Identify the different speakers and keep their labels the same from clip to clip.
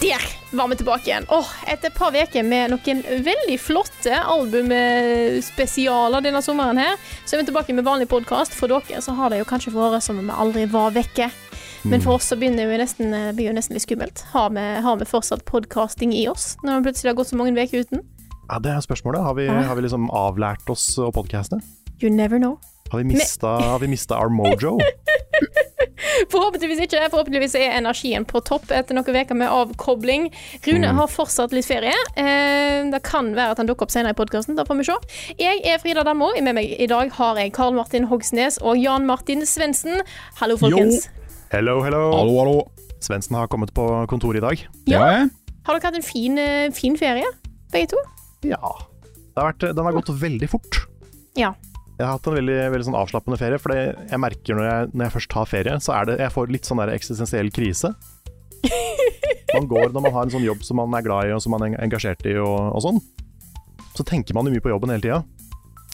Speaker 1: Der var vi tilbake igjen. Åh, etter et par uker med noen veldig flotte albumspesialer denne sommeren her, så er vi tilbake med vanlig podkast. For dere så har det jo kanskje vært som om vi aldri var vekke. Men for oss så begynner vi nesten, eh, blir jo nesten litt skummelt. Har vi, har vi fortsatt podkasting i oss når det plutselig har gått så mange uker uten?
Speaker 2: Ja, det er spørsmålet. Har vi,
Speaker 1: Ja.
Speaker 2: har vi liksom avlært oss å podcaste?
Speaker 1: You never know.
Speaker 2: Har vi mista, har vi mista our mojo?
Speaker 1: Forhåpentligvis ikke. Forhåpentligvis er energien på topp etter noen uker med avkobling. Rune
Speaker 3: Mm.
Speaker 1: har fortsatt litt ferie. Eh, det kan være at han dukker opp senere i podkasten. Da får vi se. Jeg er Frida Dammo. Med meg i dag har jeg Karl Martin Hogsnes og Jan Martin Svendsen. Hallo, folkens.
Speaker 2: Hello, hello.
Speaker 3: Hallo, hallo.
Speaker 2: Svendsen har kommet på kontoret i dag.
Speaker 3: Det
Speaker 1: Ja.
Speaker 3: har jeg.
Speaker 1: Har dere hatt en fin, eh, fin ferie, begge to?
Speaker 2: Ja. Det har vært, den har gått veldig fort.
Speaker 1: Ja.
Speaker 2: Jeg har hatt en veldig, veldig sånn avslappende ferie, for det- jeg merker når jeg, når jeg først tar ferie, så er det, jeg får litt sånn der eksistensiell krise. Man går når man har en sånn jobb som man er glad i, og som man er engasjert i, og, og sånn. Så tenker man jo mye på jobben hele tida.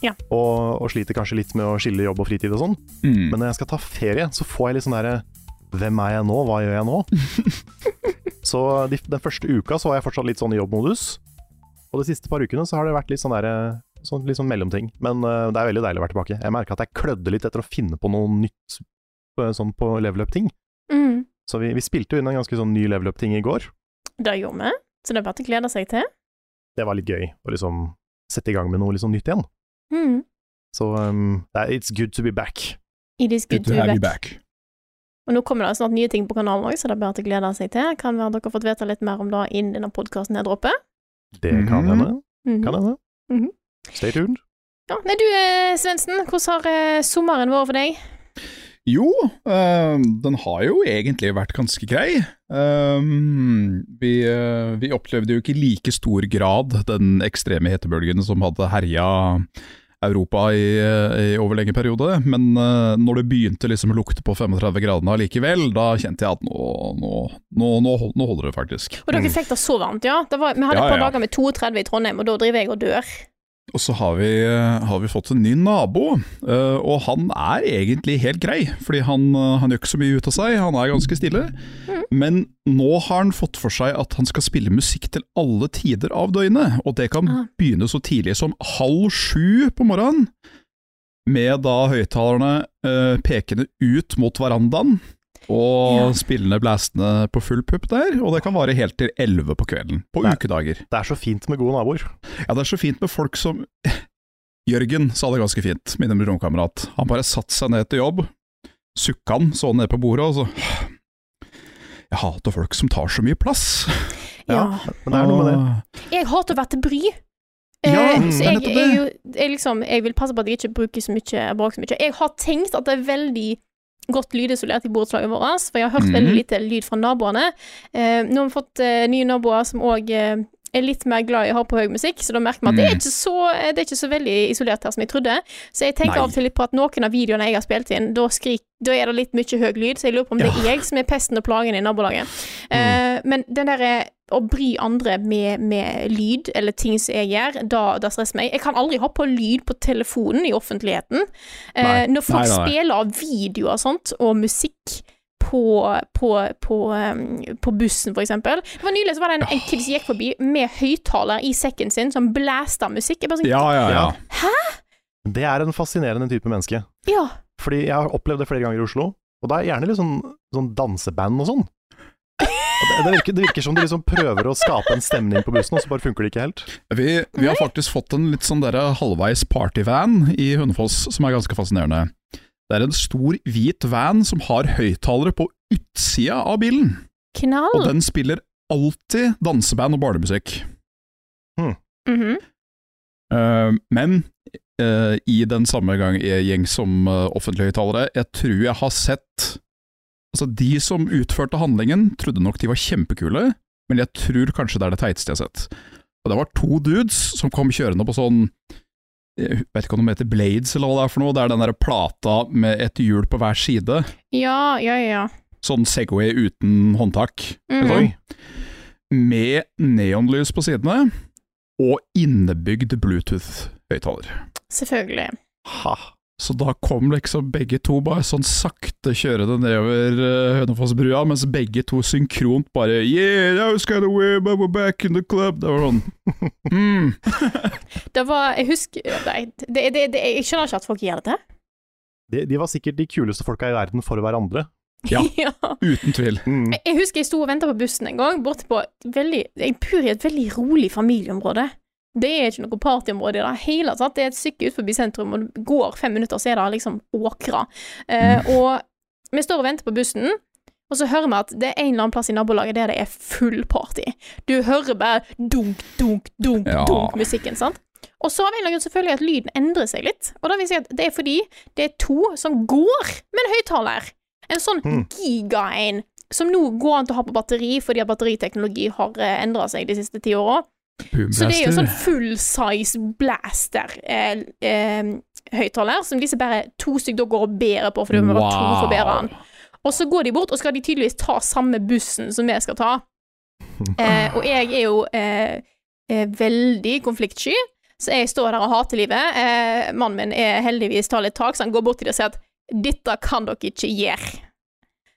Speaker 1: Ja.
Speaker 2: Og, og sliter kanskje litt med å skille jobb og fritid og sånn. Men når jeg skal ta ferie, så får jeg litt sånn derre Hvem er jeg nå? Hva gjør jeg nå? så de, den første uka så var jeg fortsatt litt sånn i jobbmodus. Og de siste par ukene så har det vært litt sånn derre Sånn, litt sånn mellomting. Men eh, det er veldig deilig å være tilbake. Jeg merka at jeg klødde litt etter å finne på noe nytt eh, sånn på level up-ting.
Speaker 1: Mm.
Speaker 2: Så vi, vi spilte jo inn en ganske sånn ny level up-ting i går.
Speaker 1: Det gjorde vi. Så det er bare til å glede seg til.
Speaker 2: Det var litt gøy å liksom sette i gang med noe litt sånn nytt igjen.
Speaker 1: Mm.
Speaker 2: Så um, det er- it's good to be back.
Speaker 1: It is good
Speaker 3: Good to
Speaker 1: to
Speaker 3: have
Speaker 1: be
Speaker 3: you
Speaker 1: back.
Speaker 3: back.
Speaker 1: Og nå kommer det snart nye ting på kanalen òg, så det er bare til å glede seg til. Kan være dere har fått vite litt mer om det innen denne podkasten her dropper.
Speaker 2: Det kan
Speaker 3: Mhm.
Speaker 2: hende.
Speaker 1: Mhm.
Speaker 2: Kan hende.
Speaker 1: Mhm.
Speaker 2: Stay tuned.
Speaker 1: Ja, nei, du eh, Svendsen, hvordan har eh, sommeren vært for deg?
Speaker 3: Jo, eh, den har jo egentlig vært ganske grei. Ehm, vi, eh, vi opplevde jo ikke i like stor grad den ekstreme hetebølgen som hadde herja Europa i, eh, i over lenge periode, men eh, når det begynte liksom å lukte på 35 gradene allikevel, da kjente jeg at nå, nå, nå, nå, hold- nå holder det faktisk.
Speaker 1: Og dere fikk det så varmt, ja? Det var, vi hadde
Speaker 3: Mm. Ja,
Speaker 1: et par
Speaker 3: ja, ja.
Speaker 1: dager med 32 i Trondheim, og da driver jeg og dør.
Speaker 3: Og så har vi, eh, har vi fått en ny nabo, eh, og han er egentlig helt grei. Fordi han, eh, han gjør ikke så mye ut av seg, han er ganske stille.
Speaker 1: Mm.
Speaker 3: Men nå har han fått for seg at han skal spille musikk til alle tider av døgnet. Og det kan
Speaker 1: Ah.
Speaker 3: begynne så tidlig som halv sju på morgenen. Med da høyttalerne eh, pekende ut mot verandaen, og
Speaker 1: Ja.
Speaker 3: spillende blæsende på full pupp der. Og det kan vare helt til elleve på kvelden, på
Speaker 2: Nei.
Speaker 3: ukedager.
Speaker 2: Det er så fint med gode naboer.
Speaker 3: Ja, det er så fint med folk som Jørgen sa det ganske fint, min nemlig romkamerat. Han bare satte seg ned til jobb, sukka han sånn ned på bordet, og så Jeg hater folk som tar så mye plass.
Speaker 1: Ja.
Speaker 2: Men det er noe med det.
Speaker 1: Jeg hater å være til bry.
Speaker 3: Ja,
Speaker 1: Eh, så
Speaker 3: mm, det er
Speaker 1: jeg,
Speaker 3: nettopp
Speaker 1: jeg,
Speaker 3: det.
Speaker 1: jo- jeg, liksom, jeg vil passe på at jeg ikke bruker så mye, jeg bruker så mye. Jeg har tenkt at det er veldig godt lydisolert i borettslaget vårt, for jeg har hørt
Speaker 3: Mhm.
Speaker 1: veldig lite lyd fra naboene. Eh, nå har vi fått eh, nye naboer som òg eh, er litt mer glad i å høre på høy musikk, så da merker vi at det, er
Speaker 3: Mm.
Speaker 1: ikke så, eh, det er ikke så veldig isolert her som jeg trodde. Så jeg tenker
Speaker 3: Nei.
Speaker 1: av og til litt på at noen av videoene jeg har spilt inn, da, skrik, da er det litt mye høy lyd, så jeg lurer på om det er jeg som er pesten og plagen i nabolaget.
Speaker 3: Mm.
Speaker 1: Eh, men den derre å bry andre med, med lyd eller ting som jeg gjør, da, da stresser meg. Jeg kan aldri ha på lyd på telefonen i offentligheten. Eh,
Speaker 3: Nei.
Speaker 1: når folk
Speaker 3: Nei, nei, nei.
Speaker 1: spiller av videoer og sånt, og musikk på, på, på, eh, på bussen, for eksempel. Det var Nylig så var det en, en kid som gikk forbi med høyttaler i sekken sin, som blæsta musikk. Jeg bare sånn,
Speaker 3: Ja, ja, ja.
Speaker 2: Det er en fascinerende type menneske.
Speaker 1: ja.
Speaker 2: Fordi jeg har opplevd det flere ganger i Oslo, og da er gjerne litt sånn, sånn danseband og sånn. Og Det, det, virker, det virker som de liksom prøver å skape en stemning på bussen, og så bare funker det ikke helt.
Speaker 3: Vi, vi eh, har faktisk fått en litt sånn derre halvveis partyvan i Hundefoss, som er ganske fascinerende. Det er en stor, hvit van som har høyttalere på utsida av bilen. Og
Speaker 1: Knall.
Speaker 3: den spiller alltid danseband og barnemusikk.
Speaker 1: Mhm.
Speaker 3: Eh, men eh, i den samme gang eh, gjeng som uh, offentlige høyttalere, jeg tror jeg har sett Altså, de som utførte handlingen, trodde nok de var kjempekule, men jeg tror kanskje det er det teiteste jeg har sett. Og det var to dudes som kom kjørende på sånn jeg vet ikke om de heter Blades eller hva det er for noe, det er den der plata med et hjul på hver side,
Speaker 1: Ja, ja, ja.
Speaker 3: sånn Segway uten håndtak
Speaker 1: Mhm.
Speaker 3: Oi. med neonlys på sidene og innebygd Bluetooth-høyttaler.
Speaker 1: Selvfølgelig.
Speaker 2: Ha.
Speaker 3: Så da kom liksom begge to bare sånn sakte kjørende nedover eh, Hønefossbrua, mens begge to synkront bare Yeah, that was kind of weird, but we're back in the club. Det var sånn mm.
Speaker 1: Det var Jeg husker Nei, det, det, det, jeg skjønner ikke at folk gjør dette.
Speaker 2: De, de var sikkert de kuleste folka i verden for hverandre.
Speaker 3: Ja.
Speaker 1: ja.
Speaker 3: Uten tvil.
Speaker 2: Mm.
Speaker 1: Jeg- Jeg husker jeg sto og venta på bussen en gang, borte på et veldig Jeg bor i et veldig rolig familieområde. Det er ikke noe partyområde i det hele tatt. Det er et stykke ut forbi sentrum, og du går fem minutter, så er det liksom åkra. Eh, og vi står og venter på bussen, og så hører vi at det er en eller annen plass i nabolaget der det er full party. Du hører bare dunk, dunk, dunk,
Speaker 3: Ja.
Speaker 1: dunk musikken, sant? Og så har vi en eller annen grunn selvfølgelig at lyden endrer seg litt. Og da vil jeg si at det er fordi det er to som går med en høyttaler. En sånn
Speaker 2: Mm.
Speaker 1: giga en som nå går an til å ha på batteri, fordi at batteriteknologi har eh, endra seg de siste ti åra. Så det er jo sånn full size blaster eh, eh, høyttaler, som disse bare to stykker da går og bærer på, for det må være to for å bære den. Og så går de bort, og skal de tydeligvis ta samme bussen som vi skal ta. Eh, og jeg er jo eh, eh, veldig konfliktsky, så jeg står der og hater livet. Eh, mannen min er heldigvis tar litt tak, så han går bort til det og sier at dette kan dere ikke gjøre.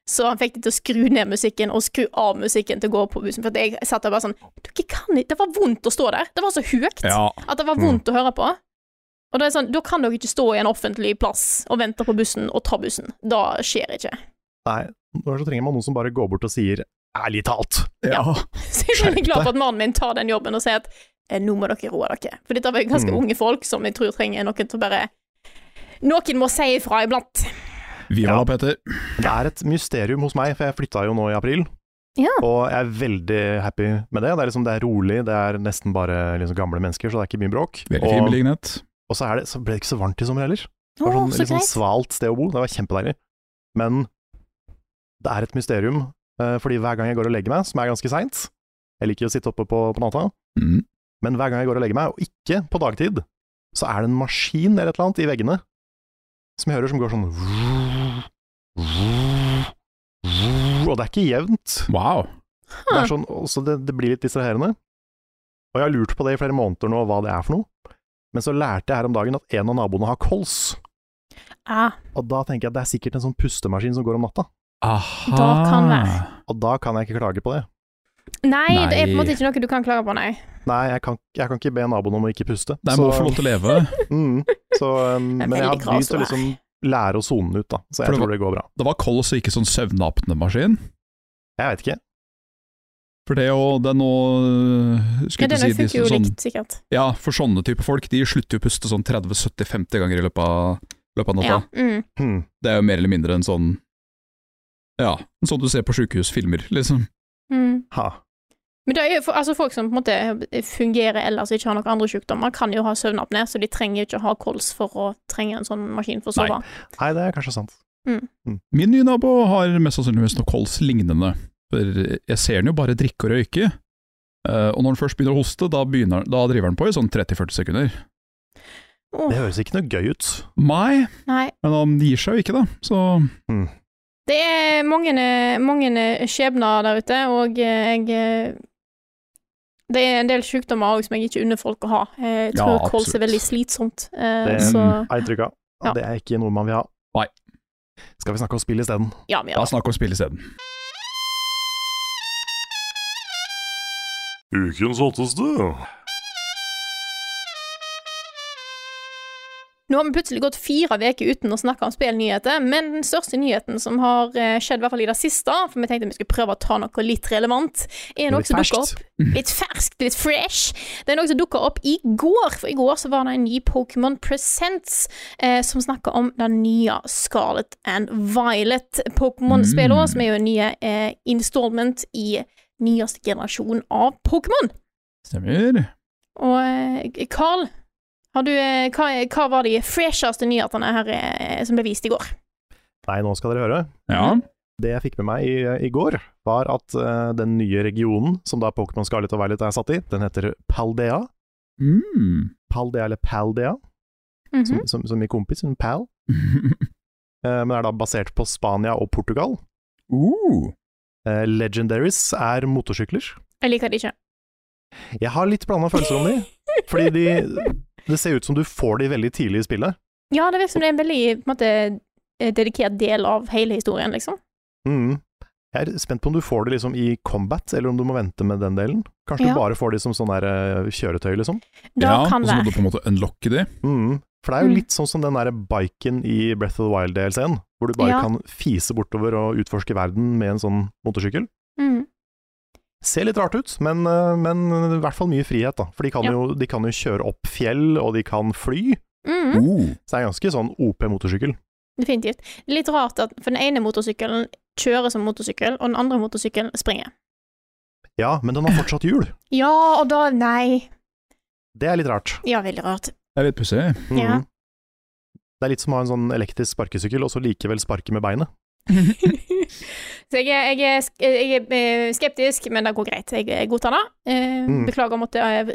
Speaker 1: Så han fikk de til å skru ned musikken og skru av musikken til å gå på bussen. For at jeg satt der bare sånn Dere kan ikke Det var vondt å stå der. Det var så høyt
Speaker 3: Ja.
Speaker 1: at det var vondt å høre på. Og det er sånn, Da kan dere ikke stå i en offentlig plass og vente på bussen og ta bussen. Da skjer det ikke.
Speaker 2: Nei, når så trenger man noen som bare går bort og sier 'ærlig talt'.
Speaker 3: ja.
Speaker 1: Så jeg er veldig
Speaker 3: Skjerp
Speaker 1: glad
Speaker 3: deg.
Speaker 1: for at mannen min tar den jobben og sier at eh, nå må dere roe dere. For dette var jo ganske
Speaker 2: Mm.
Speaker 1: unge folk som jeg tror trenger noen til å bare Noen må si ifra iblant.
Speaker 3: Vi var da, Peter.
Speaker 2: Men det er et mysterium hos meg, for jeg flytta jo nå i april.
Speaker 1: Ja.
Speaker 2: Og jeg er veldig happy med det. Det er, liksom, det er rolig, det er nesten bare liksom gamle mennesker, så det er ikke mye bråk.
Speaker 3: Veldig fin
Speaker 2: Og,
Speaker 3: beliggenhet.
Speaker 2: og så, er det, så ble det ikke så varmt i sommer heller.
Speaker 1: Å,
Speaker 2: Det var
Speaker 1: så
Speaker 2: sånn,
Speaker 3: liksom
Speaker 2: litt sånn
Speaker 1: greit.
Speaker 2: svalt sted å bo. Det var kjempedeilig. Men det er et mysterium, eh, fordi hver gang jeg går og legger meg, som er ganske seint Jeg liker å sitte oppe på, på natta,
Speaker 3: Mm.
Speaker 2: men hver gang jeg går og legger meg, og ikke på dagtid, så er det en maskin eller et eller annet i veggene som jeg hører som går sånn Og det er ikke jevnt.
Speaker 3: Wow.
Speaker 2: Det, er sånn, og så det, det blir litt distraherende. Og jeg har lurt på det i flere måneder nå, hva det er for noe. Men så lærte jeg her om dagen at en av naboene har kols.
Speaker 1: Ah,
Speaker 2: Og da tenker jeg at det er sikkert en sånn pustemaskin som går om natta.
Speaker 3: Aha.
Speaker 1: Da kan være.
Speaker 2: Og da kan jeg ikke klage på det.
Speaker 1: nei, det er på en
Speaker 3: Nei.
Speaker 1: måte ikke noe du kan klage på, nei.
Speaker 2: Nei, jeg kan, jeg kan ikke be naboen om å ikke puste.
Speaker 3: Det er
Speaker 2: så,
Speaker 3: må få lov til å leve.
Speaker 2: mm, så,
Speaker 1: Det er
Speaker 2: um, men jeg
Speaker 1: veldig
Speaker 2: har
Speaker 1: kras
Speaker 2: begynt å
Speaker 1: å være.
Speaker 2: liksom lære å sone ut, da. Så jeg
Speaker 3: For det var-
Speaker 2: tror det går bra.
Speaker 3: Det var kols og ikke sånn søvnapnemaskin.
Speaker 2: Jeg vet ikke.
Speaker 3: For det å Det er nå øh,
Speaker 1: Ja,
Speaker 3: Skulle
Speaker 1: denne
Speaker 3: ikke si de
Speaker 1: funker jo
Speaker 3: som sånn
Speaker 1: likt, sikkert.
Speaker 3: Ja, for sånne type folk, de slutter jo å puste sånn 30-70-50 ganger i løpet av, løpet av natta.
Speaker 1: Ja. Mm.
Speaker 2: Hmm.
Speaker 3: Det er jo mer eller mindre en sånn Ja, en sånn du ser på sjukehusfilmer, liksom.
Speaker 1: Mm.
Speaker 2: Ha.
Speaker 1: Men det er jo for, altså folk som på en måte fungerer ellers og ikke har noen andre sykdommer, kan jo ha søvnapné, så de trenger jo ikke ha kols for å trenge en sånn maskin for å sove.
Speaker 2: Nei, det er kanskje sant.
Speaker 3: Min nye nabo har mest sannsynligvis noe kols lignende. For jeg ser den jo bare drikke og røyke. Eh, og når den først begynner å hoste, da, begynner, da driver den på i sånn 30-40 sekunder.
Speaker 1: Åh,
Speaker 2: Det høres ikke noe gøy ut.
Speaker 3: Nei,
Speaker 1: nei.
Speaker 3: men han gir seg jo ikke, da. Så
Speaker 1: Det er mange, mange skjebner der ute, og eh, jeg eh, Det er en del sykdommer òg som jeg ikke unner folk å ha. Jeg
Speaker 3: Ja,
Speaker 1: tror kols er
Speaker 3: absolutt.
Speaker 1: veldig slitsomt, eh,
Speaker 2: Det-
Speaker 1: så
Speaker 2: Jeg har inntrykk av.
Speaker 1: Ja.
Speaker 2: at Det er ikke noe man vil ha.
Speaker 3: Nei.
Speaker 2: Skal vi snakke om spill isteden?
Speaker 1: ja, vi
Speaker 3: da
Speaker 1: gjør det.
Speaker 3: snakker vi om spill isteden.
Speaker 4: Ukens hotteste.
Speaker 1: Nå har vi plutselig gått fire uker uten å snakke om spillnyheter, men den største nyheten som har eh, skjedd, i hvert fall i det siste, for vi tenkte vi skulle prøve å ta noe litt relevant, er noe
Speaker 2: Litt
Speaker 1: som dukker
Speaker 2: ferskt.
Speaker 1: opp Litt ferskt, litt fresh. Det er noe som dukka opp i går, for i går så var det en ny Pokémon Presents eh, som snakka om den nye Scarlet and Violet-Pokémon-spillet,
Speaker 3: Mm.
Speaker 1: som er jo en nye eh, installment i nyeste generasjon av Pokémon.
Speaker 3: Stemmer.
Speaker 1: Og eh, Carl, har du, eh, hva, er- hva var de fresheste nyhetene her eh, som ble vist i går?
Speaker 2: Nei, nå skal dere høre.
Speaker 3: Ja.
Speaker 2: Det jeg fikk med meg i, i går, var at eh, den nye regionen som da Pokémon Scarlet og Violet er satt i, den heter Paldea.
Speaker 3: Mm.
Speaker 2: Paldea eller Paldea,
Speaker 1: Mhm.
Speaker 2: som, som, som min kompis, hun Pal. Eh, men er da basert på Spania og Portugal.
Speaker 3: uh.
Speaker 2: Eh, Legendaries er motorsykler.
Speaker 1: Jeg liker det ikke.
Speaker 2: Jeg har litt blanda følelser om de, fordi de Det ser ut som du får de veldig tidlig i spillet.
Speaker 1: Ja, det virker som det er en veldig på en måte, eh, dedikert del av hele historien, liksom.
Speaker 2: Mm. Jeg er spent på om du får det liksom i combat, eller om du må vente med den delen. Kanskje
Speaker 1: Ja.
Speaker 2: du bare får de som sånn der eh, kjøretøy, liksom.
Speaker 1: Det
Speaker 3: ja,
Speaker 1: kan
Speaker 3: og så må
Speaker 1: være.
Speaker 3: du på en måte unlocke de.
Speaker 2: Mm. For det er jo
Speaker 1: Mm.
Speaker 2: litt sånn som den der biken i Breath of the Wild DLC-en, hvor du bare
Speaker 1: Ja.
Speaker 2: kan fise bortover og utforske verden med en sånn motorsykkel.
Speaker 1: Mm.
Speaker 2: Ser litt rart ut, men, eh, men i hvert fall mye frihet, da. For de kan,
Speaker 1: Ja.
Speaker 2: jo, de kan jo kjøre opp fjell, og de kan fly.
Speaker 1: Mm.
Speaker 3: Uh.
Speaker 2: Så det er ganske sånn OP motorsykkel.
Speaker 1: Definitivt. Det er litt rart at for den ene motorsykkelen kjører som motorsykkel, og den andre motorsykkelen springer.
Speaker 2: Ja, men den har fortsatt hjul.
Speaker 1: Ja, og da Nei.
Speaker 2: Det er litt rart.
Speaker 1: Ja, veldig rart.
Speaker 3: Det er litt pussig.
Speaker 2: Mhm.
Speaker 1: Ja.
Speaker 2: Det er litt som å ha en sånn elektrisk sparkesykkel, og så likevel sparke med beinet.
Speaker 1: Så jeg er, jeg, er, sk- jeg er eh, skeptisk, men det går greit. Jeg eh, godtar det. Eh,
Speaker 2: Mm.
Speaker 1: Beklager å måtte eh,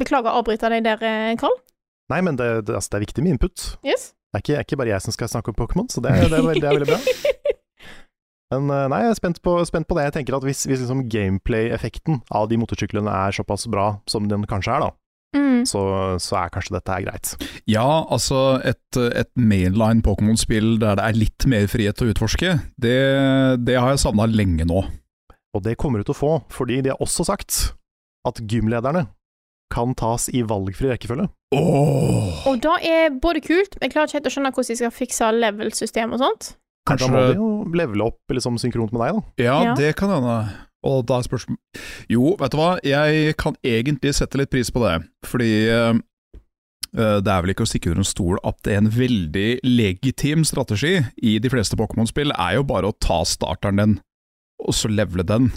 Speaker 1: Beklager å avbryte deg der, eh, Karl.
Speaker 2: Nei, men det, det, altså, det er viktig med input.
Speaker 1: Yes?
Speaker 2: Det er ikke, det er ikke bare jeg som skal snakke om Pokémon, så det, er- det, er veldig- det er veldig bra. Men eh, nei, jeg er spent på, spent på det. Jeg tenker at Hvis, hvis liksom gameplay-effekten av de motorsyklene er såpass bra som den kanskje er, da,
Speaker 1: Mm.
Speaker 2: så, så er kanskje dette her greit.
Speaker 3: Ja, altså et, et mainline Pokémon-spill der det er litt mer frihet til å utforske, det, det har jeg savna lenge nå.
Speaker 2: Og det kommer du til å få, fordi de har også sagt at gymlederne kan tas i valgfri rekkefølge.
Speaker 3: Åh,
Speaker 1: Og det er både kult Jeg klarer ikke helt å skjønne hvordan de skal fikse level-system og sånt.
Speaker 2: Kanskje da må de
Speaker 3: Kanskje-
Speaker 2: jo levele opp liksom, synkront med deg, da.
Speaker 3: ja,
Speaker 1: Ja.
Speaker 3: det kan hende. Og da er spørsmål Jo, vet du hva, jeg kan egentlig sette litt pris på det, fordi eh, eh, det er vel ikke å stikke under en stol at en veldig legitim strategi i de fleste Pokémon-spill er jo bare å ta starteren din, og så levele den.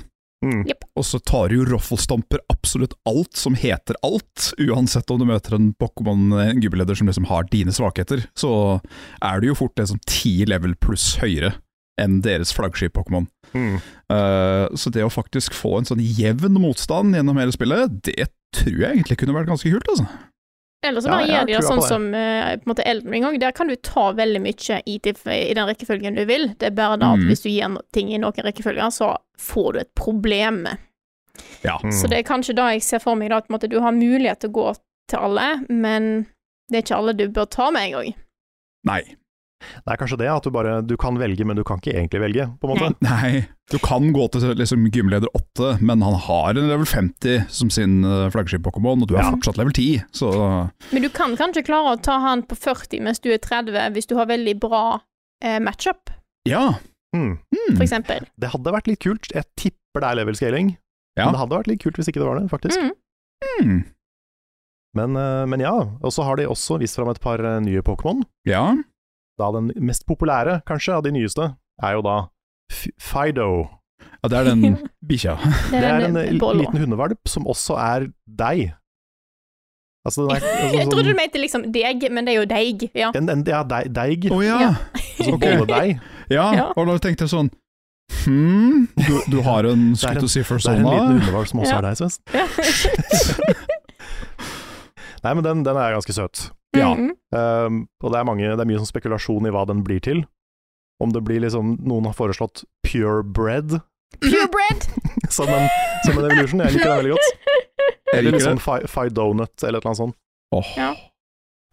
Speaker 2: Mm.
Speaker 3: Og så tar jo Roffelstomper absolutt alt som heter alt, uansett om du møter en Pokémon-gubbeleder som liksom har dine svakheter, så er du jo fort liksom ti level pluss høyere enn deres flaggskip-Pokémon.
Speaker 2: Mm.
Speaker 3: Eh, så det å faktisk få en sånn jevn motstand gjennom hele spillet, det tror jeg egentlig kunne vært ganske kult, altså.
Speaker 1: Eller så
Speaker 2: Ja,
Speaker 1: bare
Speaker 2: jeg
Speaker 1: gjør de det
Speaker 2: tror på
Speaker 1: sånn
Speaker 2: det.
Speaker 1: som eh, på en måte Elden Ring òg. Der kan du ta veldig mye i, de- i den rekkefølgen du vil. Det er bare da at
Speaker 3: Mm.
Speaker 1: hvis du gir no- ting i noen rekkefølger, så får du et problem.
Speaker 3: Ja.
Speaker 2: Mm.
Speaker 1: Så det er kanskje da jeg ser for meg da, at på en måte, du har mulighet til å gå til alle, men det er ikke alle du bør ta med en gang.
Speaker 3: Nei.
Speaker 2: Det er kanskje det, at du bare du kan velge, men du kan ikke egentlig velge, på en måte.
Speaker 3: Nei. Du kan gå til liksom, gymleder 8, men han har en level 50 som sin eh, flaggskip-Pokémon, og du er
Speaker 1: Ja.
Speaker 3: fortsatt level 10, så
Speaker 1: Men du kan kanskje klare å ta han på 40 mens du er 30, hvis du har veldig bra eh, matchup,
Speaker 3: ja.
Speaker 2: Mm.
Speaker 3: Mm.
Speaker 1: for eksempel.
Speaker 2: Det hadde vært litt kult. Jeg tipper det er level scaling,
Speaker 3: Ja.
Speaker 2: men det hadde vært litt kult hvis ikke det var det, faktisk.
Speaker 1: Mm.
Speaker 3: Mm.
Speaker 2: Men, eh, men ja, og så har de også vist fram et par eh, nye Pokémon.
Speaker 3: Ja.
Speaker 2: Da den mest populære, kanskje, av de nyeste, er jo da F- Fido.
Speaker 3: ja, det er den bikkja.
Speaker 1: Det
Speaker 2: Det er en
Speaker 1: denne
Speaker 2: eh,
Speaker 1: bollen.
Speaker 2: liten hundevalp som også er deg. Altså, den er altså,
Speaker 1: Jeg trodde du
Speaker 2: sånn,
Speaker 1: mente liksom deg, men det er jo deig. Ja.
Speaker 2: en, en, ja, deig, deig
Speaker 3: Å ja.
Speaker 1: Ja.
Speaker 2: altså
Speaker 3: ok.
Speaker 2: bolledeig.
Speaker 3: ja!
Speaker 1: Ja.
Speaker 3: Og da tenkte jeg sånn Hm, du, du har en
Speaker 2: Det er en- Det
Speaker 3: skutt og
Speaker 2: er en liten
Speaker 3: siffer-sona?
Speaker 2: hundevalp som også
Speaker 1: Ja.
Speaker 2: er deg, Sven. Nei, men den, den er ganske søt.
Speaker 3: Ja.
Speaker 1: Mhm.
Speaker 2: Um, og det er, mange, det er mye sånn spekulasjon i hva den blir til. Om det blir liksom Noen har foreslått purebred
Speaker 1: Purebred!
Speaker 2: som en, som en evolution. Jeg liker det veldig godt.
Speaker 3: Jeg
Speaker 2: Eller
Speaker 3: liker det.
Speaker 2: liksom fi, fi donut eller et eller annet sånt.
Speaker 3: Åh.
Speaker 1: Ja.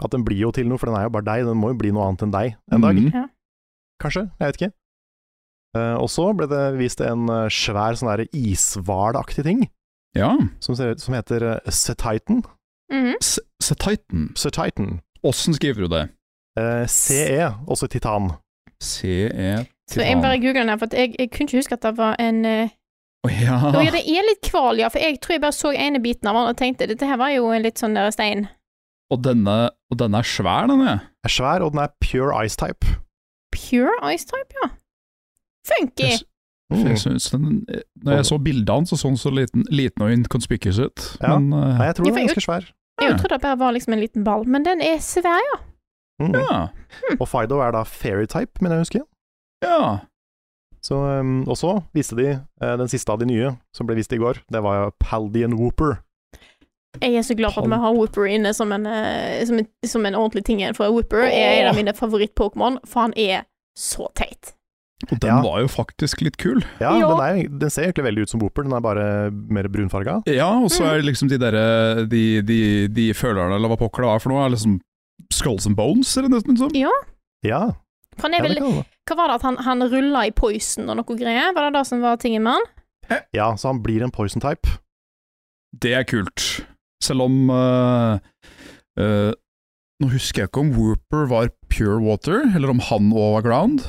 Speaker 2: At den blir jo til noe, for den er jo bare deg. Den må jo bli noe annet enn deg en dag,
Speaker 3: Mm.
Speaker 2: kanskje. Jeg vet ikke. Uh, og så ble det vist en uh, svær sånn der ishvalaktig ting
Speaker 3: Ja.
Speaker 2: som, ser, ut- som heter uh, eh, Setitan.
Speaker 1: Mhm.
Speaker 3: Se Titan.
Speaker 2: Setitan.
Speaker 3: Åssen skriver du det?
Speaker 2: Eh, CE, også titan.
Speaker 3: CE
Speaker 1: Så jeg
Speaker 3: Titan.
Speaker 1: bare googler den her, for at jeg, jeg kunne ikke huske at det var en eh,
Speaker 3: Å, ja.
Speaker 1: Å ja, det er litt kval, ja, for jeg tror jeg bare så ene biten av den og tenkte dette her var jo en litt sånn der stein.
Speaker 3: Og denne, og denne er svær, denne.
Speaker 2: Er svær, og den er pure ice type.
Speaker 1: Pure ice type, ja. Funky.
Speaker 3: Jeg,
Speaker 2: Oh. Mm.
Speaker 3: jeg synes den, når jeg så bildet hans, så så den så liten, liten og inconspicuous ut.
Speaker 2: Ja.
Speaker 3: Men eh,
Speaker 2: Nei, jeg
Speaker 1: Ja,
Speaker 2: tror den
Speaker 1: for
Speaker 2: er
Speaker 1: jeg-
Speaker 2: ganske svær.
Speaker 1: Jeg trodde det bare var liksom en liten ball, men den er svær, ja.
Speaker 2: Mm.
Speaker 3: ja.
Speaker 2: Og Fido er da fairy type, mener jeg å huske.
Speaker 3: ja.
Speaker 2: Så, um, og så viste de eh, den siste av de nye, som ble vist i går. Det var jo Paldian Whooper.
Speaker 1: Jeg er så glad for at vi har Whooper inne som en, eh, som en, som en ordentlig ting igjen, for Whooper er en av mine favoritt-Pokémon, for han er så teit.
Speaker 3: Og den
Speaker 2: Ja.
Speaker 3: var jo faktisk litt kul.
Speaker 2: Ja,
Speaker 1: Ja.
Speaker 2: Den, er, den ser egentlig veldig ut som Whooper, den er bare mer brunfarga.
Speaker 3: Ja, og så
Speaker 2: Mm.
Speaker 3: er det liksom de derre de, de, de følerne, eller hva pokker det var for noe, er liksom skulls and bones, eller noe sånt.
Speaker 1: Ja,
Speaker 2: Ja,
Speaker 1: for han er
Speaker 2: ja, det
Speaker 1: vel
Speaker 2: kan det.
Speaker 1: Hva var det at han, han rulla i poison og noe greier? Var det det som var tingen med han?
Speaker 2: ja, så han blir en poison type.
Speaker 3: Det er kult. Selv om eh, eh, Nå husker jeg ikke om Whooper var pure water, eller om han òg var ground,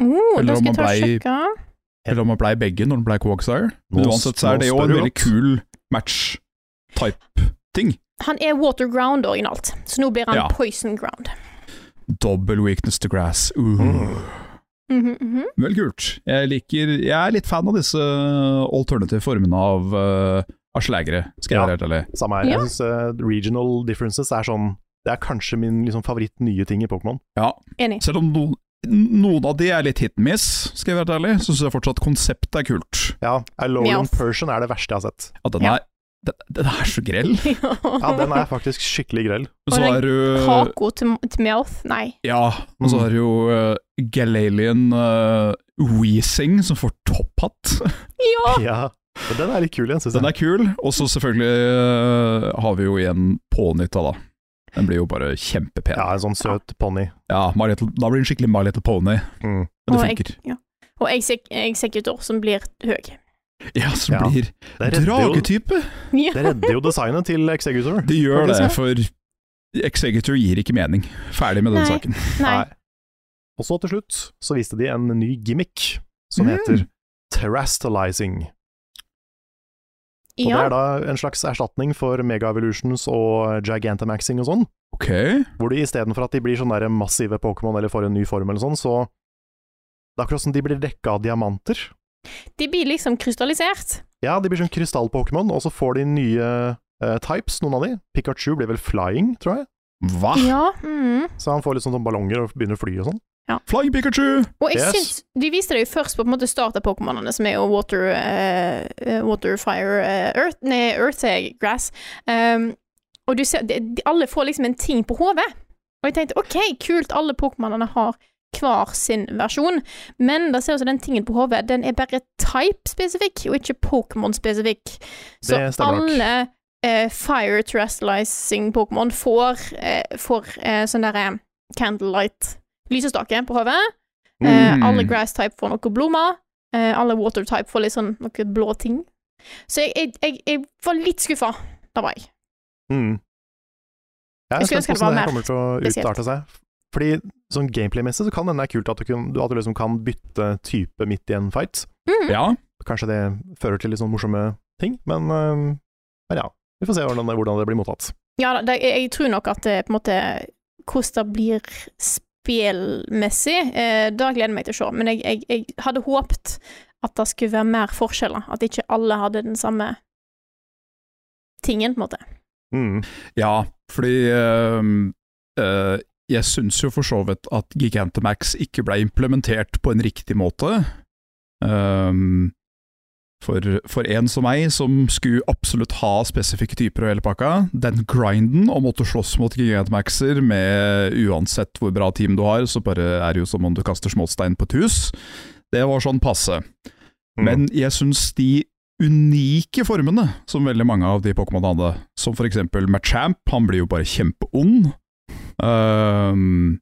Speaker 1: Oh,
Speaker 3: Eller
Speaker 1: da skal jeg
Speaker 3: om han
Speaker 1: ta og
Speaker 3: blei-
Speaker 1: sjekke.
Speaker 3: eller om han blei begge når han blei Quagsire. Men
Speaker 2: Nå-
Speaker 3: uansett så
Speaker 2: nå
Speaker 3: er det jo
Speaker 2: spør
Speaker 3: en
Speaker 2: du
Speaker 3: veldig
Speaker 2: godt.
Speaker 3: kul match-type-ting.
Speaker 1: Han er waterground originalt, så nå blir han
Speaker 3: Ja.
Speaker 1: poison ground.
Speaker 3: Double weakness to grass. Uh.
Speaker 2: Mm.
Speaker 1: Mhm, mhm.
Speaker 3: Vel kult. Jeg liker Jeg er litt fan av disse alternative formene av, eh, av slagere, skal jeg
Speaker 2: Ja.
Speaker 3: være helt ærlig.
Speaker 2: Samme her.
Speaker 1: Ja.
Speaker 2: Jeg synes eh, regional differences er sånn Det er kanskje min liksom, favoritt nye ting i Pokémon.
Speaker 3: Ja.
Speaker 1: Enig.
Speaker 3: Selv om noen, noen av de er litt hit and miss, skal jeg være helt ærlig, så syns jeg fortsatt konseptet er kult.
Speaker 2: Ja, Alorian
Speaker 1: Meowth.
Speaker 2: Persian er det verste jeg har sett.
Speaker 3: Ja, den
Speaker 1: Ja.
Speaker 3: er, den, den er så grell.
Speaker 2: Ja, den er faktisk skikkelig grell.
Speaker 3: Men så
Speaker 1: Og den
Speaker 3: har du
Speaker 1: Kako til, til Meowth? Nei.
Speaker 3: Ja, og så
Speaker 2: Mm.
Speaker 3: har du jo uh, Galalian eh, Weezing som får topphatt.
Speaker 1: Ja!
Speaker 2: Ja, men den er litt kul igjen, syns
Speaker 3: Den
Speaker 2: jeg.
Speaker 3: er kul. Og så selvfølgelig eh, har vi jo igjen Ponyta, da. Den blir jo bare kjempepen.
Speaker 2: Ja, en sånn søt ponni.
Speaker 3: Ja, My Little, da blir den skikkelig My Little Pony.
Speaker 2: Mm.
Speaker 3: Men det
Speaker 1: Og
Speaker 3: funker.
Speaker 1: Jeg, ja. Og Exec- Executor, som blir høy.
Speaker 3: Ja, som
Speaker 2: Ja.
Speaker 3: blir
Speaker 2: Det redder jo,
Speaker 3: dragetype!
Speaker 1: Ja.
Speaker 2: det redder jo designet til Executor.
Speaker 3: Det gjør
Speaker 2: Faktisk,
Speaker 3: det,
Speaker 2: ja.
Speaker 3: for Executor gir ikke mening. Ferdig med den
Speaker 1: Nei.
Speaker 3: saken.
Speaker 1: Nei.
Speaker 2: Og så til slutt så viste de en ny gimmick som
Speaker 3: Mm.
Speaker 2: heter Terrastalizing. Og det
Speaker 1: Ja.
Speaker 2: er da en slags erstatning for Mega Evolutions og Gigantamaxing og sånn,
Speaker 3: Ok,
Speaker 2: hvor de istedenfor at de blir sånne der massive Pokémon eller får en ny form eller sånn, så det er akkurat som de blir dekka av diamanter.
Speaker 1: De blir liksom krystallisert.
Speaker 2: Ja, de blir sånn krystall-Pokémon, og så får de nye eh, types, noen av de. Pikachu blir vel flying, tror jeg,
Speaker 3: hva?
Speaker 1: Ja. mhm.
Speaker 2: så han får litt sånn, sånn ballonger og begynner å fly og sånn.
Speaker 3: Flying Pikachu!
Speaker 1: Og jeg
Speaker 2: Yes.
Speaker 1: syns De viste det jo først på på en måte starter-pokémonene, som er jo water, eh, eh, water fire eh, earth, Nei, earth eh, grass. Um, og du ser de, de, Alle får liksom en ting på hodet. Og jeg tenkte OK, kult, alle pokémonene har hver sin versjon, men det ser ut som den tingen på hodet, den er bare type-spesifikk, og ikke Pokémon-spesifikk. Så
Speaker 2: Det stemmer nok.
Speaker 1: alle eh, fire terrestrializing-Pokémon får, eh, får eh, sånn derre candlelight lysestake på hodet. Eh,
Speaker 3: Mm.
Speaker 1: alle grass type får noe blomster. Eh, alle water type får litt sånn noe blå ting. Så jeg, jeg, jeg, jeg var litt skuffa. Da var jeg.
Speaker 2: Mm. Jeg
Speaker 1: Jeg
Speaker 2: er
Speaker 1: skulle
Speaker 2: spent
Speaker 1: ønske
Speaker 2: på
Speaker 1: det var
Speaker 2: hvordan det
Speaker 1: mer
Speaker 2: her kommer til å
Speaker 1: spesielt.
Speaker 2: utarte seg. Fordi sånn gameplay-messig så kan det hende det er kult at du, kun, at du liksom kan bytte type midt i en fight.
Speaker 1: Mm.
Speaker 3: Ja,
Speaker 2: Kanskje det fører til litt sånn morsomme ting, men, øhm, men ja. Vi får se hvordan det, hvordan det blir mottatt.
Speaker 1: Ja da, det, jeg, jeg tror nok at det på en måte Hvordan det blir spillmessig, eh, det gleder jeg meg til å se. Men jeg, jeg, jeg hadde håpt at det skulle være mer forskjeller. At ikke alle hadde den samme tingen, på en måte.
Speaker 2: Mm.
Speaker 3: ja fordi ehm, eh, jeg syns jo for så vidt at Gigantamax ikke ble implementert på en riktig måte. Ehm, for, for en som meg, som skulle absolutt ha spesifikke typer og hele pakka, den grinden å måtte slåss mot Gigantamaxer med uansett hvor bra team du har, så bare er det jo som om du kaster småstein på et hus, det var sånn passe.
Speaker 2: Mm.
Speaker 3: Men jeg syns de unike formene som veldig mange av de Pokémon hadde, som for eksempel Machamp, han blir jo bare kjempeond. Ehm,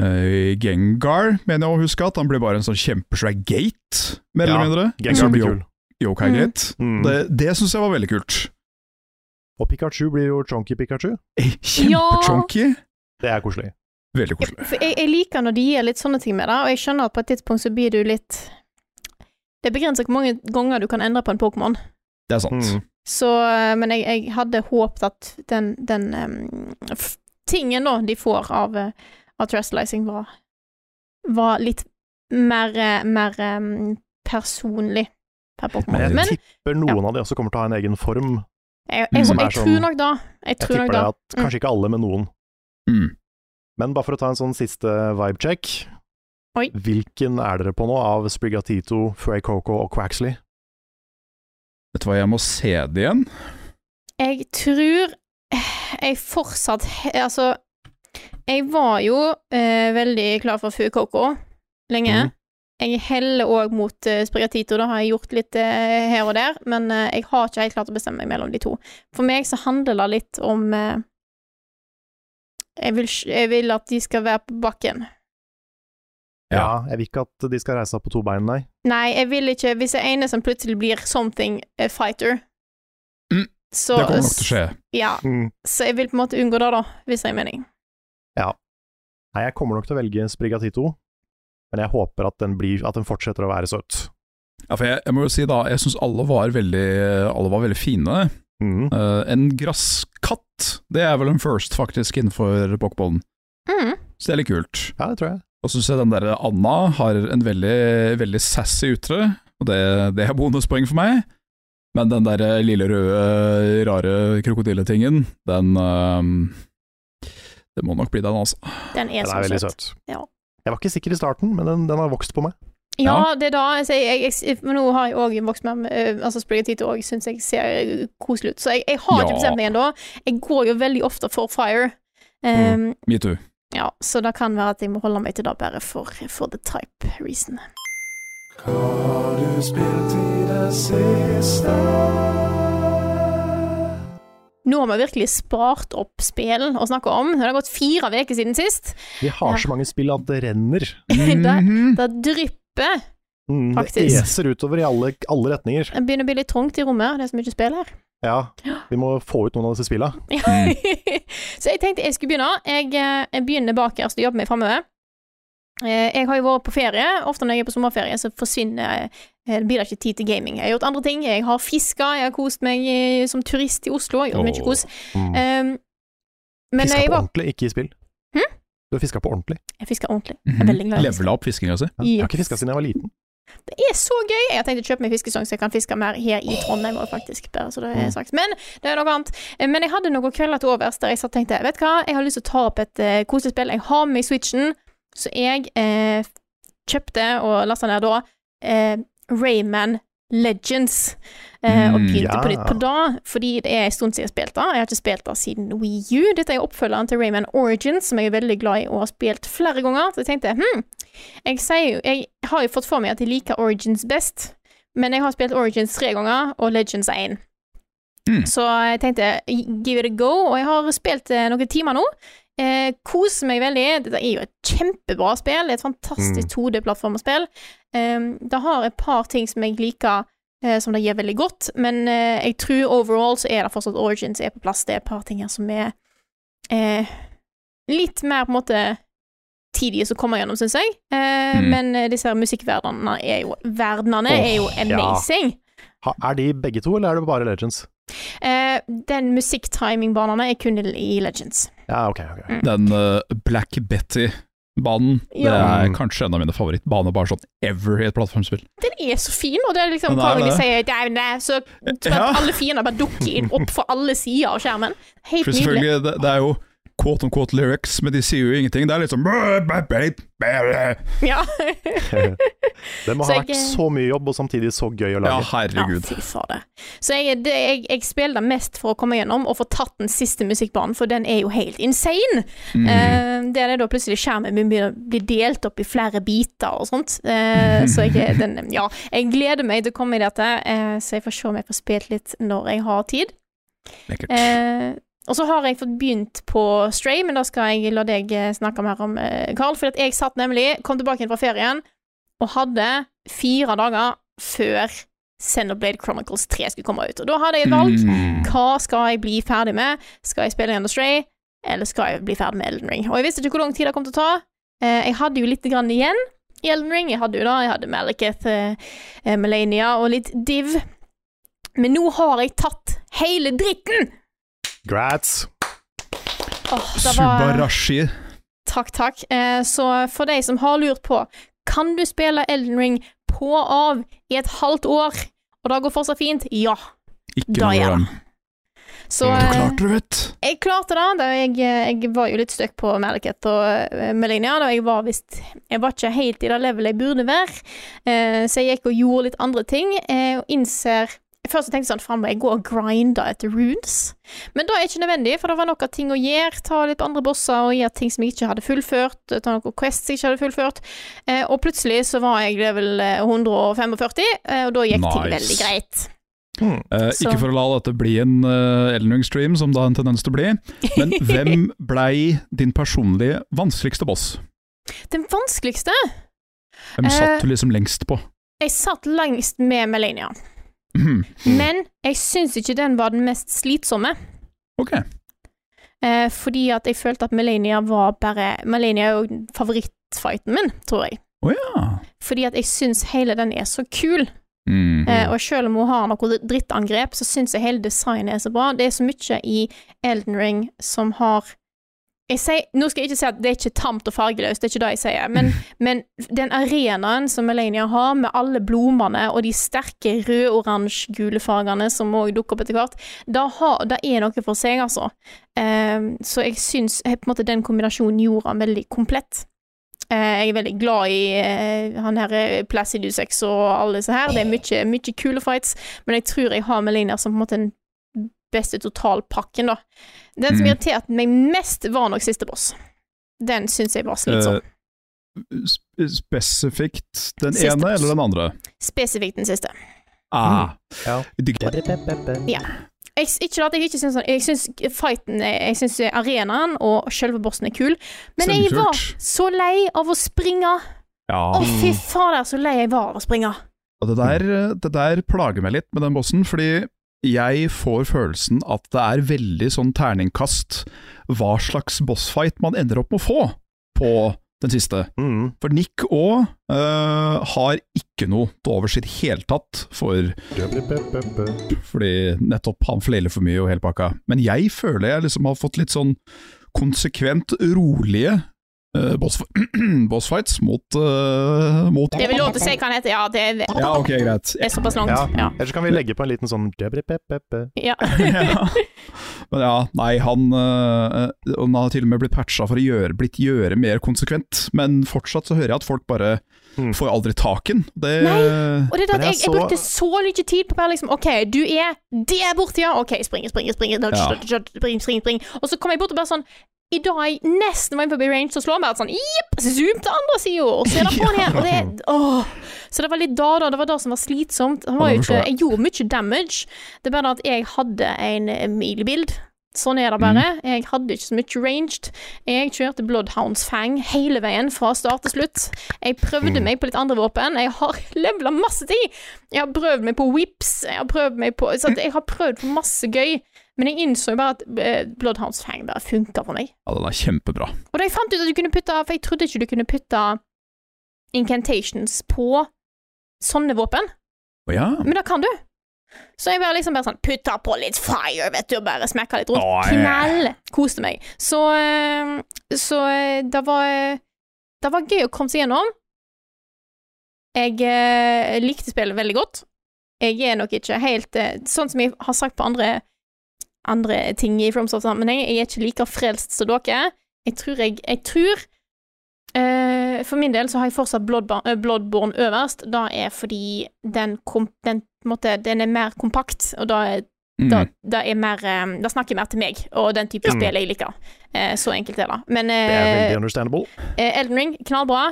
Speaker 3: eh, Gengar mener jeg å huske at han blir bare en sånn kjempesvær gate, mer
Speaker 2: Ja,
Speaker 3: eller mindre.
Speaker 2: Gengar blir
Speaker 3: Som
Speaker 2: kul.
Speaker 3: Yo- Yokai-gate.
Speaker 2: Mm.
Speaker 3: Det, det syns jeg var veldig kult.
Speaker 2: Og Pikachu blir jo Chonky Pikachu.
Speaker 3: Kjempechonky.
Speaker 2: Det er koselig.
Speaker 3: Veldig
Speaker 1: Jeg,
Speaker 3: koselig.
Speaker 1: for jeg, jeg liker når de gir litt sånne ting med det, og jeg skjønner at på et tidspunkt så blir du litt Det er begrenset hvor mange ganger du kan endre på en Pokémon.
Speaker 3: Det er sant.
Speaker 2: Mm.
Speaker 1: Så, eh, men jeg, jeg hadde håpet at den, den em, f tingen da de får av, eh, av Trustalizing, var, var litt mer, eh, mer em, personlig per
Speaker 2: Men
Speaker 1: Pokémon.
Speaker 2: jeg
Speaker 1: Men jeg,
Speaker 2: tipper noen av de også kommer til å ha en egen form.
Speaker 1: jeg, jeg,
Speaker 2: som er
Speaker 1: tror
Speaker 2: sånn-
Speaker 1: nok da Jeg
Speaker 2: Jeg
Speaker 1: tror
Speaker 2: tipper
Speaker 1: nok
Speaker 2: det
Speaker 1: da.
Speaker 2: at kanskje ikke alle, men noen.
Speaker 3: Mm.
Speaker 2: Men bare for å ta en sånn siste vibe-check
Speaker 1: Oi.
Speaker 2: Hvilken er dere på nå av Sprigatito, Frey Coco og Quaxley?
Speaker 3: Vet du hva, jeg må se det igjen.
Speaker 1: Jeg tror jeg fortsatt Altså, jeg var jo eh, veldig klar for Fu Coco lenge.
Speaker 2: Mhm.
Speaker 1: Jeg heller òg mot eh, Sprigatito, det har jeg gjort litt eh, her og der, men eh, jeg har ikke helt klart å bestemme meg mellom de to. For meg så handler det litt om eh, jeg, vil, sj- jeg vil at de skal være på bakken.
Speaker 3: Ja.
Speaker 2: Jeg vil ikke at de skal reise seg på to bein, nei.
Speaker 1: Nei, jeg vil ikke Hvis jeg er ene som plutselig blir something eh, fighter
Speaker 3: Mm.
Speaker 1: så,
Speaker 3: Det kommer nok til å skje.
Speaker 1: Ja,
Speaker 2: Mm.
Speaker 1: så jeg vil på en måte unngå det, da, hvis det er mening.
Speaker 2: Nei, jeg kommer nok til å velge Sprigatito, men jeg håper at den, blir, at den fortsetter å være søt.
Speaker 3: Ja, for jeg, jeg må jo si da, jeg syns alle, var veldig- alle var veldig fine.
Speaker 2: Mm.
Speaker 3: Eh, en gresskatt, det er vel en first faktisk innenfor pokéballen,
Speaker 1: Mm.
Speaker 3: så det er litt kult.
Speaker 2: Ja, det tror jeg.
Speaker 3: Og så syns jeg den der Anna har en veldig, veldig sassy ytre, og det, det er bonuspoeng for meg. Men den der lille røde, rare krokodilletingen, den eh, Det må nok bli den, altså.
Speaker 1: Den er,
Speaker 2: Den
Speaker 1: så
Speaker 2: er veldig
Speaker 1: søt.
Speaker 2: søt.
Speaker 1: Ja.
Speaker 2: Jeg var ikke sikker i starten, men den, den har vokst på meg.
Speaker 1: Ja, det er da altså, jeg, jeg, jeg, Men nå har jeg òg vokst med meg Altså Sprigatito òg syns jeg ser eh, koselig ut. Så jeg, jeg har
Speaker 3: Ja.
Speaker 1: ikke bestemt meg ennå. Jeg går jo veldig ofte for Fire. Um,
Speaker 3: Metoo.
Speaker 1: Ja, så det kan være at jeg må holde meg til det bare for, for the type reason. Nå har vi virkelig spart opp spill å snakke om. Det har gått fire uker siden sist.
Speaker 2: Vi har
Speaker 1: Ja.
Speaker 2: så mange spill at det renner.
Speaker 3: Mhm.
Speaker 1: Det drypper.
Speaker 2: Mm, det
Speaker 1: Faktisk.
Speaker 2: eser utover i alle, alle retninger.
Speaker 1: Det begynner å bli litt trangt i rommet. Det er så mye spill her.
Speaker 2: Ja, vi må få ut noen av disse spilla.
Speaker 1: så jeg tenkte jeg skulle begynne. Jeg, eh, jeg begynner bakerst og jobber meg framover. Eh, Jeg har jo vært på ferie. Ofte når jeg er på sommerferie, så forsvinner eh, det blir det ikke tid til gaming. Jeg har gjort andre ting. Jeg har fiska, jeg har kost meg eh, som turist i Oslo. Jeg har gjort mye
Speaker 3: Åh.
Speaker 1: kos.
Speaker 2: Mm.
Speaker 1: Um, men
Speaker 2: Fiska
Speaker 1: jeg,
Speaker 2: på
Speaker 1: var, Hm?
Speaker 2: ordentlig, ikke i spill. Du har fiska på ordentlig.
Speaker 1: jeg fiska ordentlig. Jeg er veldig
Speaker 3: Mhm.
Speaker 1: glad i å fiske.
Speaker 3: Levela opp fiskinga si.
Speaker 2: Ja. Jeg har
Speaker 1: Yes.
Speaker 2: ikke fiska siden jeg var liten.
Speaker 1: Det er så gøy! Jeg har tenkt å kjøpe meg fiskesong, så jeg kan fiske mer her i Trondheim òg, faktisk. Bare så det er sagt. Men det er noe annet. Eh, Men jeg hadde noen kvelder til overs der jeg satt og tenkte Vet du hva, jeg har lyst til å ta opp et uh, kosespill. Jeg har med meg Switchen, så jeg eh, kjøpte og lasta ned da eh, Rayman Legends. eh, og
Speaker 3: Mm,
Speaker 1: begynte
Speaker 2: ja.
Speaker 1: på nytt på det, fordi det er en stund siden jeg spilte det. Jeg har ikke spilt det siden Wii U. Dette er oppfølgeren til Rayman Origins, som jeg er veldig glad i og har spilt flere ganger. Så jeg tenkte hm, jeg, sier, jo- jeg har jo fått for meg at jeg liker Origins best, men jeg har spilt Origins tre ganger og Legends én.
Speaker 3: Mm.
Speaker 1: Så jeg tenkte give it a go, og jeg har spilt eh, noen timer nå. Eh, koser meg veldig. Dette er jo et kjempebra spill. Et fantastisk 2D-plattformspill. Um, det har et par ting som jeg liker, eh, som det gjør veldig godt, men eh, jeg tror overall så er det fortsatt Origins er på plass. Det er et par ting her som er eh, litt mer på en måte tidlige som kommer gjennom, syns jeg. Eh,
Speaker 3: Mm.
Speaker 1: Men eh, disse her musikkverdenene er jo Verdenene
Speaker 2: Åh,
Speaker 1: er jo
Speaker 2: ja.
Speaker 1: amazing.
Speaker 2: Ha, er de begge to, eller er det bare Legends?
Speaker 1: Eh, den musikktimingbanene er kun i Legends.
Speaker 2: Ja, ok. ok.
Speaker 1: Mm.
Speaker 3: Den eh, Black Betty-banen,
Speaker 1: Ja.
Speaker 3: det er kanskje en av mine favorittbaner, bare sånn ever i et plattformspill.
Speaker 1: Den er så fin, og det er liksom
Speaker 3: Den er
Speaker 1: hver gang de
Speaker 3: det.
Speaker 1: sier «Dæven, det er», så tror jeg
Speaker 3: Ja.
Speaker 1: at alle fiender bare dukker inn opp fra alle sider av skjermen. Helt
Speaker 3: For
Speaker 1: nydelig.
Speaker 3: selvfølgelig, det, det er jo quote on quote lyrics, men de sier jo ingenting. Det er litt sånn Ja,
Speaker 1: Ja.
Speaker 2: Det må
Speaker 1: Så
Speaker 2: ha
Speaker 1: jeg-
Speaker 2: vært så mye jobb, og samtidig så gøy å lage.
Speaker 1: ja,
Speaker 3: herregud.
Speaker 1: fy fader. Så jeg, det, jeg, jeg spiller det mest for å komme gjennom og få tatt den siste musikkbanen, for den er jo helt insane.
Speaker 3: Mm.
Speaker 1: Eh, der er da plutselig skjermen min begynner å bli delt opp i flere biter og sånt. Eh, så jeg, den, ja, jeg gleder meg til å komme i dette, eh, så jeg får se om jeg får spilt litt når jeg har tid.
Speaker 3: Lekkert.
Speaker 1: Eh, og så har jeg fått begynt på Stray, men da skal jeg la deg eh, snakke mer om, eh, Carl. For at jeg satt nemlig, kom tilbake igjen fra ferien, og hadde fire dager før Xenoblade Chronicles 3 skulle komme ut. Og da hadde jeg valgt
Speaker 3: Mm.
Speaker 1: hva skal jeg bli ferdig med? Skal jeg spille igjen The Stray, eller skal jeg bli ferdig med Elden Ring? Og jeg visste ikke hvor lang tid det kom til å ta. Eh, jeg hadde jo litt grann igjen i Elden Ring. Jeg hadde jo da, jeg hadde Malekith, eh, eh, Melania og litt Div. Men nå har jeg tatt hele dritten!
Speaker 2: Grats!
Speaker 1: Åh, det var...
Speaker 3: Subarashi.
Speaker 1: Takk, takk. Eh, så for deg som har lurt på, kan du spille Elden Ring på og av i et halvt år, og det går fortsatt fint? Ja.
Speaker 3: Ikke
Speaker 1: Da
Speaker 3: noe
Speaker 1: gjør
Speaker 3: problem.
Speaker 1: Så
Speaker 3: Du
Speaker 1: eh,
Speaker 3: klarte det, vet
Speaker 1: jeg klarte det. Da jeg, jeg var jo litt støkk på Malekith og eh, Melania. Da jeg var visst Jeg var ikke helt i det levelet jeg burde være, eh, så jeg gikk og gjorde litt andre ting, eh, og innser Først så tenkte jeg sånn, faen må jeg gå og grinde etter runes. Men det er ikke nødvendig, for det var nok av ting å gjøre. Ta litt på andre bosser og gjøre ting som jeg ikke hadde fullført. Ta noen quests jeg ikke hadde fullført. Eh, og plutselig så var jeg level eh, 145, eh, og da gikk ting
Speaker 3: Nice.
Speaker 1: veldig greit.
Speaker 3: Eh,
Speaker 1: Så-
Speaker 3: Ikke for å la dette bli en uh, Elden Ring-stream, som det har en tendens til å bli, men hvem blei din personlige vanskeligste boss?
Speaker 1: Den vanskeligste
Speaker 3: Hvem
Speaker 1: Eh,
Speaker 3: satt du liksom lengst på?
Speaker 1: Jeg satt lengst med Melania.
Speaker 3: Mhm.
Speaker 1: Men jeg syns ikke den var den mest slitsomme.
Speaker 3: Ok.
Speaker 1: Eh, fordi at jeg følte at Melania var bare Melania er jo favorittfighten min, tror jeg.
Speaker 3: Å ja.
Speaker 1: Fordi at jeg syns hele den er så kul.
Speaker 3: Mhm.
Speaker 1: Eh, og selv om hun har noe drittangrep, så syns jeg hele designet er så bra. Det er så mye i Elden Ring som har jeg sier, Nå skal jeg ikke si at det er ikke tamt og fargeløst, det er ikke det jeg sier, men, men den arenaen som Melania har, med alle blomene og de sterke rød-oransje-gule fargene som òg dukker opp etter hvert, da, har, da er noe for seg, altså. Ehm, så jeg syns eh, på en måte den kombinasjonen gjorde han veldig komplett. Eh, jeg er veldig glad i eh, han her eh, Placidus X og alle disse her. Det er mye, mye kule fights, men jeg tror jeg har Melina som på en måte den beste totalpakken, da. Den som
Speaker 3: Mm.
Speaker 1: irriterte meg mest, var nok siste boss. Den syns jeg var slitsom.
Speaker 3: Eh, sp- eh, spesifikt den
Speaker 1: Siste
Speaker 3: ene
Speaker 1: boss.
Speaker 3: eller den andre?
Speaker 1: Spesifikt den siste.
Speaker 3: Ah.
Speaker 2: Ja.
Speaker 3: Jeg digger-
Speaker 1: Jeg, ikke at jeg ikke syns sånn Jeg syns fighten er- Jeg syns arenaen og selve bossen er kul, men jeg
Speaker 3: Selvsagt.
Speaker 1: var så lei av å springe.
Speaker 3: Ja.
Speaker 1: Å, fy fader, så lei jeg var av å springe.
Speaker 3: Og det der, det der plager meg litt med den bossen, fordi jeg får følelsen at det er veldig sånn terningkast hva slags bossfight man ender opp med å få på den siste.
Speaker 2: Mm.
Speaker 3: For Nick òg har ikke noe til overs i det hele tatt for Fordi nettopp han fleler for mye og hele pakka. Men jeg føler jeg liksom har fått litt sånn konsekvent rolige eh, boss, bossfights mot, eh, mot
Speaker 1: Det er vel lov til å si hva han heter? Ja, det er,
Speaker 3: Ja, ok, greit.
Speaker 1: det er såpass langt.
Speaker 2: Ja.
Speaker 1: Ja.
Speaker 2: Ellers så kan vi legge på en liten sånn dubri-pep-pep-pep.
Speaker 1: Ja.
Speaker 3: ja. Men ja, nei, han, øh, han har til og med blitt patcha for å gjøre, blitt gjøre mer konsekvent, men fortsatt så hører jeg at folk bare
Speaker 2: Mm.
Speaker 3: får aldri taken. Det,
Speaker 1: Og det er det
Speaker 2: Men
Speaker 1: at jeg, jeg
Speaker 2: jeg så-
Speaker 1: brukte så mye tid på å være liksom OK, du er der borte, ja. OK, spring, spring, spring, dodge,
Speaker 3: Ja.
Speaker 1: dodge, dodge, spring, spring, spring. Og så kom jeg bort og bare sånn I dag jeg nesten var inne forbi range, så slår han bare sånn Jepp, zoom til andre sida, og så er det på'n igjen. Og det, åh. Så det var litt da, da. Det var det som var slitsomt. Han var jo
Speaker 3: Ja, det
Speaker 1: ikke,
Speaker 3: forstår jeg.
Speaker 1: jeg gjorde mye damage. Det er bare det at jeg hadde en milebild. Sånn er det bare.
Speaker 3: Mm.
Speaker 1: Jeg hadde ikke så mye ranged. Jeg kjørte Bloodhounds Fang hele veien fra start til slutt. Jeg
Speaker 3: Mm.
Speaker 1: prøvde meg på litt andre våpen. Jeg har levela masse ting. Jeg har prøvd meg på whips. Jeg har prøvd meg på så at Jeg har prøvd på masse gøy. Men jeg innså jo bare at eh, Bloodhounds Fang bare funka for meg.
Speaker 3: ja, den er kjempebra.
Speaker 1: Og da jeg fant ut at du kunne putte For jeg trodde ikke du kunne putte incantations på sånne våpen.
Speaker 3: Å ja.
Speaker 1: Men da kan du. Så jeg bare liksom bare sånn Putta på litt fire, vet du, og bare smekka litt rundt.
Speaker 3: Åh, ja.
Speaker 1: Knall! Koste meg. Så eh, Så eh, det var Det var gøy å komme seg gjennom. Jeg eh, likte spillet veldig godt. Jeg er nok ikke helt eh, Sånn som jeg har sagt på andre Andre ting i FromSoft-sammenheng, jeg er ikke like frelst som dere. Jeg tror jeg Jeg tror eh, For min del så har jeg fortsatt Bloodborne, eh, Bloodborne øverst. Da er fordi den, kom, den, på en måte, den er mer kompakt, og da er
Speaker 3: Mm.
Speaker 1: da, da, er mer, eh, da snakker jeg mer til meg, og den type spill jeg liker. Eh, så enkelt er det. Men
Speaker 2: Mm. Det er veldig
Speaker 1: eh,
Speaker 2: understandable.
Speaker 1: eh, Elden Ring, knallbra.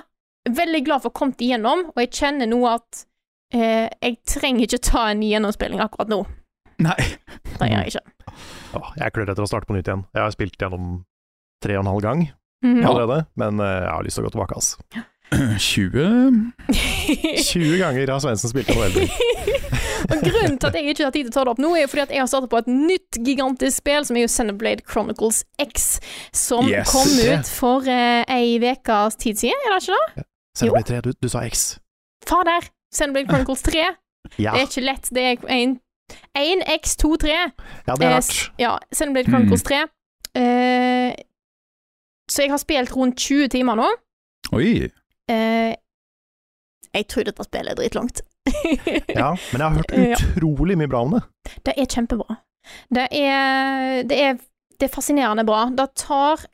Speaker 1: Veldig glad for å ha kommet igjennom, og jeg kjenner nå at eh, jeg trenger ikke ta en ny gjennomspilling akkurat nå.
Speaker 3: Nei.
Speaker 1: Det gjør jeg ikke.
Speaker 2: Åh, jeg klør etter å starte på nytt igjen. Jeg har spilt gjennom tre og en halv gang
Speaker 1: Mhm.
Speaker 2: allerede, men eh, jeg har lyst til å gå tilbake, ass.
Speaker 3: 20
Speaker 2: 20 ganger har Svendsen spilt en novellebok.
Speaker 1: Og grunnen til at jeg ikke har tid til å ta det opp nå, er fordi at jeg har startet på et nytt gigantisk spill, som er jo Xenoblade Chronicles X, som
Speaker 3: Yes.
Speaker 1: kom ut for eh, ei ukes tid siden, er det ikke det?
Speaker 2: Xenoblade 3, du, du sa X.
Speaker 1: Fader! Xenoblade Chronicles 3.
Speaker 2: Ja,
Speaker 1: Det er ikke lett. Det er en- en X, to, tre.
Speaker 2: ja det er Mm.
Speaker 1: Eh,
Speaker 2: rart.
Speaker 1: s- Ja, Xenoblade Chronicles 3. Eh, så jeg har spilt rundt 20 timer nå.
Speaker 3: Oi.
Speaker 1: Eh, jeg tror dette spillet er dritlangt.
Speaker 2: Ja, men jeg har hørt
Speaker 1: Ja.
Speaker 2: utrolig mye bra om det.
Speaker 1: Det er kjempebra. Det er, det er, det er fascinerende bra. Det tar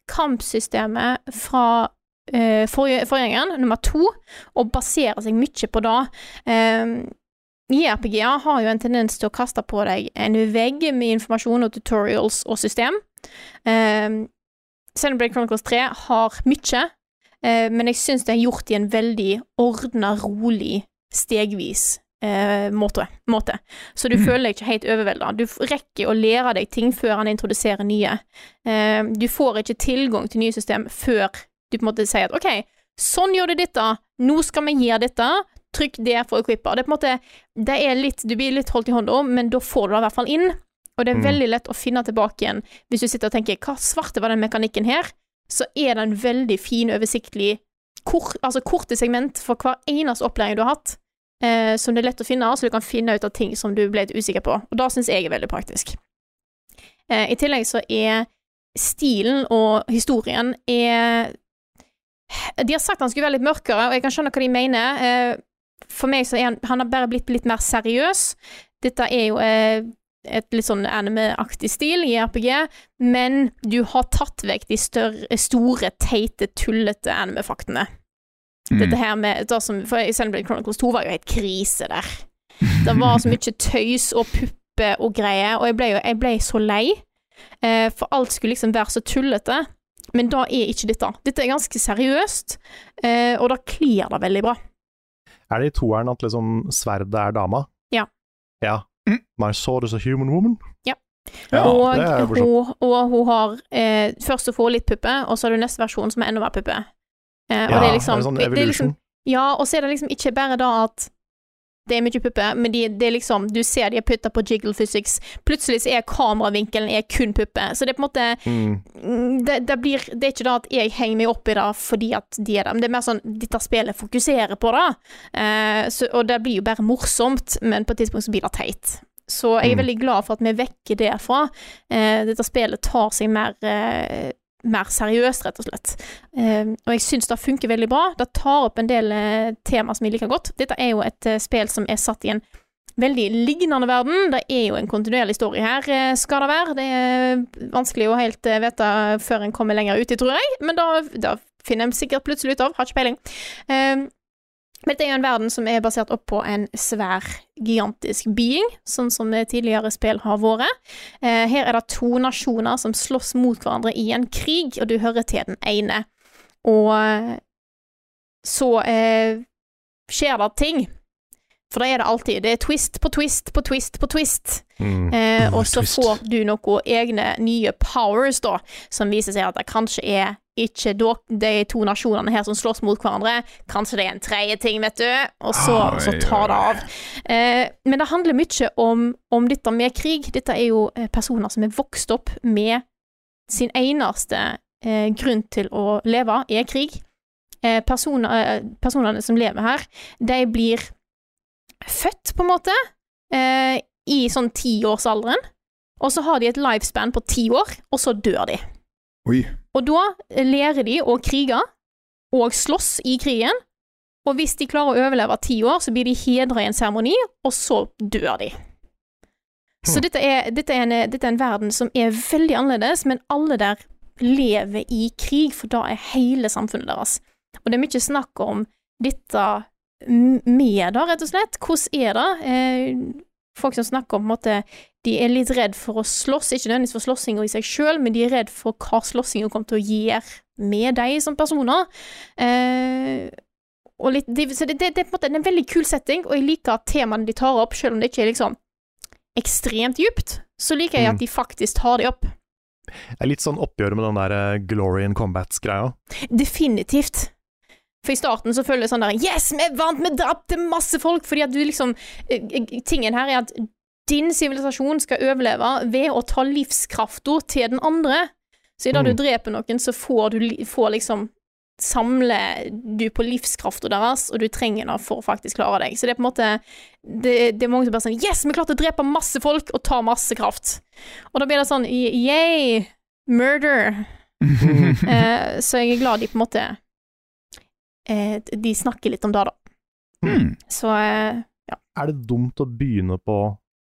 Speaker 1: kampsystemet fra eh, forrige- forgjengeren, nummer to, og baserer seg mye på det. Eh, JRPG-er har jo en tendens til å kaste på deg en vegg med informasjon og tutorials og system. Eh, Xenoblade Chronicles 3 har mye, eh, men jeg syns det er gjort i en veldig ordna, rolig, stegvis eh, måte. måte. Så du føler deg ikke helt overvelda. Du f- rekker å lære deg ting før han introduserer nye. Eh, Du får ikke tilgang til nye system før du på en måte sier at OK, sånn gjør du dette, nå skal vi gjøre dette, trykk der for å equippe. Det er på en måte det er litt, Du blir litt holdt i hånda, men da får du det i hvert fall inn. Og det er
Speaker 2: Mm.
Speaker 1: veldig lett å finne tilbake igjen hvis du sitter og tenker hva svarte var den mekanikken her? Så er det en veldig fin, oversiktlig kor, altså korte segment for hver eneste opplæring du har hatt eh, som det er lett å finne, så du kan finne ut av ting som du ble litt usikker på. Og det syns jeg er veldig praktisk. Eh, I tillegg så er stilen og historien er De har sagt han skulle være litt mørkere, og jeg kan skjønne hva de mener. Eh, for meg så er han, han har bare blitt litt mer seriøs. Dette er jo eh, et litt sånn anime-aktig stil i RPG, men du har tatt vekk de større, store, teite, tullete anime-faktene.
Speaker 3: Mm.
Speaker 1: Dette her med det som, For Xenoblade Chronicles 2 var jo helt krise der.
Speaker 3: Mm.
Speaker 1: Det var så mye tøys og puppe og greier, og jeg ble, jo, jeg ble så lei. Eh, for alt skulle liksom være så tullete. Men da er ikke dette. Dette er ganske seriøst, eh, og da kler det veldig bra.
Speaker 2: Er det i toeren at liksom sverdet er dama?
Speaker 1: Ja.
Speaker 2: Ja.
Speaker 3: Mm.
Speaker 2: My sword is a human woman.
Speaker 3: Ja,
Speaker 2: det er jo
Speaker 1: og,
Speaker 2: for så
Speaker 1: hun, og hun har eh, Først så får hun litt puppe, og så er det neste versjon som er enda mer puppe. Eh, og
Speaker 2: Ja,
Speaker 1: det er liksom,
Speaker 2: sånn
Speaker 1: det er liksom
Speaker 2: evolution.
Speaker 1: Ja, og så er det liksom ikke bare da at det er mye puppe, men de, det er liksom, du ser de har putta på jiggle physics. Plutselig så er kameravinkelen er kun puppe. Så det er på en måte
Speaker 2: Mm.
Speaker 1: mm, det, det, blir, det er ikke da at jeg henger meg opp i det fordi at de er der, men det er mer sånn dette spillet fokuserer på det. Eh, så, og det blir jo bare morsomt, men på et tidspunkt så blir det teit. Så jeg er
Speaker 2: Mm.
Speaker 1: veldig glad for at vi er vekke derfra. Eh, dette spillet tar seg mer eh, mer seriøst, rett og slett. Eh, og jeg syns det funker veldig bra. Det tar opp en del eh, tema som jeg liker godt. Dette er jo et eh, spill som er satt i en veldig lignende verden. Det er jo en kontinuerlig story her, eh, skal det være. Det er vanskelig å helt eh, vite før en kommer lenger ut i, tror jeg, men da, da finner en sikkert plutselig ut av. Har ikke peiling. Eh, men det er jo en verden som er basert opp på en svær, gigantisk being, sånn som eh, tidligere spill har vært. Eh, her er det to nasjoner som slåss mot hverandre i en krig, og du hører til den ene. Og eh, så eh, skjer det ting. For det er det alltid. Det er twist på twist på twist på twist.
Speaker 2: Mm.
Speaker 1: Eh, og så
Speaker 3: twist.
Speaker 1: får du noen egne nye powers, da, som viser seg at det kanskje er ikke dok- de to nasjonene her som slåss mot hverandre. Kanskje det er en tredje ting, vet du. Og så,
Speaker 3: Oi,
Speaker 1: så tar det
Speaker 3: oi.
Speaker 1: av. Eh, men det handler mye om, om dette med krig. Dette er jo eh, personer som er vokst opp med sin eneste eh, grunn til å leve, er krig. Eh, personer, eh, personene som lever her, de blir født, på en måte, eh, i sånn tiårsalderen. Og så har de et lifespan på ti år, og så dør de.
Speaker 3: Oi.
Speaker 1: Og da lærer de å krige og slåss i krigen. Og hvis de klarer å overleve ti år, så blir de hedra i en seremoni, og så dør de. Så dette er, dette, er en, dette er en verden som er veldig annerledes, men alle der lever i krig, for da er hele samfunnet deres. Og det er mye snakk om dette m- med det, rett og slett. Hvordan er det? Eh, folk som snakker om på en måte de er litt redd for å slåss, ikke nødvendigvis for slåssinga i seg sjøl, men de er redd for hva slåssinga kommer til å gjøre med deg som personer. Eh, og litt, de, så det, det, det er på en måte en veldig kul setting, og jeg liker at temaene de tar opp, sjøl om det ikke er liksom ekstremt dypt, så liker jeg
Speaker 2: Mm.
Speaker 1: at de faktisk tar det opp.
Speaker 2: Det er litt sånn oppgjør med den der eh, glory in combats-greia.
Speaker 1: Definitivt. For i starten så føles det sånn der Yes, vi vant! Vi drepte masse folk! Fordi at du liksom eh, eh, Tingen her er at din sivilisasjon skal overleve ved å ta livskrafta til den andre. Så i det du dreper noen, så får du li- får liksom Samler du på livskrafta deres, og du trenger den for å faktisk klare deg. Så det er på en måte Det, det er mange som bare sånn Yes, vi klarte å drepe masse folk og ta masse kraft. Og da blir det sånn Yay! Murder!
Speaker 2: Mm. Mhm.
Speaker 1: Eh, så jeg er glad de på en måte eh, De snakker litt om det, da.
Speaker 3: Hmm.
Speaker 1: Så eh,
Speaker 2: Er det dumt å begynne på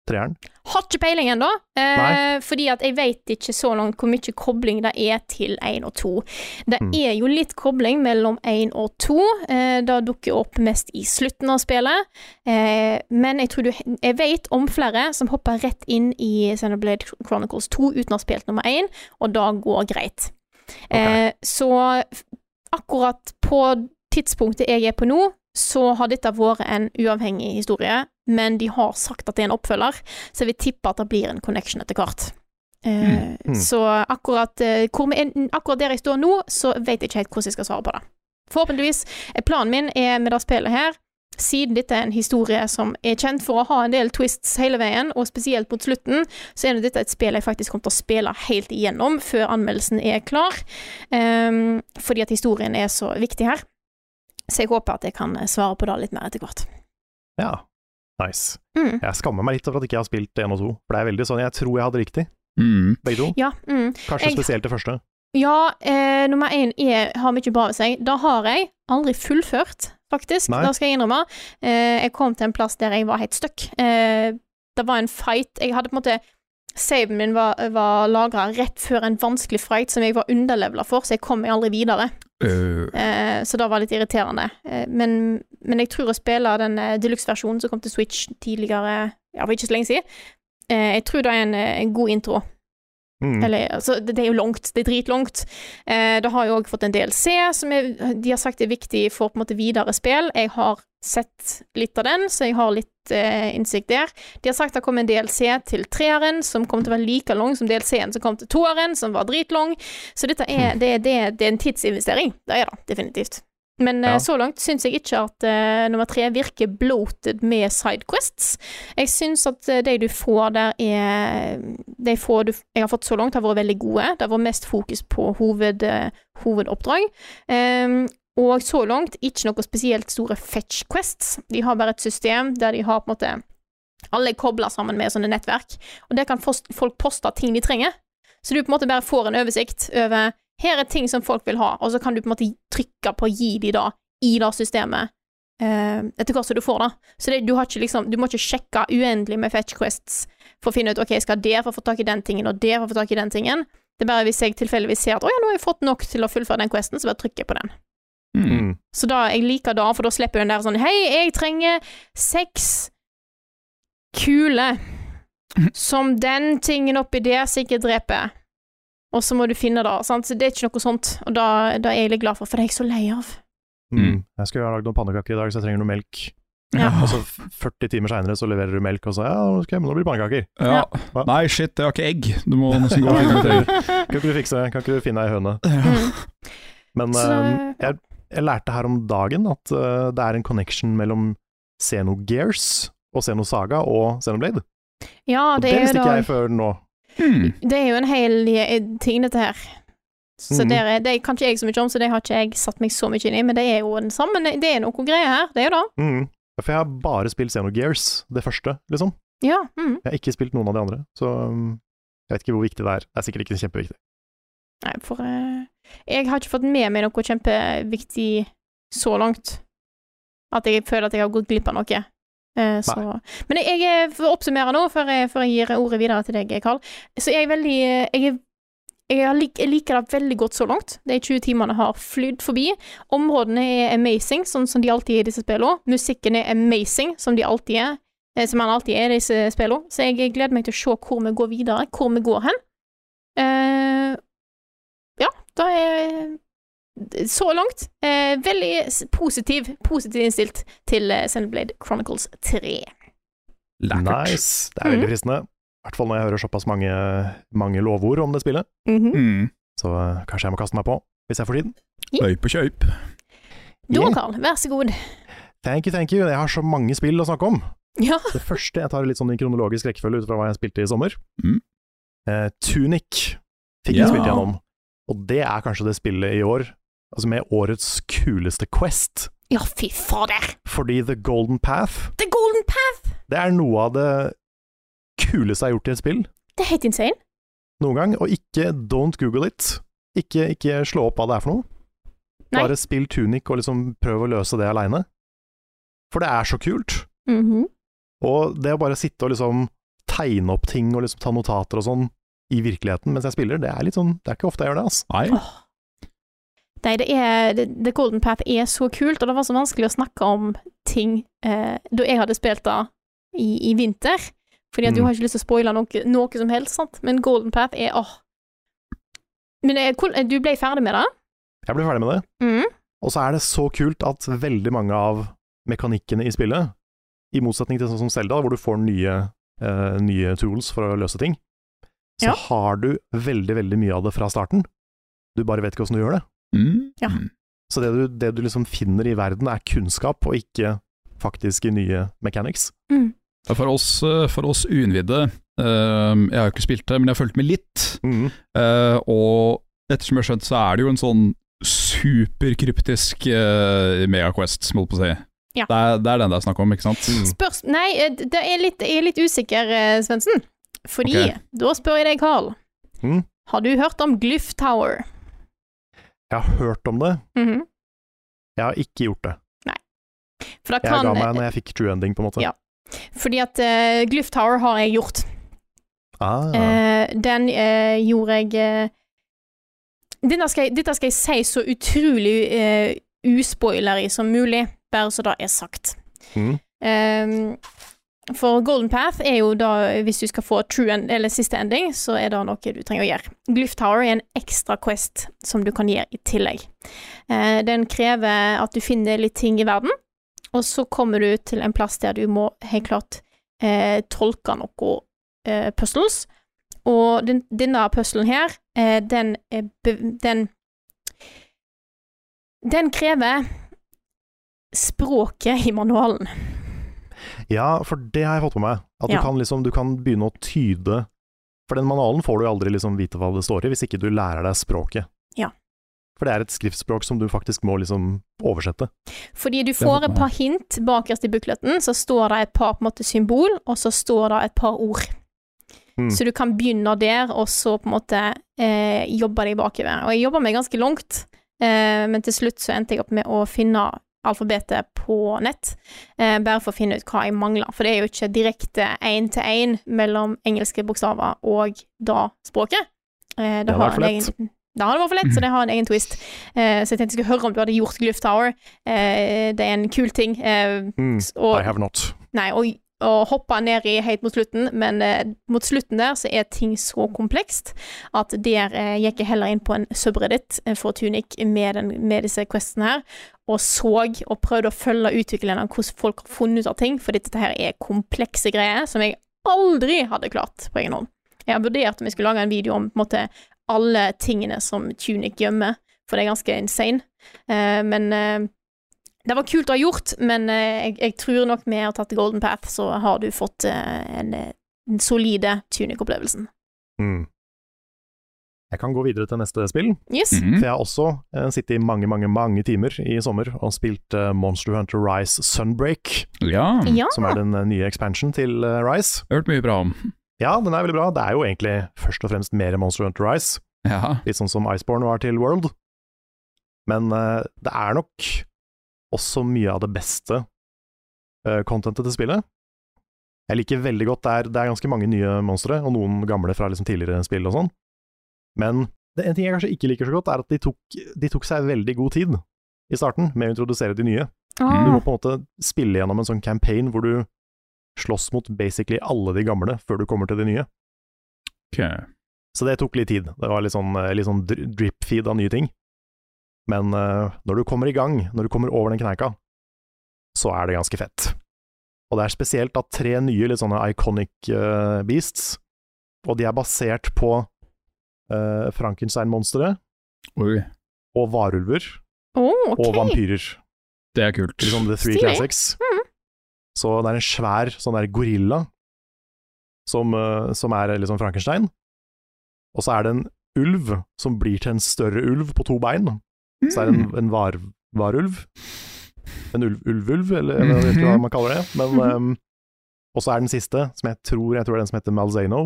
Speaker 2: treeren?
Speaker 1: har ikke peiling ennå, eh,
Speaker 2: Nei.
Speaker 1: fordi at jeg vet ikke så langt hvor mye kobling det er til 1 og 2. Det
Speaker 2: Mm.
Speaker 1: er jo litt kobling mellom 1 og 2. Eh, det dukker opp mest i slutten av spillet. Eh, men jeg tror du Jeg vet om flere som hopper rett inn i Xenoblade Chronicles 2 uten å ha spilt nummer 1, og det går greit. Eh, så f- akkurat på tidspunktet jeg er på nå, så har dette vært en uavhengig historie, men de har sagt at det er en oppfølger, så jeg vil tippe at det blir en connection etter hvert. Eh,
Speaker 2: Mm.
Speaker 1: Så akkurat, eh, hvor vi er, akkurat der jeg står nå, så vet jeg ikke helt hvordan jeg skal svare på det. Forhåpentligvis. eh, Planen min er med det spillet her, siden dette er en historie som er kjent for å ha en del twists hele veien, og spesielt mot slutten, så er nå dette et spill jeg faktisk kommer til å spille helt igjennom før anmeldelsen er klar, eh, fordi at historien er så viktig her. Så jeg håper at jeg kan eh, svare på det litt mer etter hvert.
Speaker 2: Ja. Nice.
Speaker 1: Mm.
Speaker 2: Jeg skammer meg litt over at ikke jeg har spilt 1 og 2, for det er veldig sånn jeg tror jeg hadde riktig,
Speaker 3: Mm.
Speaker 2: begge to.
Speaker 1: Ja, mm.
Speaker 2: Kanskje
Speaker 1: Jeg-
Speaker 2: spesielt det første.
Speaker 1: ja eh, nummer én er, har mye bra ved seg. Det har jeg aldri fullført, faktisk.
Speaker 2: Nei.
Speaker 1: Det skal jeg innrømme. Eh, jeg kom til en plass der jeg var helt stuck. Eh, det var en fight. Jeg hadde på en måte Saven min var, var lagra rett før en vanskelig fight som jeg var underlevela for, så jeg kom meg aldri videre.
Speaker 3: Øh,
Speaker 1: Eh, så det var litt irriterende. Eh, men, men jeg tror å spille den eh, deluxe-versjonen som kom til Switch tidligere, ja, for ikke så lenge siden, eh, jeg tror det er en, eh, en god intro.
Speaker 2: Mm.
Speaker 1: Eller, altså, det, det er jo langt, det er dritlangt. Eh, det har jo òg fått en DLC, som er, de har sagt er viktig for på en måte videre spill. Jeg har sett litt av den, så jeg har litt eh, innsikt der. De har sagt det kom en DLC til treeren, som kom til å være like lang som DLC-en som kom til toeren, som var dritlang. Så dette
Speaker 2: Hmm.
Speaker 1: er, det, det, det er en tidsinvestering. Det er det definitivt. Men eh,
Speaker 2: Ja.
Speaker 1: så langt syns jeg ikke at eh, nummer tre virker bloated med sidequests. Jeg syns at eh, de du får der er De få du jeg har fått så langt, har vært veldig gode. Det har vært mest fokus på hoved, eh, hovedoppdrag. Ehm, og så langt ikke noe spesielt store fetch quests. De har bare et system der de har på en måte Alle er kobla sammen med sånne nettverk, og der kan fos- folk poste ting de trenger. Så du på en måte bare får en oversikt over her er ting som folk vil ha, og så kan du på en måte trykke på gi de da, i det systemet, eh, etter hvert som du får det. Så det, du, har ikke liksom, du må ikke sjekke uendelig med fetch quests for å finne ut ok, jeg skal der for å få tak i den tingen, og der for å få tak i den tingen. Det er bare hvis jeg tilfeldigvis ser at å ja, nå har jeg fått nok til å fullføre den questen, så bare trykker jeg på den.
Speaker 3: mm.
Speaker 2: Mm.
Speaker 1: Så da, jeg liker da, for da slipper jeg den der sånn Hei, jeg trenger seks kuler som den tingen oppi der sikkert dreper. Og så må du finne det. sant? Så det er ikke noe sånt. Og da, da er jeg litt glad for, for det er jeg så lei av.
Speaker 2: Mm. Jeg skulle ha lagd noen pannekaker i dag, så jeg trenger noe melk.
Speaker 1: Ja.
Speaker 2: Og så f- 40 timer seinere så leverer du melk, og så ja, ok, men nå blir det pannekaker.
Speaker 3: ja.
Speaker 2: Hva?
Speaker 3: Nei, shit, jeg har ikke egg. Du må nesten gå og finne et egg.
Speaker 2: Kan ikke du fikse, kan ikke du finne ei høne?
Speaker 1: Mm.
Speaker 2: Men
Speaker 1: Så-
Speaker 2: eh, jeg, jeg lærte her om dagen at eh, det er en connection mellom Xenogears og Xenosaga og Xenoblade.
Speaker 1: Ja,
Speaker 2: Og
Speaker 1: det
Speaker 2: det
Speaker 1: er, jo
Speaker 2: visste ikke
Speaker 1: da,
Speaker 2: jeg før nå.
Speaker 3: Mm.
Speaker 1: det er jo en hel eh, ting, dette her. Så
Speaker 2: Mhm.
Speaker 1: der er, det kan ikke jeg så mye om, så det har ikke jeg satt meg så mye inn i, men det er jo den samme Det er noe greier her, det er jo det.
Speaker 2: Mm. For jeg har bare spilt Xenogears, det første, liksom.
Speaker 1: Ja. Mm.
Speaker 2: Jeg har ikke spilt noen av de andre, så um, jeg vet ikke hvor viktig det er. Det er sikkert ikke kjempeviktig.
Speaker 1: Nei, for eh, Jeg har ikke fått med meg noe kjempeviktig så langt. At jeg føler at jeg har gått glipp av noe. Eh, så. Men jeg, jeg får oppsummere nå, før jeg, før jeg gir ordet videre til deg, Karl. Så jeg er veldig eh, Jeg, er, jeg, har lik, jeg liker det veldig godt så langt. De 20 timene har flydd forbi. Områdene er amazing, sånn som de alltid er i disse spillene. Musikken er amazing, som de alltid er. eh, Som han alltid er i disse spillene. Så jeg, jeg gleder meg til å se hvor vi går videre, hvor vi går hen. Eh, da er så langt eh, veldig s- positiv, positivt innstilt til eh, Xenoblade Chronicles 3.
Speaker 3: Lækkert.
Speaker 2: Nice. Det er veldig fristende. I hvert fall når jeg hører såpass mange, mange lovord om det spillet.
Speaker 1: Mhm.
Speaker 3: Mm.
Speaker 2: Så uh, kanskje jeg må kaste meg på, hvis jeg får tiden.
Speaker 3: Øy på kjøyp.
Speaker 1: Da,
Speaker 3: Yeah.
Speaker 1: Carl, vær så god.
Speaker 2: Thank you, thank you. Jeg har så mange spill å snakke om.
Speaker 1: Ja.
Speaker 2: Det første jeg tar litt sånn i kronologisk rekkefølge ut fra hva jeg spilte i sommer.
Speaker 3: Mm.
Speaker 2: Eh, Tunic fikk
Speaker 3: Ja.
Speaker 2: jeg spilt gjennom. Og det er kanskje det spillet i år, altså med årets kuleste quest.
Speaker 1: ja, fy fader.
Speaker 2: Fordi The Golden Path,
Speaker 1: The Golden Path!
Speaker 2: det er noe av det kuleste jeg har gjort i et spill
Speaker 1: Det er helt insane.
Speaker 2: noen gang. Og ikke don't google it. Ikke, ikke slå opp hva det er for noe.
Speaker 1: Nei.
Speaker 2: Bare spill Tunic og liksom prøv å løse det aleine. For det er så kult.
Speaker 1: Mhm.
Speaker 2: Og det å bare sitte og liksom tegne opp ting og liksom ta notater og sånn i virkeligheten mens jeg spiller, det er litt sånn Det er ikke ofte jeg gjør det, altså.
Speaker 3: Nei.
Speaker 1: Åh. Nei, det er The The Golden Path er så kult, og det var så vanskelig å snakke om ting eh, da jeg hadde spilt det i, i vinter. Fordi at du
Speaker 2: Mm.
Speaker 1: har ikke lyst til å spoile noe, noe som helst, sant? men Golden Path er åh. Men eh, hvor- eh, du ble ferdig med det?
Speaker 2: Jeg blir ferdig med det.
Speaker 1: Mm.
Speaker 2: Og så er det så kult at veldig mange av mekanikkene i spillet, i motsetning til sånn som Selda, hvor du får nye, eh, nye tools for å løse ting,
Speaker 1: Ja.
Speaker 2: så har du veldig, veldig mye av det fra starten. Du bare vet ikke åssen du gjør det.
Speaker 3: Mm.
Speaker 1: Ja.
Speaker 2: Så det du, det du liksom finner i verden, er kunnskap, og ikke faktiske nye mechanics.
Speaker 3: Ja, For oss, eh, for oss uinnvidde eh, Jeg har jo ikke spilt det, men jeg har fulgt med litt.
Speaker 2: Mhm.
Speaker 3: Eh, og ettersom jeg har skjønt, så er det jo en sånn superkryptisk eh, megaquest, må jeg på å si.
Speaker 1: Ja.
Speaker 3: Det, er, det er den det er snakk om, ikke sant?
Speaker 1: Spørs... Nei, eh, det er litt, jeg er litt usikker, eh, Svendsen. Fordi
Speaker 3: Ok.
Speaker 1: da spør jeg deg, Carl.
Speaker 2: Mm.
Speaker 1: Har du hørt om Glyph Tower?
Speaker 2: Jeg har hørt om det,
Speaker 1: Mhm.
Speaker 2: jeg har ikke gjort det.
Speaker 1: For det
Speaker 2: Jeg
Speaker 1: kan
Speaker 2: ga meg når jeg fikk true ending, på en måte.
Speaker 1: Ja. Fordi at eh, Glyph Tower har jeg gjort.
Speaker 2: Ah,
Speaker 1: Eh, den eh, gjorde jeg eh, denne skal jeg Dette skal jeg si så utrolig eh, uspoilerig som mulig, bare så det er sagt.
Speaker 2: Mhm.
Speaker 1: Ehm, for Golden Path er jo da, hvis du skal få true end, eller siste ending, så er det noe du trenger å gjøre. Glyph Tower er en ekstra quest som du kan gjøre i tillegg. Eh, den krever at du finner litt ting i verden, og så kommer du til en plass der du må helt klart eh, tolke noe eh, puzzles. Og den, denne puzzlen her, eh, den, er be- den Den krever språket i manualen.
Speaker 2: Ja, for det har jeg fått med meg. At
Speaker 1: Ja.
Speaker 2: du, kan liksom, du kan begynne å tyde For den manualen får du jo aldri liksom vite hva det står i, hvis ikke du lærer deg språket.
Speaker 1: Ja.
Speaker 2: For det er et skriftspråk som du faktisk må liksom oversette.
Speaker 1: Fordi du får et par hint bakerst i bukletten, så står det et par på en måte, symbol, og så står det et par ord.
Speaker 2: Mm.
Speaker 1: Så du kan begynne der, og så på en måte eh, jobbe deg bakover. Og jeg jobba meg ganske langt, eh, men til slutt så endte jeg opp med å finne alfabetet på nett, eh, bare for å finne ut hva jeg mangler. For det er jo ikke direkte én-til-én mellom engelske bokstaver og da språket. Eh,
Speaker 2: Det hadde vært
Speaker 1: har
Speaker 2: for
Speaker 1: en
Speaker 2: lett.
Speaker 1: egen- Det har det vært for lett, så det har en egen twist. Eh, så jeg tenkte jeg skulle høre om du hadde gjort Glyph Tower. Eh, det er en kul ting. Eh,
Speaker 2: Mm.
Speaker 1: s- og,
Speaker 2: I have not.
Speaker 1: nei, og, og hoppe ned i helt mot slutten, men eh, mot slutten der så er ting så komplekst at der eh, gikk jeg heller inn på en subreddit eh, for Tunic med, den, med disse questene her, og så og prøvde å følge utviklerne hvordan folk har funnet ut av ting, for dette her er komplekse greier som jeg aldri hadde klart på egen hånd. Jeg har vurdert om jeg skulle lage en video om på en måte, alle tingene som Tunic gjemmer, for det er ganske insane. Eh, men eh, det var kult å ha gjort, men eh, jeg, jeg tror nok med å ha tatt Golden Path, så har du fått eh, en, eh, den solide tunic-opplevelsen.
Speaker 2: Mm. Jeg kan gå videre til neste spill,
Speaker 1: Yes.
Speaker 2: for
Speaker 3: Mhm.
Speaker 2: jeg har også eh, sittet i mange, mange mange timer i sommer og spilt eh, Monster Hunter Rise Sunbreak,
Speaker 3: Ja, jeg
Speaker 1: Ja.
Speaker 2: som er den eh, nye expansion til eh, Rise.
Speaker 3: har hørt mye bra om.
Speaker 2: Ja, den er veldig bra. Det er jo egentlig først og fremst mer Monster Hunter Rise.
Speaker 3: Ja.
Speaker 2: Litt sånn som Iceborne var til World. Men eh, det er nok også mye av det beste eh, contentet til spillet. Jeg liker veldig godt det er, det er ganske mange nye monstre, og noen gamle fra liksom tidligere spill og sånn. Men det en ting jeg kanskje ikke liker så godt, er at de tok, de tok seg veldig god tid i starten med å introdusere de nye. Du
Speaker 3: Mm.
Speaker 1: Ah,
Speaker 2: må på en måte spille gjennom en sånn campaign hvor du slåss mot basically alle de gamle før du kommer til de nye.
Speaker 3: Ok.
Speaker 2: Så det tok litt tid. Det var litt sånn, litt sånn dri- drip-feed av nye ting. Men eh, når du kommer i gang, når du kommer over den kneika, så er det ganske fett. Og det er spesielt at tre nye litt sånne iconic eh, beasts, og de er basert på eh, Frankenstein-monstre
Speaker 3: Oi.
Speaker 2: og varulver
Speaker 1: oh, ok.
Speaker 2: og vampyrer.
Speaker 3: Det er kult.
Speaker 2: Liksom The Three
Speaker 1: Stilig.
Speaker 2: Classics. Så det er en svær sånn der gorilla som, eh, som er liksom Frankenstein. Og så er det en ulv som blir til en større ulv på to bein. Så det er en, en var, varulv. En ulv- ulvulv, eller jeg vet ikke hva man kaller det. Men, eh, og så er den siste, som jeg tror, jeg tror det er den som heter Malzano,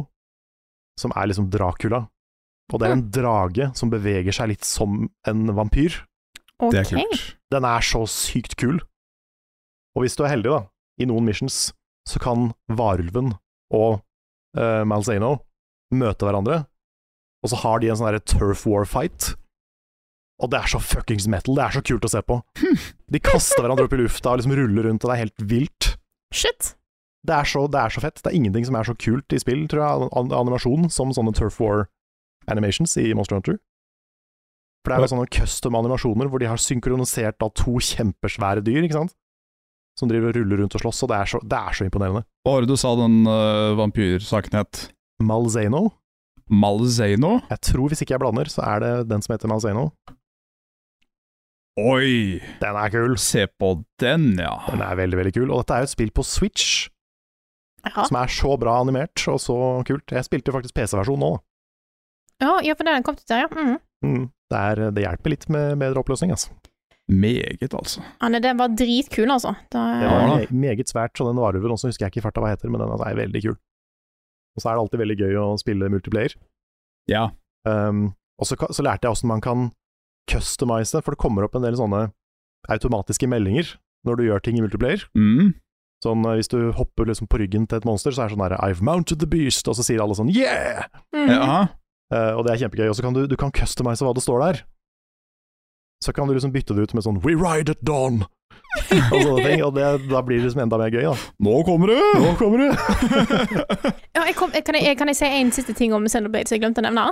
Speaker 2: som er liksom Dracula. Og det er en drage som beveger seg litt som en vampyr.
Speaker 1: Ok.
Speaker 3: Det er kult.
Speaker 2: Den er så sykt kul. Og hvis du er heldig, da, i noen missions, så kan varulven og uh, Malzano møte hverandre, og så har de en sånn derre turf war fight. Og det er så fuckings metal, det er så kult å se på. De kaster hverandre opp i lufta og liksom ruller rundt, og det er helt vilt.
Speaker 1: Shit.
Speaker 2: Det er, så, det er så fett. Det er ingenting som er så kult i spill, tror jeg, an animasjon, som sånne turf war animations i Monster Hunter. For det er jo sånne custom animasjoner hvor de har synkronisert da to kjempesvære dyr, ikke sant, som driver og ruller rundt og slåss, og det er så, det er så imponerende.
Speaker 3: Hva var det du sa den eh, vampyrsaken het?
Speaker 2: Malzano,
Speaker 3: Malzano?
Speaker 2: jeg tror hvis ikke jeg blander, så er det den som heter Malzano.
Speaker 3: Oi!
Speaker 2: Den er kul.
Speaker 3: Se på den, ja.
Speaker 2: Den er veldig, veldig kul. Og dette er jo et spill på Switch
Speaker 1: Ja.
Speaker 2: som er så bra animert og så kult. Jeg spilte jo faktisk PC-versjon nå, da.
Speaker 1: Ja, ja, for den kom ut der, ja. Mm.
Speaker 2: Mm. Det, er, det hjelper litt med bedre oppløsning, altså.
Speaker 3: Meget, altså.
Speaker 1: Anne, den Ah, var dritkul, altså. Da,
Speaker 2: Det
Speaker 3: Ja,
Speaker 2: var
Speaker 3: da.
Speaker 2: me- meget svært, så den varulven også husker jeg ikke i farta hva heter, men den altså er veldig kul. Og så er det alltid veldig gøy å spille multiplayer.
Speaker 3: Ja.
Speaker 2: Um, og så, ka- så lærte jeg åssen man kan customize det, for det kommer opp en del sånne automatiske meldinger når du gjør ting i multiplayer.
Speaker 3: Mm.
Speaker 2: Sånn eh, hvis du hopper liksom på ryggen til et monster, så er det sånn der I've mounted the beast, og så sier alle sånn yeah!
Speaker 1: Mm.
Speaker 3: ja.
Speaker 2: Eh, og det er kjempegøy. Og så kan du, du kan customize hva det står der. Så kan du liksom bytte det ut med sånn We ride at dawn! og sånne ting. Og det, da blir det liksom enda mer gøy, da.
Speaker 3: Nå kommer det!
Speaker 2: Nå kommer det!
Speaker 1: Ja, jeg kom, jeg, kan, jeg, kan jeg si en siste ting om Xenoblade som jeg glemte å nevne?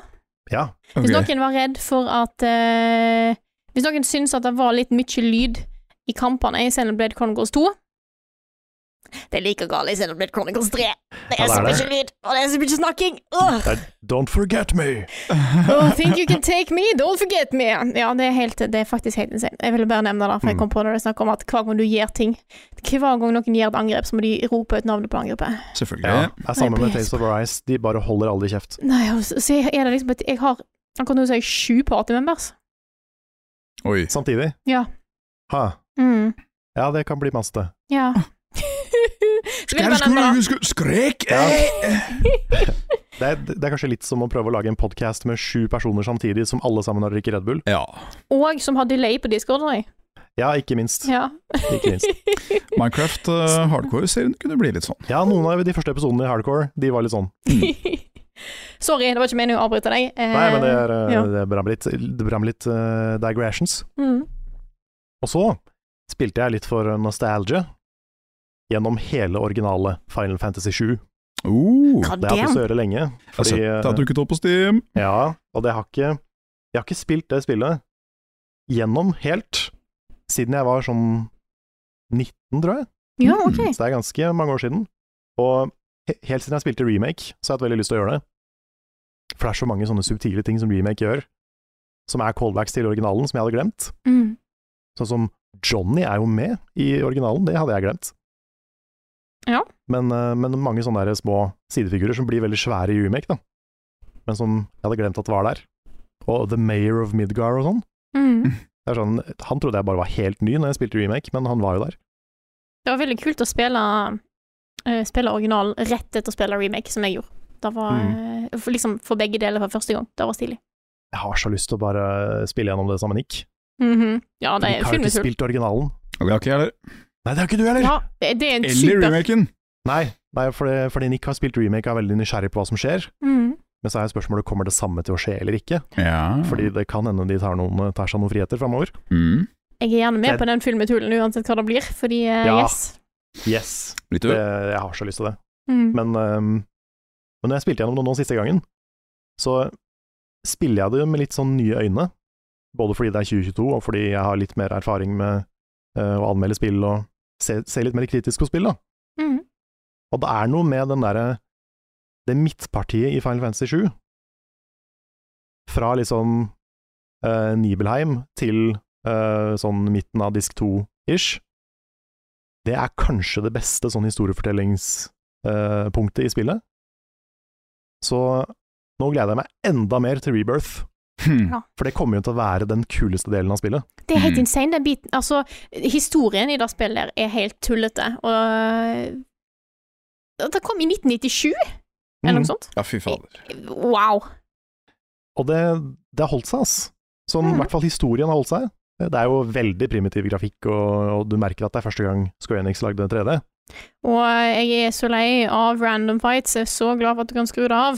Speaker 2: Ja.
Speaker 1: Hvis
Speaker 3: Ok.
Speaker 1: noen var redd for at eh, Hvis noen syntes at det var litt mye lyd i kampene i Xenoblade Chronicles 2 Det er like galt i Xenoblade Chronicles 3. Det
Speaker 2: Ja,
Speaker 1: er
Speaker 2: det
Speaker 1: så
Speaker 2: er
Speaker 1: mye lyd, og det er så mye snakking. Åh!
Speaker 2: Det er Don't forget me!
Speaker 1: Oh, think you can take me, don't forget me. Ja, det er, helt, det er faktisk helt insane. Jeg ville bare nevne det, for
Speaker 2: Mm.
Speaker 1: jeg kom på det det er snakk om at hver gang du gjør ting Hver gang noen gjør et angrep, så må de rope ut navnet på angrepet.
Speaker 3: Selvfølgelig.
Speaker 2: Ja, det er samme
Speaker 1: Nei, jeg
Speaker 2: med
Speaker 1: ble
Speaker 2: Tales of Arise, de bare holder aldri kjeft.
Speaker 1: Nei, og så så er det liksom at jeg har Akkurat nå så har jeg sju partymembers.
Speaker 3: Oi.
Speaker 2: Samtidig.
Speaker 1: Ja.
Speaker 2: Ha.
Speaker 1: Mm.
Speaker 2: Ja, det kan bli masse. det.
Speaker 1: Ja.
Speaker 2: Ah.
Speaker 1: Så vil jeg bare
Speaker 3: Skal-
Speaker 1: nevne det.
Speaker 3: skal- Skrek!
Speaker 2: Ja.
Speaker 3: Eh!
Speaker 2: Det er, det er kanskje litt som å prøve å lage en podkast med sju personer samtidig som alle sammen har drukket Red Bull.
Speaker 3: Ja.
Speaker 1: Og som har delay på Discord. nei.
Speaker 2: Mm. Ja, ikke minst.
Speaker 1: Ja.
Speaker 2: Ikke minst.
Speaker 3: Minecraft eh, hardcore-serien kunne bli litt sånn.
Speaker 2: Ja, noen av de første episodene i Hardcore, de var litt sånn.
Speaker 1: Sorry, det var ikke meningen å avbryte deg. Eh,
Speaker 2: Nei, men det er, eh,
Speaker 1: ja.
Speaker 2: det er bra med litt, det er bra med litt eh, digressions.
Speaker 1: mm.
Speaker 2: Og så spilte jeg litt for nostalgia gjennom hele originale Final Fantasy 7.
Speaker 3: Oh,
Speaker 1: God
Speaker 2: Det har jeg hatt lyst
Speaker 1: damn.
Speaker 2: til å gjøre lenge.
Speaker 3: jeg har sett
Speaker 2: Fordi,
Speaker 3: det har dukket opp på Steam.
Speaker 2: Ja, og det har ikke Jeg har ikke spilt det spillet gjennom helt siden jeg var sånn 19, tror jeg.
Speaker 1: Ja, ok.
Speaker 2: Så det er ganske mange år siden. Og he helt siden jeg spilte remake, så har jeg hatt veldig lyst til å gjøre det. For det er så mange sånne subtile ting som remake gjør, som er callbacks til originalen, som jeg hadde glemt.
Speaker 1: Mm.
Speaker 2: Sånn som Johnny er jo med i originalen, det hadde jeg glemt.
Speaker 1: Ja.
Speaker 2: Men, eh, men mange sånne der små sidefigurer som blir veldig svære i remake, da. Men som jeg hadde glemt at var der. Og The Mayor of Midgar og sånn.
Speaker 1: Mm.
Speaker 2: Det er sånn. Han trodde jeg bare var helt ny når jeg spilte remake, men han var jo der.
Speaker 1: Det var veldig kult å spille, eh, spille original rett etter å spille remake, som jeg gjorde. Det var
Speaker 3: Mm.
Speaker 1: eh, for, liksom for begge deler for første gang. Det var stilig.
Speaker 2: Jeg har så lyst til å bare spille gjennom det sammen med Nick.
Speaker 1: Mhm. Ja, det er
Speaker 2: Nick har jo ikke
Speaker 1: filmhull.
Speaker 2: spilt originalen.
Speaker 3: Det har ikke jeg heller.
Speaker 2: Nei, det har ikke du heller!
Speaker 1: Ja, det det er en
Speaker 3: Eller
Speaker 1: super
Speaker 3: remaken.
Speaker 2: Nei, nei fordi, fordi Nick har spilt remake og er veldig nysgjerrig på hva som skjer.
Speaker 1: mm.
Speaker 2: Men så er jo spørsmålet kommer det samme til å skje eller ikke.
Speaker 3: Ja.
Speaker 1: Mm.
Speaker 2: Fordi det kan hende de tar, noen, tar seg noen friheter framover.
Speaker 3: mm.
Speaker 1: Jeg er gjerne med
Speaker 2: Det-
Speaker 1: på den filmetullen uansett hva det blir, fordi eh,
Speaker 2: Ja.
Speaker 1: yes.
Speaker 2: Yes.
Speaker 3: Litt
Speaker 2: Det,
Speaker 3: øl.
Speaker 2: jeg har så lyst til det.
Speaker 1: Mm.
Speaker 2: Men, ehm, men når jeg spilte gjennom det nå siste gangen, så spiller jeg det med litt sånn nye øyne. Både fordi det er 2022, og fordi jeg har litt mer erfaring med eh, å anmelde spill og se, se litt mer kritisk på spill, da.
Speaker 1: Mm.
Speaker 2: Og det er noe med den derre Det midtpartiet i Final Fantasy 7. Fra liksom eh, Nibelheim til eh, sånn midten av disk 2 ish, det er kanskje det beste sånn historiefortellingspunktet eh, i spillet. Så nå gleder jeg meg enda mer til Rebirth,
Speaker 3: Hmm.
Speaker 2: for det kommer jo til å være den kuleste delen av spillet.
Speaker 1: Det er helt
Speaker 3: Mm.
Speaker 1: insane, den biten. Altså, historien i det spillet der er helt tullete, og eh, Det kom i 1997,
Speaker 2: Mm.
Speaker 1: eller noe sånt.
Speaker 3: Mm. Ja, fy fader.
Speaker 1: Wow.
Speaker 2: Og det, det har holdt seg, ass. Sånn,
Speaker 1: Mhm.
Speaker 2: I hvert fall historien har holdt seg. Det er jo veldig primitiv grafikk, og, og du merker at det er første gang Square Enix lagde 3D.
Speaker 1: Og jeg er så lei av random fights, jeg er så glad for at du kan skru det av.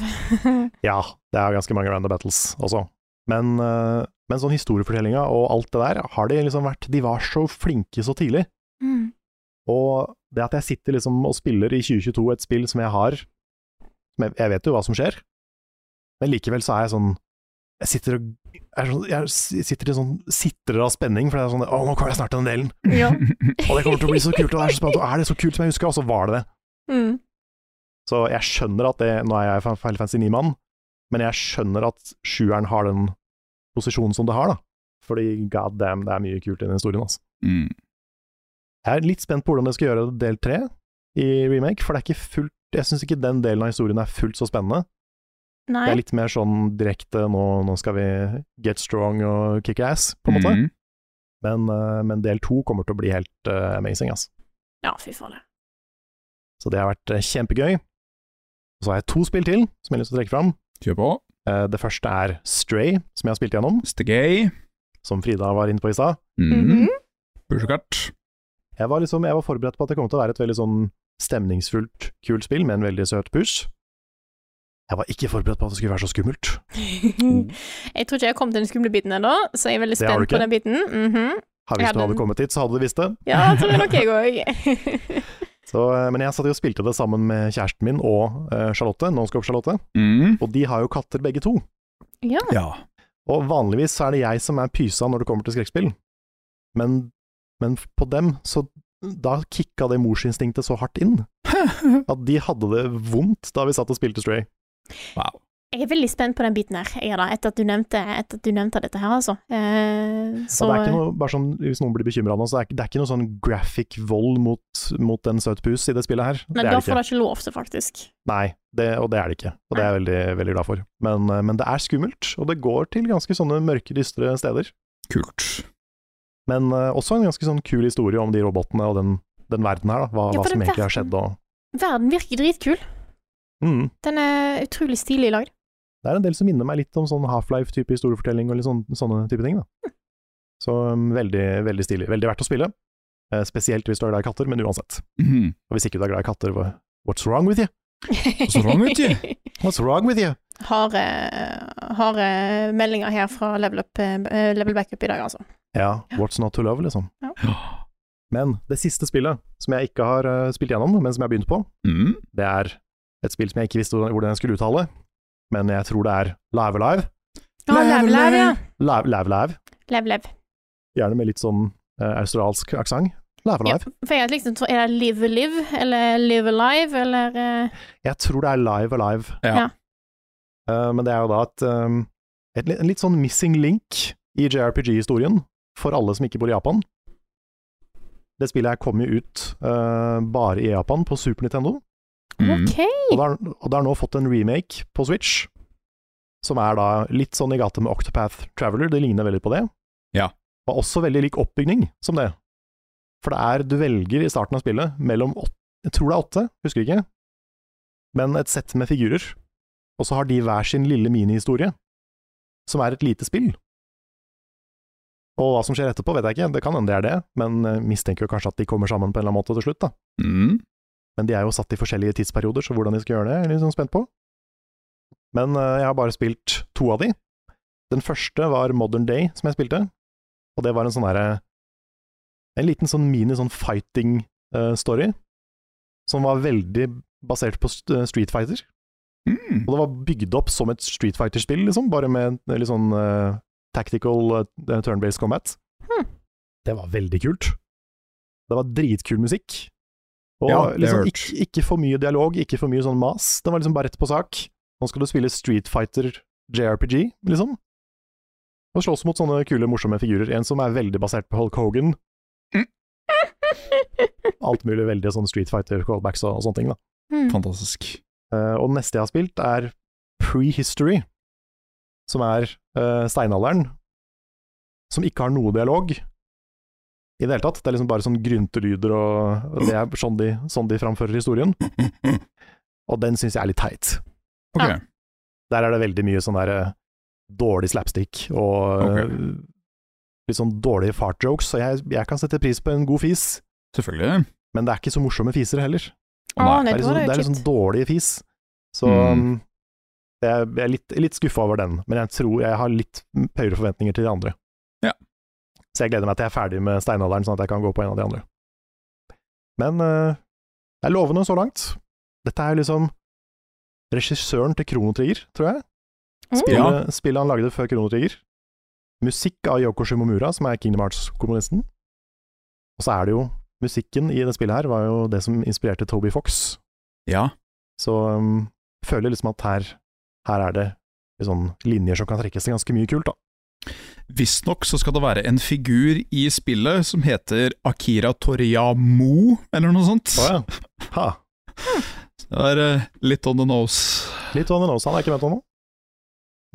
Speaker 2: Ja, det er ganske mange random battles også. Men, eh, men sånn historiefortellinga og alt det der, har de liksom vært De var så flinke så tidlig.
Speaker 1: Mm.
Speaker 2: Og det at jeg sitter liksom og spiller i 2022 et spill som jeg har som jeg, jeg vet jo hva som skjer, men likevel så er jeg sånn Jeg sitter og er sånn, Jeg s- sitter i sånn sitrer av spenning, for det er sånn Å, nå kommer jeg snart til den delen!
Speaker 1: Ja.
Speaker 2: Og det kommer til å bli så kult, og det er så spennende, og er det så kult som jeg husker? Og så var det det.
Speaker 1: Mm.
Speaker 2: Så jeg skjønner at det Nå er jeg Final Fantasy 9-mann, men jeg skjønner at sjueren har den posisjonen som det har, da. Fordi god damn, det er mye kult i den historien, altså.
Speaker 3: Mm.
Speaker 2: Jeg er litt spent på hvordan de skal gjøre del tre i remake, for det er ikke fullt Jeg syns ikke den delen av historien er fullt så spennende. Det
Speaker 1: Nei.
Speaker 2: er litt mer sånn direkte nå, nå skal vi get strong og kick ass, på en måte.
Speaker 3: Mm.
Speaker 2: Men, eh, men del to kommer til å bli helt eh, amazing, altså.
Speaker 1: Ja, fy fader.
Speaker 2: Så det har vært eh, kjempegøy. Så har jeg to spill til som jeg har lyst til å trekke fram.
Speaker 3: Kjør på.
Speaker 2: Eh, Det første er Stray, som jeg har spilt gjennom,
Speaker 3: Stegay.
Speaker 2: som Frida var inne på i stad.
Speaker 1: Mhm.
Speaker 3: Mm. Pusjekart.
Speaker 2: Jeg, var liksom, jeg var forberedt på at det kom til å være et veldig sånn stemningsfullt, kult spill med en veldig søt push. Jeg var ikke forberedt på at det skulle være så skummelt.
Speaker 1: jeg tror ikke jeg har kommet til den skumle biten ennå, så jeg er veldig
Speaker 2: Mm.
Speaker 1: spent
Speaker 2: Det har du
Speaker 1: på
Speaker 2: ikke.
Speaker 1: den biten. Mhm. Jeg
Speaker 2: Her, hvis
Speaker 1: hadde
Speaker 2: du hadde
Speaker 1: en-
Speaker 2: kommet hit, så hadde du visst det.
Speaker 1: Ja, jeg tror nok jeg òg.
Speaker 2: Så, eh, men jeg satt jo og spilte det sammen med kjæresten min og eh, Charlotte, Nonscope Charlotte,
Speaker 3: Mm.
Speaker 2: og de har jo katter begge to.
Speaker 1: ja.
Speaker 3: Ja.
Speaker 2: Og vanligvis så er det jeg som er pysa når det kommer til skrekkspill, men, men på dem så da kicka det morsinstinktet så hardt inn at de hadde det vondt da vi satt og spilte Stray.
Speaker 3: Wow.
Speaker 1: Jeg er veldig spent på den biten her, jeg er da, etter at du nevnte, etter at du nevnte dette her, altså. Eh,
Speaker 2: Så
Speaker 1: så
Speaker 2: det er ikke noe, bare sånn, Hvis noen blir bekymra nå, så er ikke- det er ikke noe sånn graphic vold mot, mot en søt pus i det spillet her.
Speaker 1: Nei,
Speaker 2: det er
Speaker 1: da
Speaker 2: det
Speaker 1: får
Speaker 2: ikke.
Speaker 1: det ikke lov til, faktisk.
Speaker 2: Nei, det, og det er det ikke. Og det er jeg veldig, veldig glad for. Men, eh, men det er skummelt, og det går til ganske sånne mørke, dystre steder.
Speaker 3: Kult.
Speaker 2: Men eh, også en ganske sånn kul historie om de robotene og den, den verden her, da. Hva,
Speaker 1: Ja,
Speaker 2: hva
Speaker 1: for
Speaker 2: som
Speaker 1: den
Speaker 2: egentlig
Speaker 1: verden.
Speaker 2: har skjedd og
Speaker 1: Verden virker dritkul.
Speaker 2: mm.
Speaker 1: Den er utrolig stilig lagd.
Speaker 2: Det er en del som minner meg litt om sånn Half-Life-type historiefortelling og litt sånn, sånne type ting, da. Så um, veldig, veldig stilig. Veldig verdt å spille. Eh, Spesielt hvis du er glad i katter, men uansett.
Speaker 3: Mm.
Speaker 2: Og hvis ikke du er glad i katter, hva- what's wrong with you?
Speaker 3: Så rang ut, ja.
Speaker 2: What's wrong with you?
Speaker 1: Harde, harde meldinger her fra level, up, eh, level backup i dag, altså.
Speaker 2: Ja, what's not to love, liksom. Men det siste spillet, som jeg ikke har eh, spilt gjennom, men som jeg har begynt på,
Speaker 3: Mm.
Speaker 2: det er et spill som jeg ikke visste hvordan- hvordan jeg skulle uttale, men jeg tror det er Live Alive.
Speaker 1: Ja, level, level, ja.
Speaker 2: Live Live, live.
Speaker 1: Level, level.
Speaker 2: Gjerne med litt sånn eh, australsk aksent. Live
Speaker 1: Ja,
Speaker 2: Alive.
Speaker 1: for jeg hadde liksom, tro- er det live live, eller live alive, eller eh,
Speaker 2: Jeg tror det er Live Alive,
Speaker 3: Ja.
Speaker 2: Eh, men det er jo da et, um, et, li- en litt sånn missing link i JRPG-historien for alle som ikke bor i Japan. Det spillet her kom jo ut eh, bare i Japan, på Super Nintendo.
Speaker 3: Mm.
Speaker 1: OK.
Speaker 2: Og det, har, og det har nå fått en remake på Switch, som er da litt sånn i gata med Octopath Traveler, det ligner veldig på det.
Speaker 3: Ja.
Speaker 2: Var også veldig lik oppbygning som det. For det er, du velger i starten av spillet mellom åtte, jeg tror det er åtte, husker ikke, men et sett med figurer, og så har de hver sin lille minihistorie, som er et lite spill. Og hva som skjer etterpå, vet jeg ikke, det kan hende det er det, men eh, mistenker jo kanskje at de kommer sammen på en eller annen måte til slutt, da.
Speaker 3: Mm.
Speaker 2: Men de er jo satt i forskjellige tidsperioder, så hvordan de skal gjøre det, er jeg litt sånn spent på. Men eh, jeg har bare spilt to av de. Den første var Modern Day, som jeg spilte. Og det var en sånn derre En liten sånn mini sånn fighting-story, som var veldig basert på st- Street Fighter. Og
Speaker 3: Mm.
Speaker 2: det var bygd opp som et Street Fighter-spill, liksom, bare med en litt sånn eh, tactical eh, turn-based combat.
Speaker 1: Hmm.
Speaker 2: Det var veldig kult. Det var dritkul musikk. Og
Speaker 3: Ja, det har
Speaker 2: liksom
Speaker 3: jeg
Speaker 2: ikke, ikke for mye dialog, ikke for mye sånn mas. Den var liksom bare rett på sak. Nå skal du spille Street Fighter JRPG, liksom. Og slåss mot sånne kule, morsomme figurer. En som er veldig basert på Hulk Hogan, Alt mulig veldig sånn Street Fighter-callbacks og, og sånne ting. da.
Speaker 1: Hmm.
Speaker 3: Fantastisk.
Speaker 2: Eh, og den neste jeg har spilt, er Prehistory, som er eh, steinalderen, som ikke har noe dialog i det hele tatt. Det er liksom bare sånn gryntelyder, og og det er sånn de, sånn de framfører historien. Og den syns jeg er litt teit.
Speaker 3: Ok,
Speaker 1: Ja.
Speaker 2: Der er det veldig mye sånn der eh, dårlig slapstick og eh, litt sånn dårlige fart jokes, så jeg, jeg kan sette pris på en god fis,
Speaker 3: selvfølgelig.
Speaker 2: men det er ikke så morsomme fiser heller.
Speaker 1: Å,
Speaker 3: Å, nei.
Speaker 1: Ah, nei,
Speaker 2: Det er,
Speaker 1: det
Speaker 2: liksom,
Speaker 1: var
Speaker 2: det er
Speaker 1: jo
Speaker 2: litt sånn
Speaker 1: kjipt.
Speaker 2: dårlig fis. Så
Speaker 3: Mm.
Speaker 2: um, jeg, jeg er litt, litt skuffa over den, men jeg tror jeg har litt høyere forventninger til de andre.
Speaker 3: Ja.
Speaker 2: Så jeg gleder meg til jeg er ferdig med steinalderen, sånn at jeg kan gå på en av de andre. Men eh, det er lovende så langt. Dette er jo liksom regissøren til Kronotrigger, tror jeg.
Speaker 3: Ja.
Speaker 2: Spillet, spillet han lagde før Kronotrigger. Musikk av Yoko Shimomura, som er Kingdom Hearts-komponisten. Og så er det jo musikken i det spillet her, var jo det som inspirerte Toby Fox.
Speaker 3: Ja.
Speaker 2: Så um, føler jeg liksom at her, her er det sånn linjer som kan trekkes til ganske mye kult, da.
Speaker 3: Visstnok så skal det være en figur i spillet som heter Akira Toriyamo, eller noe sånt.
Speaker 2: ja. Ha,
Speaker 3: Det er eh, litt on the nose.
Speaker 2: litt on the nose, han er ikke med på nå.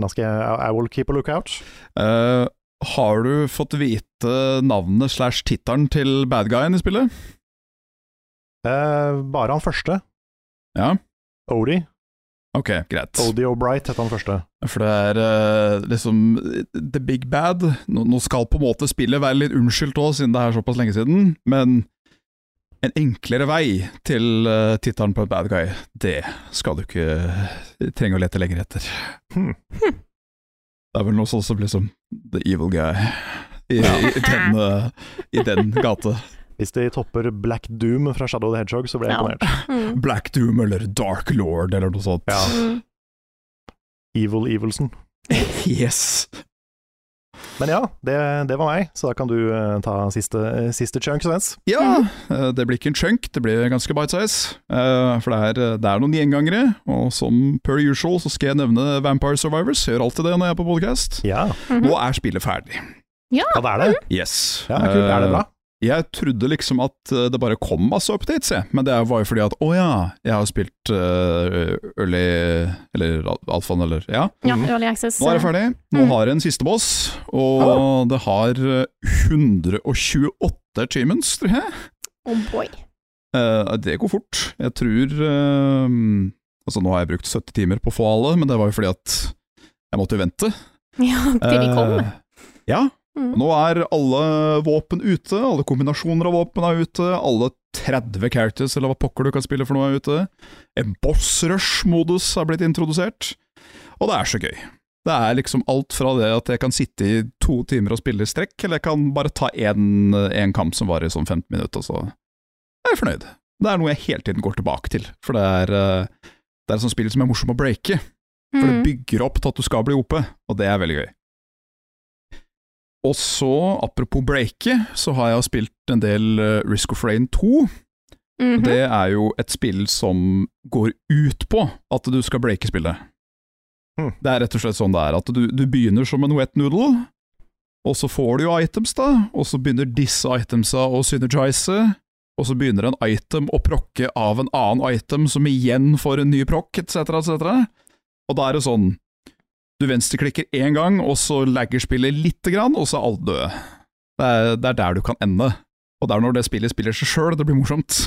Speaker 2: Da skal jeg I, I will keep a lookout.
Speaker 3: Eh, har du fått vite navnet slash tittelen til bad guyen i spillet?
Speaker 2: Eh, bare han første.
Speaker 3: Ja?
Speaker 2: Odie.
Speaker 3: Ok, greit.
Speaker 2: Odie O'Bright heter han første.
Speaker 3: For det er eh, liksom the big bad. Nå, nå skal på en måte spillet være litt unnskyldt òg, siden det er såpass lenge siden, men en enklere vei til uh, tittelen på et bad guy, det skal du ikke eh, trenge å lete lenger etter.
Speaker 2: Hmm.
Speaker 3: Det er vel noe sånt som liksom the evil guy i, i, den, eh, i den gate.
Speaker 2: Hvis de topper Black Doom fra Shadow the Hedgehog, så blir jeg
Speaker 1: Ja.
Speaker 2: imponert.
Speaker 1: Mm.
Speaker 3: Black Doom eller Dark Lord eller noe sånt.
Speaker 2: Ja.
Speaker 1: Mm.
Speaker 2: Evil Evilson.
Speaker 3: Yes!
Speaker 2: Men ja, det, det var meg, så da kan du eh, ta siste, eh, siste chunk, Svens.
Speaker 3: Ja, eh, det blir ikke en chunk, det blir ganske bite-size. eh, For det er, det er noen gjengangere, og som per usual så skal jeg nevne Vampire Survivors. Jeg Gjør alltid det når jeg er på podkast.
Speaker 2: Ja,
Speaker 1: Hmm.
Speaker 3: Nå er spillet ferdig.
Speaker 2: ja det er det.
Speaker 3: Yes.
Speaker 2: Mhm. Ja, kult. Er det bra?
Speaker 3: Eh, Jeg trodde liksom at eh, det bare kom masse updates, jeg. Men det var jo fordi at å ja, jeg har spilt eh, early Eller alfaen, eller ja.
Speaker 1: Ja, early access.
Speaker 3: Hmm. Nå er det ferdig.
Speaker 2: Mm.
Speaker 3: Nå har jeg en siste boss, og det har eh, 128 achievements, tror jeg.
Speaker 1: Oh boy.
Speaker 3: Eh, det går fort. Jeg tror eh, Altså, nå har jeg brukt 70 timer på å få alle, men det var jo fordi at jeg måtte jo vente.
Speaker 1: Ja, til de kom.
Speaker 3: Eh, ja.
Speaker 1: Mm.
Speaker 3: Nå er alle våpen ute, alle kombinasjoner av våpen er ute, alle 30 characters, eller hva pokker du kan spille for noe, er ute. En boss rush-modus har blitt introdusert. Og det er så gøy. Det er liksom alt fra det at jeg kan sitte i to timer og spille i strekk, eller jeg kan bare ta én én kamp som varer sånn 15 minutter, og så er jeg fornøyd. Det er noe jeg hele tiden går tilbake til, for det er, eh, det er et sånt spill som er morsom å breake. For det
Speaker 1: Mm.
Speaker 3: bygger opp til at du skal bli OP, og det er veldig gøy. Og så, apropos breake, så har jeg spilt en del eh, Risk of Rain 2.
Speaker 1: Mhm.
Speaker 3: Det er jo et spill som går ut på at du skal breake spillet.
Speaker 2: Hmm.
Speaker 3: Det er rett og slett sånn det er, at du, du begynner som en wet noodle, og så får du jo items, da, og så begynner disse itemsa å synergise, og så begynner en item å prokke av en annen item, som igjen får en ny prokk, etc., etc. Og da er det sånn, du venstreklikker én gang, og så lagger spillet lite grann, og så er alle døde. Det er, det er der du kan ende. Og det er når det spillet spiller seg sjøl, det blir morsomt.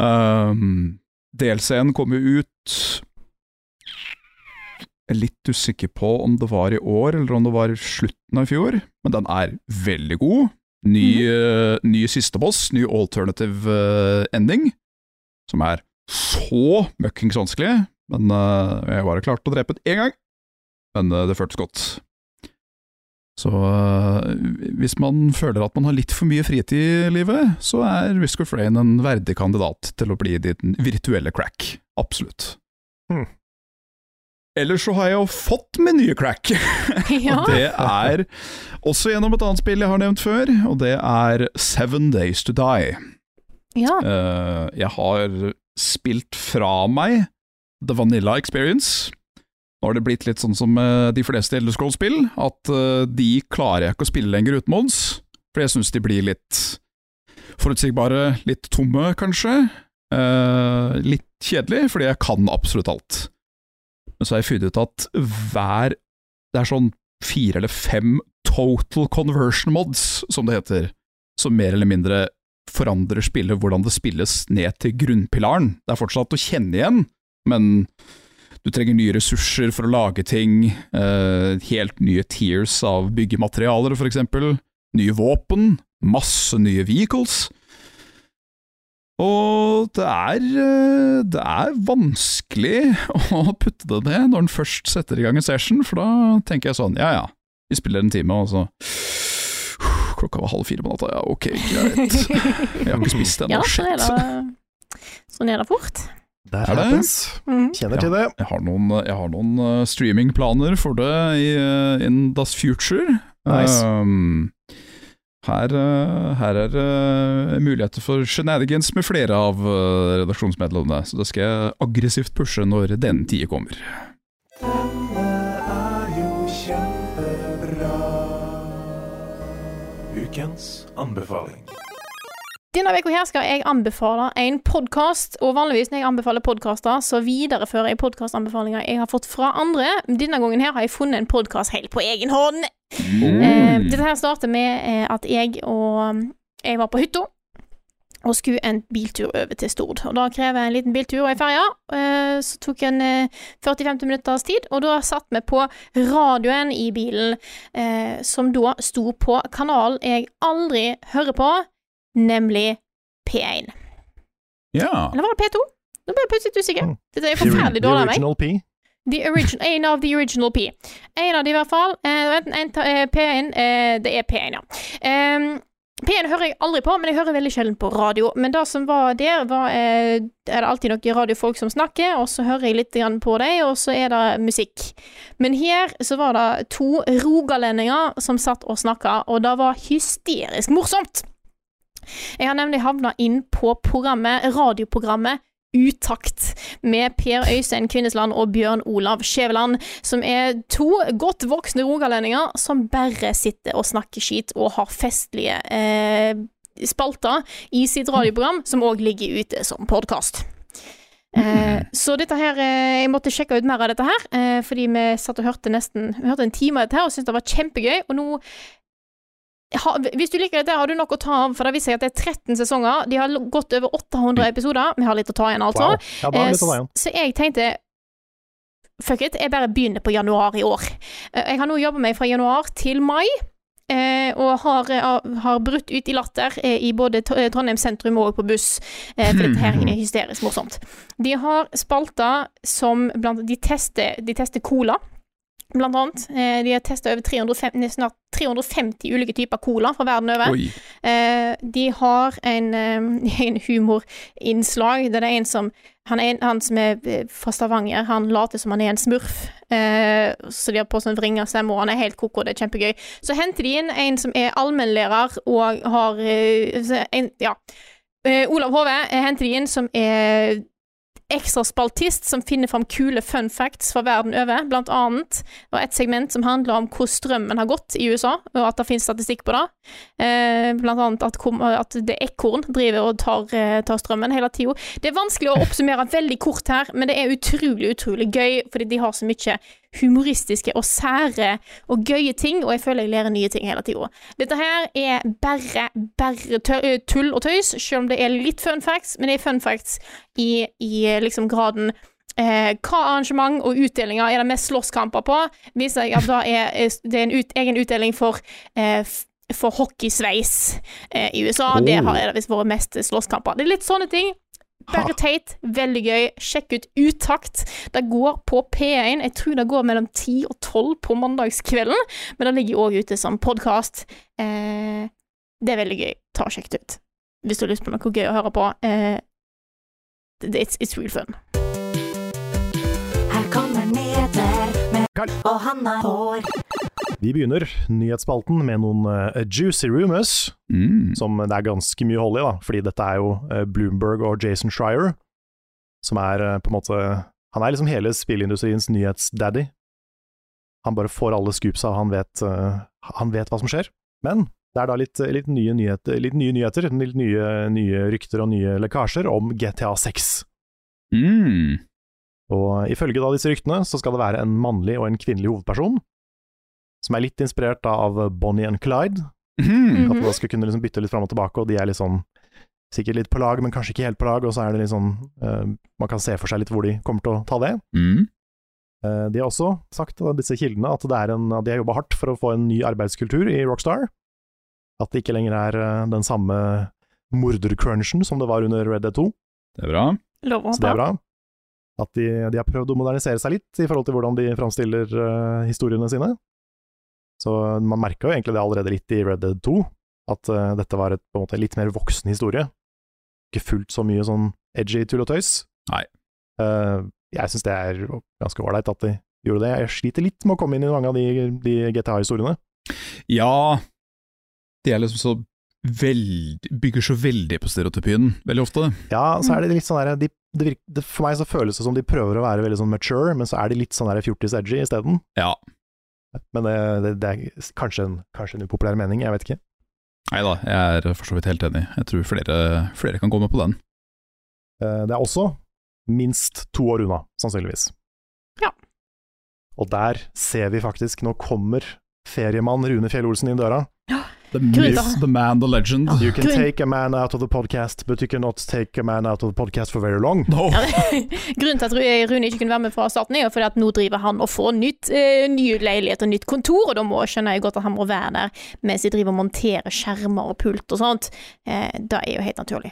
Speaker 3: Um, DLC-en kom jo ut Jeg er litt usikker på om det var i år, eller om det var i slutten av i fjor, men den er veldig god. Ny, eh, ny siste boss, ny alternative eh, ending, som er så møkkings vanskelig, men eh, jeg bare klarte å drepe den én gang. Men eh, det føltes godt. Så øh, hvis man føler at man har litt for mye fritid i livet, så er Risk of Rain en verdig kandidat til å bli din virtuelle crack. Absolutt.
Speaker 2: Hmm.
Speaker 3: Ellers så har jeg jo fått min nye crack,
Speaker 1: ja.
Speaker 3: og det er også gjennom et annet spill jeg har nevnt før, og det er Seven Days To Die.
Speaker 1: ja.
Speaker 3: Eh, jeg har spilt fra meg The Vanilla Experience. Nå har det blitt litt sånn som eh, de fleste Elder Scrolls-spill, at eh, de klarer jeg ikke å spille lenger uten mods, for jeg syns de blir litt forutsigbare, litt tomme, kanskje. Eh, litt kjedelig, fordi jeg kan absolutt alt. Men så har jeg funnet ut at hver Det er sånn fire eller fem total conversion mods, som det heter, som mer eller mindre forandrer spillet, hvordan det spilles, ned til grunnpilaren. Det er fortsatt å kjenne igjen, men du trenger nye ressurser for å lage ting, eh, helt nye tiers av byggematerialer for eksempel, nye våpen, masse nye vehicles. Og det er, eh, det er vanskelig å putte det ned når en først setter i gang en session, for da tenker jeg sånn, ja ja, vi spiller en time, og så Klokka var halv fire på natta, ja ok, greit. Jeg har ikke spist ennå,
Speaker 1: Ja, sånn er
Speaker 3: shit.
Speaker 1: det, sånn er det fort.
Speaker 2: Der
Speaker 3: Er det?
Speaker 2: happens.
Speaker 1: Mm.
Speaker 2: Kjenner til det.
Speaker 3: Jeg har noen, jeg har noen eh, streamingplaner for det i, eh, in das future.
Speaker 2: Nice.
Speaker 3: Um, her, eh, her er eh, muligheter for shenanigans med flere av eh, redaksjonsmedlemmene, så det skal jeg aggressivt pushe når den tida kommer.
Speaker 5: Ukens anbefaling.
Speaker 1: Denne uka her skal jeg anbefale en podkast, og vanligvis når jeg anbefaler podkaster, så viderefører jeg podkastanbefalinger jeg har fått fra andre. Denne gangen her har jeg funnet en podkast helt på egen hånd. Eh,
Speaker 3: Mm.
Speaker 1: dette her starter med eh, at jeg og mm, jeg var på hytta. Og skulle en biltur over til Stord. Og Da krever jeg en liten biltur og ei ferje. Eh, Så tok en eh, 40-50 minutters tid, og da satt vi på radioen i bilen, eh, som da sto på kanalen jeg aldri hører på, nemlig P1.
Speaker 3: Ja.
Speaker 1: Eller var det P2? Nå ble jeg plutselig usikker.
Speaker 2: Mm.
Speaker 1: Dette er
Speaker 2: The ori-
Speaker 1: forferdelig dårlig av meg.
Speaker 2: The original P.
Speaker 1: The origin, en av the original P. En av de i hvert fall. Eh, vent, en ta- eh, P1 eh, Det er P1, ja. Ehm, P1 hører jeg aldri på, men jeg hører veldig sjelden på radio. Men det som var der, var eh, Er det alltid noen radiofolk som snakker, og så hører jeg litt grann på dem, og så er det musikk. Men her så var det to rogalendinger som satt og snakka, og det var hysterisk morsomt. Jeg har nemlig havna inn på programmet, radioprogrammet Utakt med Per Øystein Kvinnesland og Bjørn Olav Skjæveland, som er to godt voksne rogalendinger som bare sitter og snakker skit og har festlige eh, spalter i sitt radioprogram, som òg ligger ute som podkast. Eh, så dette her eh, Jeg måtte sjekke ut mer av dette her, eh, fordi vi satt og hørte nesten Vi hørte en time av dette her og syntes det var kjempegøy, og nå ha, hvis du liker dette, har du nok å ta av, for det viser seg at det er 13 sesonger. De har l- gått over 800 episoder. Vi har litt å ta igjen, altså.
Speaker 2: Wow. Ja, da er det litt av
Speaker 1: Eh,
Speaker 2: veien.
Speaker 1: s- Så jeg tenkte Fuck it, jeg bare begynner på januar i år. Eh, Jeg har nå jobba meg fra januar til mai. eh, og har, eh, har brutt ut i latter eh, i både Tr- eh, Trondheim sentrum og på buss. eh, for dette her er hysterisk morsomt. De har spalter som blant De tester, de tester cola, blant annet. Eh, de har testa over 350, snart 350 ulike typer cola fra verden over.
Speaker 3: Oi.
Speaker 1: Eh, de har en, eh, en humorinnslag der det er en som han, er en, han som er eh, fra Stavanger, han later som han er en smurf. Eh, så de har på sånn vringer stemme, og han er helt koko, det er kjempegøy. Så henter de inn en som er allmennlærer og har eh, så en, Ja. Eh, Olav Hove eh, henter de inn som er ekstraspaltist som finner fram kule fun facts fra verden over, blant annet. Det var et segment som handler om hvor strømmen har gått i USA, og at det finnes statistikk på det. Eh, blant annet at, kom, at det ekorn driver og tar, eh, tar strømmen hele tida. Det er vanskelig å oppsummere veldig kort her, men det er utrolig, utrolig gøy, fordi de har så mye humoristiske og sære og gøye ting, og jeg føler jeg lærer nye ting hele tida. Dette her er bare, bare tø ø, tull og tøys, selv om det er litt fun facts, men det er fun facts i, i liksom graden Eh, hva arrangement og utdelinger er det mest slåsskamper på? Viser jeg at da er, er det er en ut, egen utdeling for eh, f- for hockeysveis eh, i USA. Det har er det visst vært mest eh, slåsskamper. Det er litt sånne ting. Bare teit, veldig gøy. Sjekk ut Utakt. Det går på P1. Jeg tror det går mellom 10 og 12 på mandagskvelden, men det ligger òg ute som podkast. Eh, det er veldig gøy. Ta og Sjekk det ut. Hvis du har lyst på noe gøy å høre på. Eh, it's, it's real fun.
Speaker 6: Her kommer Neder med
Speaker 2: Karl.
Speaker 6: Og han har hår.
Speaker 2: Vi begynner nyhetsspalten med noen eh, juicy rumors.
Speaker 3: Mm.
Speaker 2: som det er ganske mye hold i, da, fordi dette er jo eh, Bloomberg og Jason Schreier, som er eh, på en måte Han er liksom hele spillindustriens nyhetsdaddy. Han bare får alle scoopsa, og han vet, eh, han vet hva som skjer. Men Det er da litt, litt, nye, nyheter, eh, litt nye nyheter, litt nye, nye rykter og nye lekkasjer om GTA 6.
Speaker 3: Mm.
Speaker 2: Og ifølge da disse ryktene så skal det være en mannlig og en kvinnelig hovedperson, som er litt inspirert da av Bonnie and Clyde.
Speaker 3: Mhm.
Speaker 2: At man da skulle kunne liksom bytte litt fram og tilbake, og de er litt sånn sikkert litt på lag, men kanskje ikke helt på lag, og så er det litt sånn eh, Man kan se for seg litt hvor de kommer til å ta det.
Speaker 3: Mm.
Speaker 2: Eh, de har også sagt, da, disse kildene, at, det er en, at de har jobba hardt for å få en ny arbeidskultur i Rockstar. At det ikke lenger er eh, den samme mordercrunchen som det var under Red Dead 2.
Speaker 3: Det er bra.
Speaker 1: Lov å
Speaker 2: Så det er
Speaker 1: håpe.
Speaker 2: bra. At de, de har prøvd å modernisere seg litt i forhold til hvordan de framstiller eh, historiene sine. Så man merka jo egentlig det allerede litt i Red Dead 2, at eh, dette var et, på en måte litt mer voksen historie. Ikke fullt så mye sånn edgy tull og tøys.
Speaker 3: Nei.
Speaker 2: Eh, jeg syns det er ganske ålreit at de gjorde det. Jeg sliter litt med å komme inn i mange av de, de GTA-historiene.
Speaker 3: Ja, de er liksom så veldig Bygger så veldig på stereotypien, veldig ofte.
Speaker 2: Ja, så
Speaker 3: Mm.
Speaker 2: er det litt sånn der, de, det virk, det, For meg så føles det som de prøver å være veldig sånn mature, men så er de litt sånn der fjortis-edgy isteden.
Speaker 3: Ja.
Speaker 2: Men det, det, det er kanskje en, kanskje en upopulær mening, jeg vet ikke.
Speaker 3: Nei da, jeg er for så vidt helt enig. Jeg tror flere, flere kan gå med på den.
Speaker 2: Eh, Det er også minst to år unna, sannsynligvis.
Speaker 1: Ja.
Speaker 2: Og der ser vi faktisk, nå kommer feriemann Rune Fjell Olsen inn døra.
Speaker 3: The
Speaker 1: Grunnen til-
Speaker 3: myth, the man, the legend.
Speaker 2: You can
Speaker 1: Grunn-
Speaker 2: take a man out of the podcast, but you cannot take a man out of the podcast for very long.
Speaker 3: No.
Speaker 1: Ja, det- Grunnen til at Ru- eh, Rune ikke kunne være med fra starten, er jo fordi at nå driver han og får nytt, eh, ny leilighet og nytt kontor, og da må skjønner jeg godt at han må være der mens de driver og monterer skjermer og pult og sånt. Eh, det er jo helt naturlig.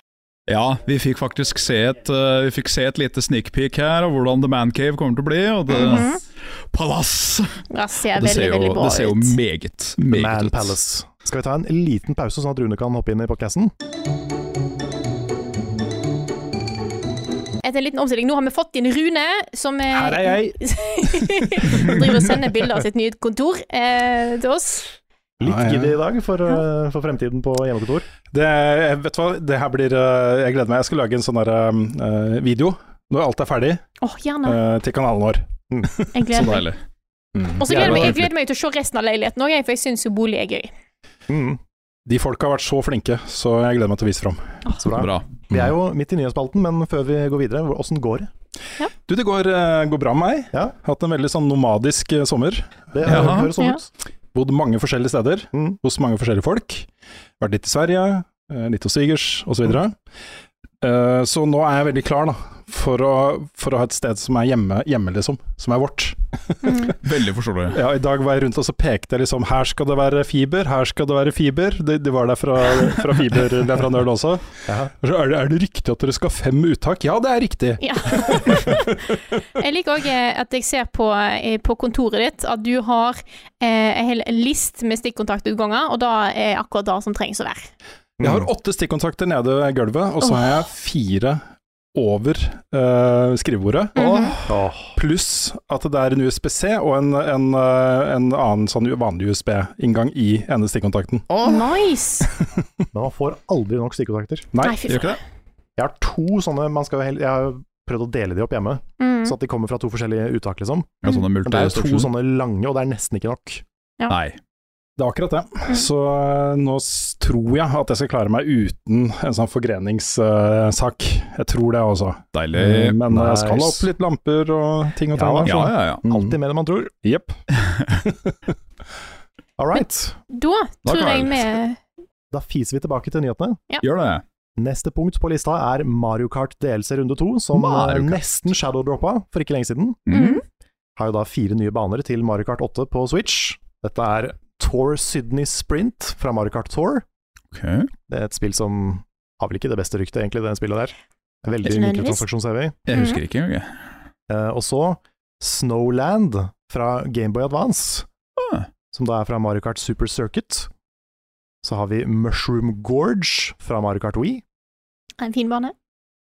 Speaker 3: Ja, vi fikk faktisk se et, eh, vi fikk se et lite sneak peek her av hvordan The Man Cave kommer til å bli. Og det, Palass!
Speaker 1: Det ser
Speaker 3: Det
Speaker 1: Mhm. veldig,
Speaker 3: ser jo,
Speaker 1: veldig bra
Speaker 3: det ser jo
Speaker 1: ut.
Speaker 3: meget, meget
Speaker 2: Man
Speaker 3: ut.
Speaker 2: Palace. Skal vi ta en liten pause, sånn at Rune kan hoppe inn i podcasten?
Speaker 1: Etter en liten omstilling, nå har vi fått inn Rune, som eh,
Speaker 2: Her er jeg!
Speaker 1: som driver og sender bilder av sitt nye kontor eh, til oss.
Speaker 2: Litt
Speaker 4: Ja, ja.
Speaker 2: giddy i dag for, eh, for fremtiden på hjemmekontor.
Speaker 4: Det, jeg vet du hva, det her blir eh, Jeg gleder meg. Jeg skal lage en sånn der, eh, video når alt er ferdig,
Speaker 1: Åh, gjerne.
Speaker 4: eh, til kanalen vår.
Speaker 1: Jeg
Speaker 3: Eh, Så
Speaker 1: gleder meg.
Speaker 3: deilig.
Speaker 2: Mm.
Speaker 1: Og så gleder jeg meg, jeg gleder meg til å se resten av leiligheten òg, for jeg syns jo bolig er gøy.
Speaker 2: Mm,
Speaker 4: De folka har vært så flinke, så jeg gleder meg til å vise fram.
Speaker 2: så bra.
Speaker 3: Bra.
Speaker 2: Vi er jo midt i nyhetsspalten, men før vi går videre, hvor- åssen går det?
Speaker 4: Du, det går, eh, går bra med meg.
Speaker 2: Ja.
Speaker 4: Hatt en veldig sånn nomadisk eh, sommer.
Speaker 2: Det
Speaker 3: Jaha.
Speaker 2: høres sånn
Speaker 1: Ja.
Speaker 2: ut.
Speaker 4: Bodd mange forskjellige steder,
Speaker 2: Mm.
Speaker 4: hos mange forskjellige folk. Vært litt i Sverige, eh, litt hos svigers, osv. Så, uh, så nå er jeg veldig klar da, for å, for å ha et sted som er hjemme, hjemme liksom. Som er vårt.
Speaker 3: Veldig forståelig.
Speaker 4: Ja, I dag var jeg rundt og så pekte jeg liksom Her skal det være fiber, her skal det være fiber. De, de var der fra, fra fiberleverandøren også.
Speaker 2: Ja.
Speaker 4: Og så er, det, er det riktig at dere skal ha fem uttak? Ja, det er riktig.
Speaker 1: Ja. jeg liker òg at jeg ser på, eh, på kontoret ditt at du har eh, en hel list med stikkontaktutganger, og da er akkurat det som trengs å være.
Speaker 4: Jeg har åtte stikkontakter nede i gulvet, og så har jeg fire over eh, skrivebordet.
Speaker 2: Åh.
Speaker 4: Pluss at det er en USBC og en, en, eh, en annen sånn vanlig USB-inngang i ene stikkontakten.
Speaker 1: Nice!
Speaker 2: Men man får aldri nok stikkontakter.
Speaker 4: Nei,
Speaker 1: fy
Speaker 3: Gjør ikke det?
Speaker 2: Jeg har to sånne man skal, jo hel- Jeg har prøvd å dele de opp hjemme,
Speaker 1: Mm.
Speaker 2: så at de kommer fra to forskjellige uttak, liksom.
Speaker 3: Ja, sånne
Speaker 2: Men det er jo to
Speaker 3: multistruksjoner.
Speaker 2: sånne lange, og det er nesten ikke nok.
Speaker 3: Nei.
Speaker 4: Det er akkurat det. Så eh, nå s- tror jeg at jeg skal klare meg uten en sånn forgreningssak. Jeg tror det også.
Speaker 3: Deilig.
Speaker 4: Eh, Men jeg
Speaker 2: nice.
Speaker 4: skal ha opp litt lamper og ting og tang.
Speaker 2: Ja,
Speaker 4: da. Mm.
Speaker 3: Ja, ja, ja.
Speaker 2: Alltid mer enn man tror.
Speaker 4: Jepp.
Speaker 2: All right.
Speaker 1: Da
Speaker 3: Da
Speaker 1: tror
Speaker 3: kan
Speaker 1: jeg
Speaker 3: jeg-
Speaker 1: vi
Speaker 2: Da fiser vi tilbake til nyhetene.
Speaker 3: Gjør det.
Speaker 2: Neste punkt på lista er Mario Kart DLC runde to, som
Speaker 3: Mario
Speaker 2: eh,
Speaker 3: Kart.
Speaker 2: nesten shadowdroppa for ikke lenge siden.
Speaker 3: Mm.
Speaker 1: Mhm.
Speaker 2: Har jo da fire nye baner til Mario Kart 8 på Switch. Dette er Tour Sydney Sprint fra Mario Kart Tour.
Speaker 3: Ok.
Speaker 2: Det er et spill som har vel ikke det beste ryktet, egentlig, det spillet der. Veldig
Speaker 1: Ikke nødvendigvis.
Speaker 2: mikrotransaksjonsheavy.
Speaker 3: Jeg husker ikke engang. jeg.
Speaker 2: Eh, og så Snowland fra Gameboy Advance,
Speaker 3: Ah.
Speaker 2: som da er fra Mario Kart Super Circuit. Så har vi Mushroom Gorge fra Mario Kart Wii,
Speaker 1: En fin bane.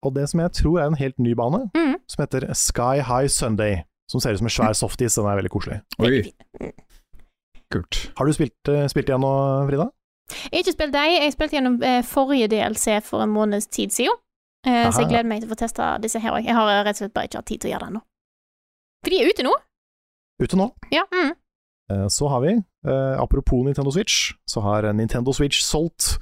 Speaker 2: og det som jeg tror er en helt ny bane,
Speaker 1: Mm.
Speaker 2: som heter Sky High Sunday. Som ser ut som en svær softis, den er veldig koselig.
Speaker 3: Oi,
Speaker 1: Veldig fin.
Speaker 3: kult.
Speaker 2: Har du spilt, eh, spilt igjen nå, Frida?
Speaker 1: Jeg har ikke spilt deg, jeg spilte gjennom eh, forrige DLC for en måneds tid siden. Eh, så jeg
Speaker 2: Aha.
Speaker 1: gleder meg til å få testa disse her òg. Jeg har rett og slett bare ikke hatt tid til å gjøre det ennå. For de er ute nå.
Speaker 2: Ute nå.
Speaker 1: Ja. Mm.
Speaker 2: Eh, så har vi Eh, apropos Nintendo Switch, så har Nintendo Switch solgt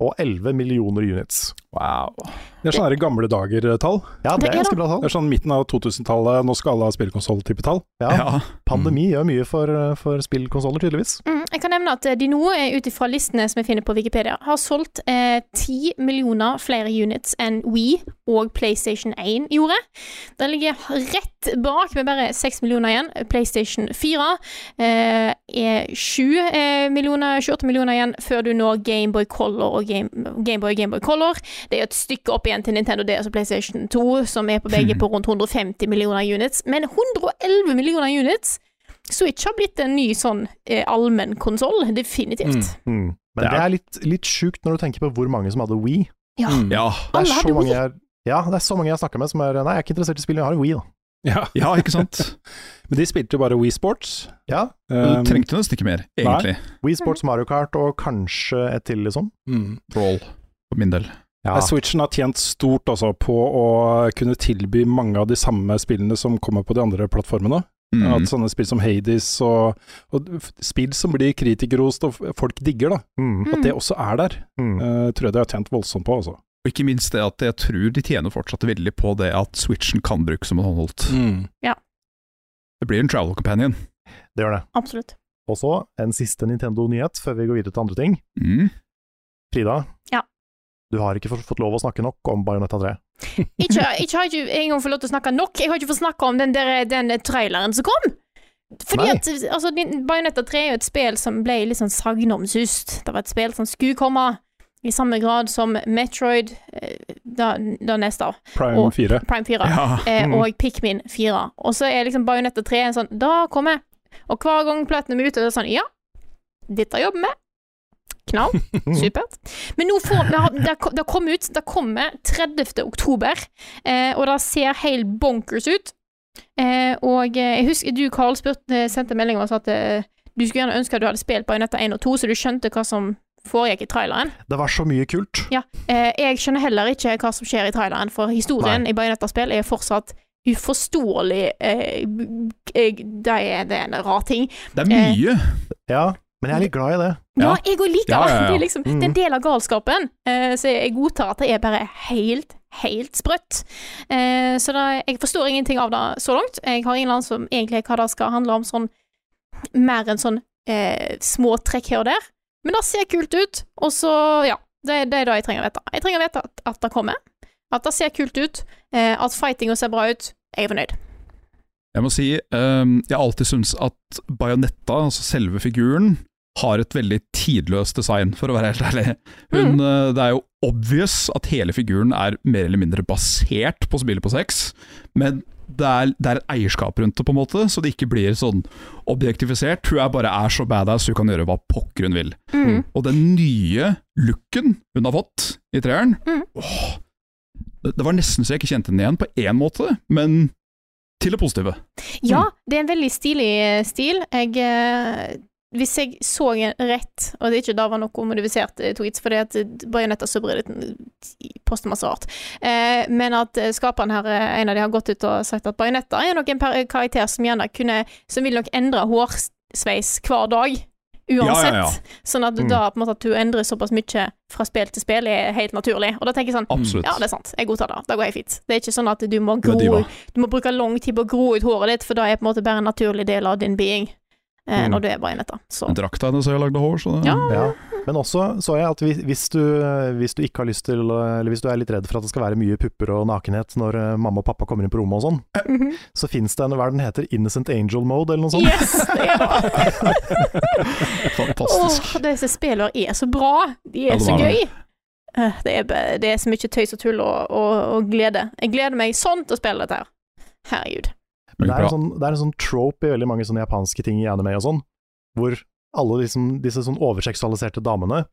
Speaker 2: 111 millioner units.
Speaker 3: Wow.
Speaker 4: Det er sånne her gamle dager-tall.
Speaker 2: Ja, det
Speaker 1: Det
Speaker 2: er
Speaker 1: er
Speaker 2: ganske bra
Speaker 4: Det
Speaker 2: tall.
Speaker 4: er sånn midten av 2000-tallet, nå skal alle ha spillkonsoll-type tall.
Speaker 2: Ja, Mm.
Speaker 3: Ja.
Speaker 2: pandemi gjør mye for, eh, for spillkonsoller, tydeligvis.
Speaker 1: Mm, jeg kan nevne at de nå, eh, ut ifra listene som jeg finner på Wikipedia, har solgt eh, 10 millioner flere units enn We og PlayStation 1 gjorde. Den ligger rett bak med bare 6 millioner igjen. PlayStation 4 eh, er 7 eh, millioner, 28 millioner igjen før du når Gameboy Color og Game, Gameboy Gameboy Color. Det er jo et stykke opp igjen til Nintendo DS og PlayStation 2, som er på begge på rundt 150 millioner units. Men 111 millioner units Switch har blitt en ny sånn eh, allmenn konsoll, definitivt.
Speaker 2: Men det
Speaker 3: Det
Speaker 2: er,
Speaker 3: er-
Speaker 2: litt, litt sjukt når du tenker på hvor mange som hadde Wii.
Speaker 1: Ja.
Speaker 3: Ja.
Speaker 2: Det er
Speaker 1: Alle hadde
Speaker 2: så mange
Speaker 1: Wii.
Speaker 2: jeg, ja, det er så mange jeg har snakka med som er Nei, jeg er ikke interessert i spill, men jeg har en Wii, da.
Speaker 4: Ja.
Speaker 3: ja, ikke sant?
Speaker 4: Men de spilte jo bare Wii Sports.
Speaker 2: Ja,
Speaker 3: Du
Speaker 4: Um,
Speaker 3: trengte nesten ikke mer, egentlig.
Speaker 2: Wii Sports, Mario Kart og kanskje et til, liksom.
Speaker 4: mm.
Speaker 3: Brawl, for min del.
Speaker 2: Ja.
Speaker 4: Nei, Switchen har tjent stort altså, på å kunne tilby mange av de samme spillene som kommer på de andre plattformene.
Speaker 3: Mm.
Speaker 4: At sånne spill som Hades og, og f- spill som blir kritikerrost og f- folk digger, da.
Speaker 2: Mm,
Speaker 4: At det også er der,
Speaker 2: mm.
Speaker 4: eh, tror jeg de har tjent voldsomt på, altså.
Speaker 3: Og ikke minst det at jeg tror de tjener fortsatt veldig på det at switchen kan brukes som en håndholdt.
Speaker 4: Mm.
Speaker 3: Det blir en travel companion.
Speaker 2: Det gjør det.
Speaker 1: Absolutt.
Speaker 2: Og så en siste Nintendo-nyhet før vi går videre til andre ting.
Speaker 3: Mm.
Speaker 2: Frida,
Speaker 1: Ja.
Speaker 2: du har ikke fått- fått lov å snakke nok om Bajonetta 3.
Speaker 1: Ikke, ikke har jeg ikke engang fått lov til å snakke nok. Jeg har ikke fått snakke om den, der, den traileren som kom. Fordi
Speaker 2: Nei.
Speaker 1: at altså, din- Bayonetta 3 er jo et spill som ble litt sånn sagnomsust. Det var et spill som skulle komme i samme grad som Metroid, eh, da, da neste av,
Speaker 4: Prime
Speaker 1: Og-
Speaker 4: 4.
Speaker 1: Prime 4.
Speaker 3: Ja.
Speaker 1: eh,
Speaker 2: Mm.
Speaker 1: og Pikmin 4. Og så er liksom Bajonetta 3 en sånn Da kommer jeg. Og hver gang Platinum er ute, så er det sånn Ja, dette jobber vi med. Knall. Supert. Men nå får vi har- Det har- det har kommet ut Det kommer 30. oktober, eh, og det ser helt bonkers ut. Eh, og eh, jeg husker du, Karl, spurte, sendte melding om og sa at eh, du skulle gjerne ønske at du hadde spilt Bajonetta 1 og 2, så du skjønte hva som foregikk i traileren.
Speaker 2: Det var så mye kult.
Speaker 1: Ja, eh, jeg skjønner heller ikke hva som skjer i traileren, for historien i Bajonetta-spill er fortsatt uforståelig eh, b- eh, Det er, det er en rar ting.
Speaker 3: Det er mye.
Speaker 2: Ja, men jeg er litt glad i det.
Speaker 1: Ja,
Speaker 3: Ja.
Speaker 1: jeg òg liker det!
Speaker 3: Ja, ja, ja. Mm.
Speaker 1: Det er liksom det er en del av galskapen. Eh, så jeg godtar at det er bare helt, helt sprøtt. Eh, så det, jeg forstår ingenting av det så langt. Jeg har ingen anelse om egentlig hva det skal handle om sånn mer enn sånn eh, små trekk her og der. Men det ser kult ut, og så, ja. Det, det er det jeg trenger å vite. Jeg trenger å vite at, at det kommer. At det ser kult ut. Eh, at fightinga ser bra ut. Jeg er fornøyd.
Speaker 3: Jeg må si, ehm, jeg har alltid syntes at Bajonetta, altså selve figuren, har et veldig tidløst design, for å være helt ærlig. Hun,
Speaker 1: Mm.
Speaker 3: eh, Det er jo obvious at hele figuren er mer eller mindre basert på spillet på sex, men det er, det er et eierskap rundt det, på en måte, så det ikke blir sånn objektifisert. Hun er bare er så badass, hun kan gjøre hva pokker hun vil.
Speaker 1: Mm.
Speaker 3: Og den nye looken hun har fått i treeren
Speaker 1: Mm.
Speaker 3: åh, det, det var nesten så jeg ikke kjente henne igjen på én måte, men til det positive. Mm.
Speaker 1: Ja, det er en veldig stilig eh, stil. Jeg eh, Hvis jeg så en rett, og det ikke da var noe modifisert eh, tweets, fordi at Bajonetta subredditen poster masse rart, eh, men at eh, skaperen her, eh, en av de har gått ut og sagt at Bajonetta er nok en per- karakter som gjerne kunne Som vil nok endre hårsveis hver dag. Uansett.
Speaker 3: Ja, ja, ja.
Speaker 1: Sånn at
Speaker 2: Mm.
Speaker 1: da på en måte at du endrer såpass mye fra spill til spill, er helt naturlig. Og da tenker jeg sånn
Speaker 3: Absolutt.
Speaker 1: ja, det er sant. Jeg godtar det. Det går helt fint. Det er ikke sånn at du må,
Speaker 3: Du er
Speaker 1: gro,
Speaker 3: diva.
Speaker 1: du må bruke lang tid på å gro ut håret ditt, for det er på en måte bare en naturlig del av din being eh,
Speaker 2: Mm.
Speaker 1: når du er bajonetta. Så
Speaker 3: Drakta hennes har jeg lagd av hår, så det,
Speaker 1: ja.
Speaker 2: Ja. Men også så jeg at hvis- hvis du, hvis du ikke har lyst til, eller hvis du er litt redd for at det skal være mye pupper og nakenhet når eh, mamma og pappa kommer inn på rommet og sånn,
Speaker 1: Mhm.
Speaker 2: så fins det en hva er den heter, Innocent Angel Mode eller noe
Speaker 3: sånn.
Speaker 2: sånt.
Speaker 1: Yes! Det er det.
Speaker 3: fantastisk.
Speaker 1: Åh, disse spillene er så bra! De
Speaker 3: Ja,
Speaker 1: er
Speaker 3: det
Speaker 1: så
Speaker 3: var det.
Speaker 1: gøy! Eh, Det er, bare- det er så mye tøys og tull og, og, og glede. Jeg gleder meg sånn til å spille dette her. Herregud.
Speaker 2: Det er,
Speaker 3: Bra.
Speaker 2: en sånn, det er en sånn trope i veldig mange sånne japanske ting i anime og sånn, hvor alle liksom, disse sånn overseksualiserte damene,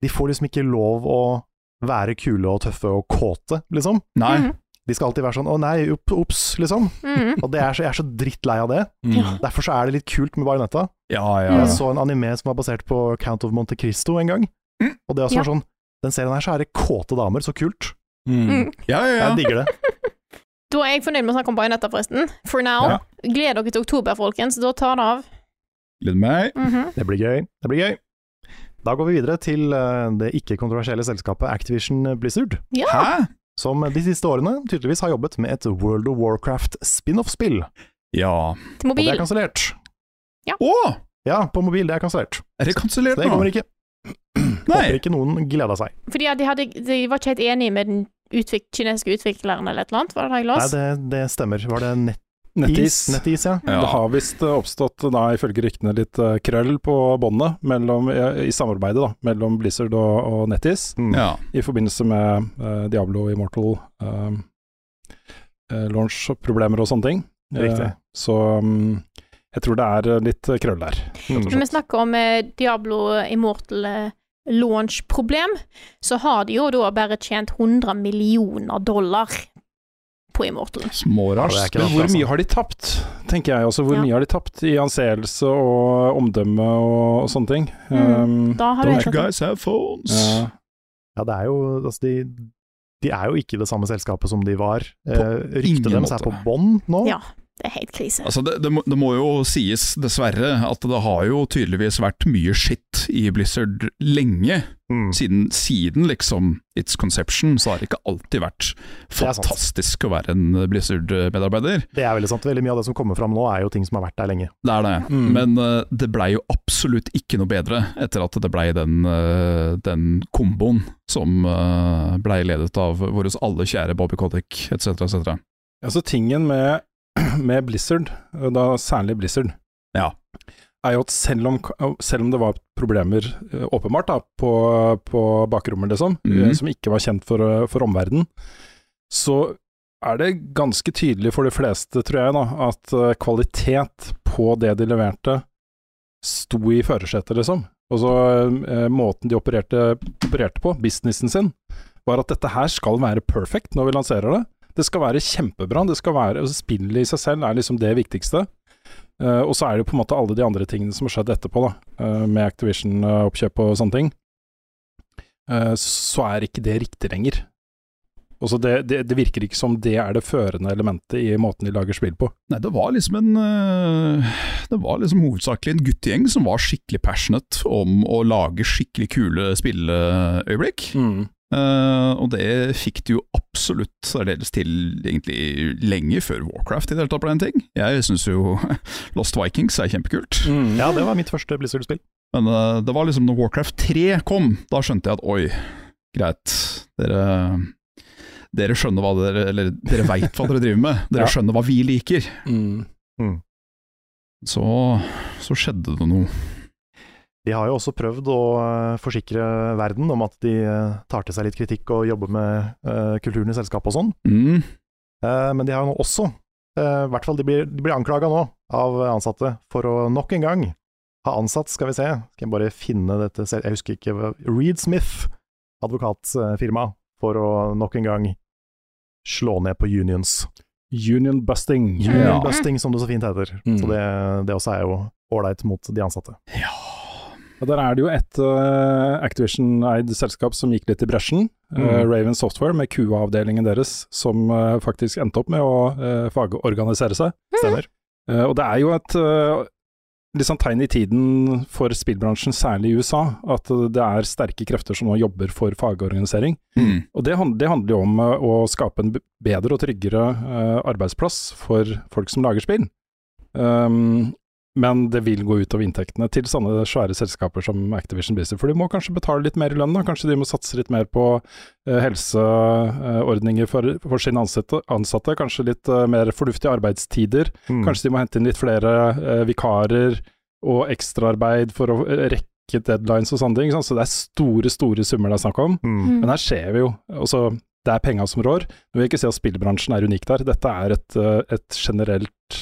Speaker 2: de får liksom ikke lov å være kule og tøffe og kåte, liksom.
Speaker 3: Nei,
Speaker 1: Mhm.
Speaker 2: De skal alltid være sånn 'å nei, opp- ops', liksom.
Speaker 1: Mhm.
Speaker 2: Og det er så, jeg er så drittlei av det.
Speaker 1: Ja.
Speaker 2: Derfor så er det litt kult med Bajonetta.
Speaker 3: Mm. ja, ja.
Speaker 1: Mm.
Speaker 2: Jeg så en anime som var basert på Count of Monte Cristo en gang, og det også
Speaker 1: Ja.
Speaker 2: var sånn Den serien her så er det kåte damer, så kult.
Speaker 1: Mm.
Speaker 3: ja, ja,
Speaker 2: Jeg
Speaker 3: ja.
Speaker 2: digger det.
Speaker 1: Da er jeg fornøyd med å snakke om bajonetta, forresten. For now. Gled dere til oktober, folkens. Da tar det av.
Speaker 3: Gleder meg.
Speaker 1: Mhm.
Speaker 2: Det blir gøy. Det blir gøy. Da går vi videre til eh, det ikke-kontroversielle selskapet Activision Blizzard,
Speaker 1: Ja.
Speaker 3: Hæ?
Speaker 2: som de siste årene tydeligvis har jobbet med et World of Warcraft spin-off-spill.
Speaker 3: Ja.
Speaker 1: Til
Speaker 2: Og det
Speaker 1: mobil.
Speaker 2: er kansellert.
Speaker 3: Å!
Speaker 2: Ja, på mobil, det er kansellert.
Speaker 3: Er det
Speaker 2: Så
Speaker 3: kansellert
Speaker 2: det
Speaker 3: nå?
Speaker 2: kommer ikke.
Speaker 3: Nei.
Speaker 2: Håper ikke noen gleda seg.
Speaker 1: Fordi ja, de, hadde, de var ikke helt enige med den utvik kinesiske utvikleren eller et eller annet, var det det jeg
Speaker 2: Nei,
Speaker 1: leste?
Speaker 2: det, det stemmer. Var det
Speaker 4: Nettis.
Speaker 2: nettis? Nettis, ja.
Speaker 3: Ja.
Speaker 4: Det har visst eh, oppstått, da, ifølge ryktene, litt eh, krøll på båndet mellom- i i samarbeidet da, mellom Blizzard og, og Nettis
Speaker 2: Mm.
Speaker 3: Ja.
Speaker 4: i forbindelse med eh, Diablo Immortal eh, eh, launch-problemer og sånne ting. Eh,
Speaker 2: Riktig.
Speaker 4: så mm, jeg tror det er eh, litt eh, krøll der.
Speaker 1: Når vi snakker om eh, Diablo Immortal eh, launch-problem, så har de jo da bare tjent 100 millioner dollar på Immortal.
Speaker 2: Ja, det
Speaker 3: Småraskt.
Speaker 2: er ikke
Speaker 4: Men
Speaker 2: sant,
Speaker 4: hvor
Speaker 2: altså.
Speaker 4: mye har de tapt, tenker jeg også. Hvor
Speaker 1: Ja.
Speaker 4: mye har de tapt i anseelse og omdømme og, og sånne ting?
Speaker 1: Mm.
Speaker 4: Um,
Speaker 1: Da har du
Speaker 3: Don't
Speaker 1: helt
Speaker 3: you
Speaker 1: rett.
Speaker 3: guys have phones?
Speaker 4: ja.
Speaker 2: Ja, det er jo Altså, de, de er jo ikke det samme selskapet som de var. Eh,
Speaker 3: ingen
Speaker 2: Ryktet deres er
Speaker 3: måte.
Speaker 2: på bånn nå.
Speaker 1: Ja, det er helt krise.
Speaker 3: Altså det, det, må, det må jo sies, dessverre, at det har jo tydeligvis vært mye skitt i Blizzard lenge.
Speaker 2: Mm.
Speaker 3: Siden, siden liksom its conception, så har det ikke alltid vært
Speaker 2: er sant.
Speaker 3: fantastisk å være en Blizzard-medarbeider.
Speaker 2: Det er veldig sant. Veldig mye av det som kommer fram nå, er jo ting som har vært der lenge.
Speaker 3: Det er det.
Speaker 4: Mm.
Speaker 3: Men eh, det blei jo absolutt ikke noe bedre etter at det blei den, eh, den komboen som uh, blei ledet av våre alle kjære Bobby Kotick etc., etc.
Speaker 4: Altså tingen med, med Blizzard, da særlig Blizzard,
Speaker 3: Ja.
Speaker 4: er jo at selv om, selv om det var problemer, eh, åpenbart, da, på, på bakrommet, liksom,
Speaker 3: Mhm.
Speaker 4: eh, som ikke var kjent for, eh, for omverdenen, så er det ganske tydelig for de fleste, tror jeg, da, at eh, kvalitet på det de leverte, sto i førersetet, liksom. Og så eh, måten de opererte, opererte på, businessen sin, var at dette her skal være perfect når vi lanserer det. Det skal være kjempebra. det skal være, altså Spillet i seg selv er liksom det viktigste. Eh, og så er det jo på en måte alle de andre tingene som har skjedd etterpå, da, eh, med Activision-oppkjøp og sånne ting. Eh, så er ikke det riktig lenger. Og så det, det, det virker ikke som det er det førende elementet i måten de lager spill på.
Speaker 3: Nei, det var liksom en eh, Det var liksom hovedsakelig en guttegjeng som var skikkelig passionate om å lage skikkelig kule spilleøyeblikk. Eh, og det fikk det jo absolutt særdeles til egentlig lenge før Warcraft i det hele tatt ble en ting. Jeg syns jo Lost Vikings er kjempekult.
Speaker 4: Mm.
Speaker 2: Ja, det var mitt første Blizzard-spill.
Speaker 3: Men eh, det var liksom når Warcraft 3 kom, da skjønte jeg at oi, greit, dere dere skjønner hva dere Eller dere veit hva dere driver med, dere
Speaker 4: Ja.
Speaker 3: skjønner hva vi liker.
Speaker 4: Mm.
Speaker 3: Så, så skjedde det noe.
Speaker 2: De har jo også prøvd å eh, forsikre verden om at de eh, tar til seg litt kritikk og jobber med eh, kulturen i selskapet og sånn.
Speaker 3: Mm.
Speaker 2: Eh, men de har jo nå også, eh, i hvert fall de blir, de blir anklaga nå av ansatte for å nok en gang ha ansatt, skal vi se, skal jeg bare finne dette selv, jeg husker ikke, hva- Reed Smith, advokatfirma, for å nok en gang slå ned på unions.
Speaker 4: Union busting.
Speaker 2: Union
Speaker 3: Ja.
Speaker 2: busting, som det så fint heter.
Speaker 4: Mm.
Speaker 2: Så det, det også er jo ålreit mot de ansatte.
Speaker 3: Ja.
Speaker 4: Og der er det jo et eh, Activision-eid selskap som gikk litt i bresjen. eh,
Speaker 2: Mm.
Speaker 4: Raven Software, med QA-avdelingen deres, som eh, faktisk endte opp med å eh, fagorganisere seg.
Speaker 2: Stemmer.
Speaker 4: Eh, og det er jo et eh, litt sånn tegn i tiden for spillbransjen, særlig i USA, at eh, det er sterke krefter som nå jobber for fagorganisering.
Speaker 3: Mm.
Speaker 4: Og det, hand- det handler jo om eh, å skape en b- bedre og tryggere eh, arbeidsplass for folk som lager spill. Um, men det vil gå utover inntektene til sånne svære selskaper som Activision Blizzard. For de må kanskje betale litt mer i lønn, da. Kanskje de må satse litt mer på eh, helseordninger for, for sine ansatte, ansatte. Kanskje litt eh, mer fornuftige arbeidstider.
Speaker 2: Mm.
Speaker 4: Kanskje de må hente inn litt flere eh, vikarer og ekstraarbeid for å eh, rekke deadlines og sånne ting. ikke sant? Så det er store, store summer det er snakk om.
Speaker 2: Mm.
Speaker 4: Men her ser vi jo altså, Det er penga som rår. Nå vil jeg ikke si at spillbransjen er unik der. Dette er et, eh, et generelt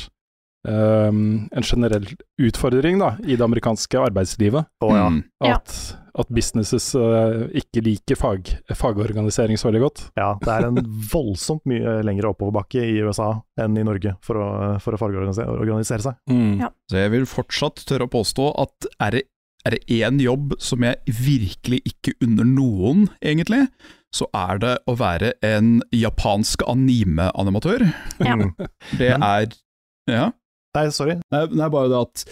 Speaker 4: ehm, En generell utfordring da, i det amerikanske arbeidslivet.
Speaker 2: Å ja.
Speaker 3: Mm.
Speaker 1: Ja.
Speaker 4: At, at businesses eh, ikke liker fag, fagorganisering så veldig godt.
Speaker 2: ja. Det er en voldsomt mye lengre oppoverbakke i USA enn i Norge for å, for å fagorganisere organisere seg.
Speaker 1: Ja.
Speaker 3: Så jeg vil fortsatt tørre å påstå at er det er det én jobb som jeg virkelig ikke unner noen, egentlig, så er det å være en japansk anime-animatør.
Speaker 1: Ja.
Speaker 2: Mm.
Speaker 3: Det er Ja.
Speaker 2: Nei, sorry.
Speaker 3: Nei, det er bare det at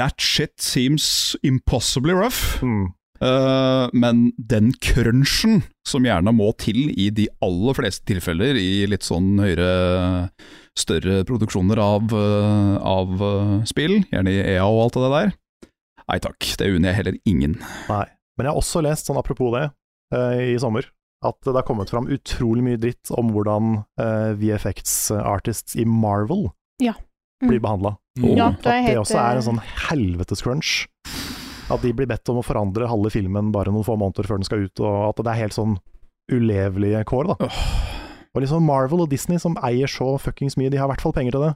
Speaker 3: that shit seems impossibly rough.
Speaker 2: Mm.
Speaker 3: Eh, men den crunchen som gjerne må til i de aller fleste tilfeller i litt sånn høyere, større produksjoner av, eh, av eh, spill, gjerne i EA og alt det der, nei takk, det unner jeg heller ingen.
Speaker 2: Nei. Men jeg har også lest, sånn apropos det, eh, i sommer, at det har kommet fram utrolig mye dritt om hvordan eh, VFX-artists i Marvel
Speaker 1: Ja. Mm.
Speaker 2: blir behandla.
Speaker 3: Mm.
Speaker 1: Ja,
Speaker 2: At det
Speaker 1: helt,
Speaker 2: også er
Speaker 1: eh,
Speaker 2: en sånn helvetes crunch. At de blir bedt om å forandre halve filmen bare noen få måneder før den skal ut, og at det er helt sånn ulevelige kår, da. Og liksom Marvel og Disney, som eier så fuckings mye, de har i hvert fall penger til det.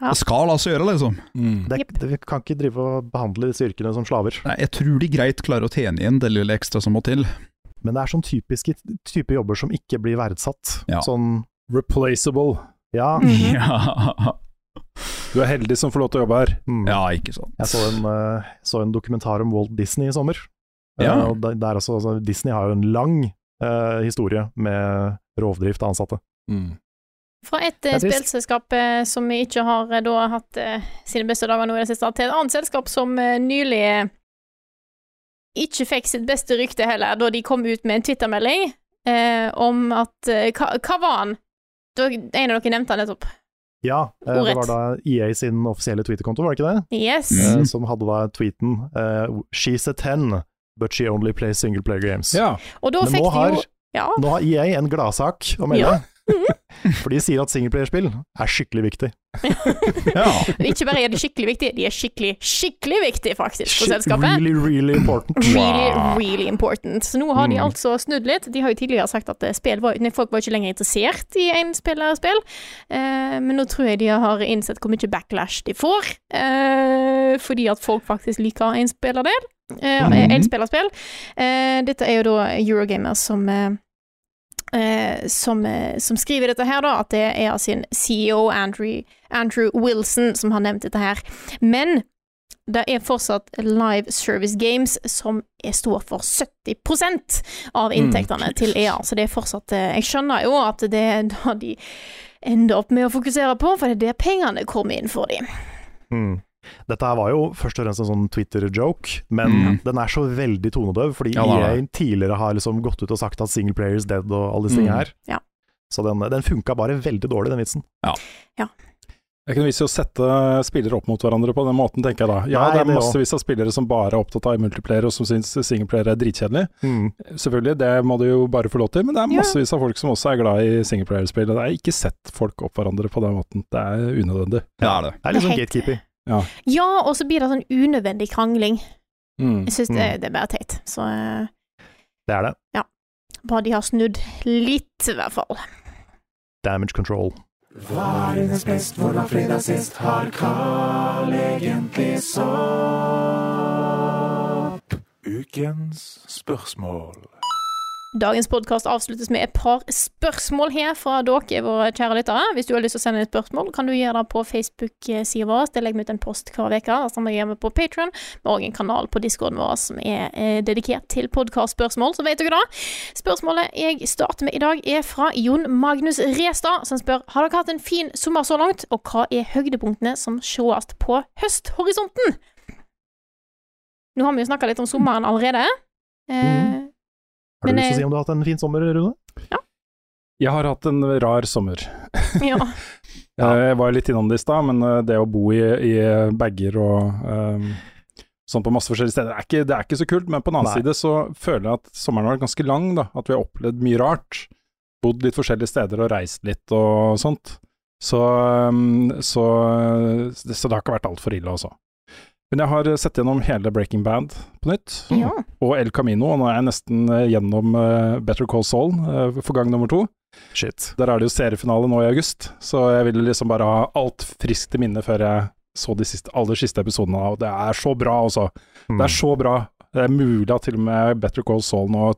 Speaker 1: Ja.
Speaker 3: Det skal la seg gjøre, liksom.
Speaker 4: Mm.
Speaker 2: det,
Speaker 1: Jep.
Speaker 2: det vi kan ikke drive og behandle disse yrkene som slaver.
Speaker 3: Nei, jeg tror de greit klarer å tjene igjen det lille ekstra som må til.
Speaker 2: Men det er sånn typiske type jobber som ikke blir verdsatt.
Speaker 3: Ja.
Speaker 2: Sånn
Speaker 4: Replaceable.
Speaker 2: ja,
Speaker 3: Mm.
Speaker 1: Mhm.
Speaker 3: Ja,
Speaker 4: Du er heldig som får lov til å jobbe her.
Speaker 2: mm.
Speaker 3: ja ikke sant.
Speaker 2: Jeg så en, eh, så en dokumentar om Walt Disney i sommer.
Speaker 3: Ja.
Speaker 2: Eh, og der, der også, altså, Disney har jo en lang eh, historie med rovdrift av ansatte.
Speaker 4: Mm.
Speaker 1: Fra et eh,
Speaker 2: Det er trist.
Speaker 1: spillselskap eh, som ikke har eh, da hatt eh, sine beste dager nå i det siste, til et annet selskap som eh, nylig eh, ikke fikk sitt beste rykte heller, da de kom ut med en Twitter-melding eh, om at eh, hva, hva var han? Da, en av dere nevnte han nettopp.
Speaker 2: Ja, eh, det
Speaker 1: Ordrett.
Speaker 2: var da EA sin offisielle Twitter-konto, var det ikke det?
Speaker 1: Yes.
Speaker 3: Mm.
Speaker 2: Eh, som hadde da tweeten eh, She's a ten, but she only plays single player games.
Speaker 4: Ja.
Speaker 1: Og da
Speaker 2: Men
Speaker 1: fikk
Speaker 2: nå
Speaker 1: de jo
Speaker 2: har-
Speaker 1: Ja.
Speaker 2: Nå har EA en gladsak å melde. For de sier at singleplayerspill er skikkelig viktig.
Speaker 3: Ja.
Speaker 1: Ikke bare er de skikkelig viktige, de er skikkelig, skikkelig viktige, faktisk, for
Speaker 2: Shit,
Speaker 1: selskapet.
Speaker 2: Really, really important.
Speaker 1: Really, really important. Så nå har de
Speaker 2: Mm.
Speaker 1: altså snudd litt. De har jo tidligere sagt at eh, spill var, nei, folk var ikke lenger interessert i enspillerspill, eh, men nå tror jeg de har innsett hvor mye backlash de får, eh, fordi at folk faktisk liker enspillerdel. Eh,
Speaker 3: Mhm.
Speaker 1: Enspillerspill. Eh, dette er jo da Eurogamer som eh, eh, som, eh, som skriver dette her, da, at det er av sin CEO Andrew, Andrew Wilson som har nevnt dette her. Men det er fortsatt Live Service Games som er- står for 70 av inntektene til EA, så det er fortsatt eh, Jeg skjønner jo at det er da de ender opp med å fokusere på, for det er der pengene kommer inn for dem.
Speaker 2: Mm. Dette her var jo først og fremst en sånn Twitter-joke, men
Speaker 3: Mm.
Speaker 2: den er så veldig tonedøv, fordi
Speaker 3: Ja, den er
Speaker 2: EA tidligere har liksom gått ut og sagt at single player is dead og alle disse
Speaker 4: Mm.
Speaker 2: tingene her.
Speaker 1: Ja.
Speaker 2: Så den, den funka bare veldig dårlig, den vitsen.
Speaker 4: Det er ikke noe vits i å sette eh, spillere opp mot hverandre på den måten, tenker jeg da. Ja,
Speaker 2: Nei,
Speaker 4: det er
Speaker 2: det
Speaker 4: massevis av spillere som bare er opptatt av multiplayer, og som syns singleplayer er dritkjedelig.
Speaker 2: Mm.
Speaker 4: Selvfølgelig, det må du jo bare få lov til, men det er
Speaker 1: Ja.
Speaker 4: massevis av folk som også er glad i singleplayerspill. og Jeg har ikke sett folk opp hverandre på den måten, det er unødvendig.
Speaker 3: Det er
Speaker 2: Det er
Speaker 3: det.
Speaker 2: litt
Speaker 1: Det er
Speaker 2: sånn
Speaker 1: helt-
Speaker 2: gatekeeper.
Speaker 1: Ja, og så blir det sånn unødvendig krangling. Jeg syns det,
Speaker 2: Mm.
Speaker 1: det er bare teit. Så eh,
Speaker 2: Det er det.
Speaker 1: bra de har snudd litt, i hvert fall.
Speaker 2: Damage control.
Speaker 5: Hva er dines best, hvor var fredag sist? Har Carl egentlig sopp? Ukens spørsmål.
Speaker 1: Dagens podkast avsluttes med et par spørsmål her fra dere, våre kjære lyttere. Hvis du har lyst til å sende inn spørsmål, kan du gjøre det på Facebook-sida vår. Der legger vi ut en post hver uke. Som vi gjør på Patron. Vi har òg en kanal på discorden vår som er eh, dedikert til podkastspørsmål, så vet dere det. Spørsmålet jeg starter med i dag, er fra Jon Magnus Restad, som spør Har dere hatt en fin sommer så langt, og hva er høydepunktene som sees på høsthorisonten? Nå har vi jo snakka litt om sommeren allerede. Eh,
Speaker 2: Har du
Speaker 1: Men,
Speaker 2: lyst
Speaker 1: eh,
Speaker 2: til å si om du har hatt en fin sommer, Rune?
Speaker 4: Jeg har hatt en rar sommer.
Speaker 1: ja.
Speaker 2: Ja.
Speaker 4: Eh, Jeg var jo litt innom det i stad, men eh, det å bo i, i bager og eh, sånn på masse forskjellige steder, det er ikke, det er ikke så kult. Men på den annen
Speaker 2: Nei.
Speaker 4: side så føler jeg at sommeren har vært ganske lang, da. At vi har opplevd mye rart. Bodd litt forskjellige steder og reist litt og sånt. Så, eh, så, så det har ikke vært altfor ille, altså. Men jeg har sett gjennom hele Breaking Band på nytt,
Speaker 1: ja.
Speaker 4: og El Camino, og nå er jeg nesten eh, gjennom eh, Better Call Saul eh, for gang nummer to.
Speaker 2: Shit.
Speaker 4: Der er det jo seriefinale nå i august, så jeg ville liksom bare ha alt friskt i minne før jeg så de siste, aller siste episodene. av- Og det er så bra, altså.
Speaker 2: Mm.
Speaker 4: Det er så bra. Det er mulig at til og med Better Call Saul nå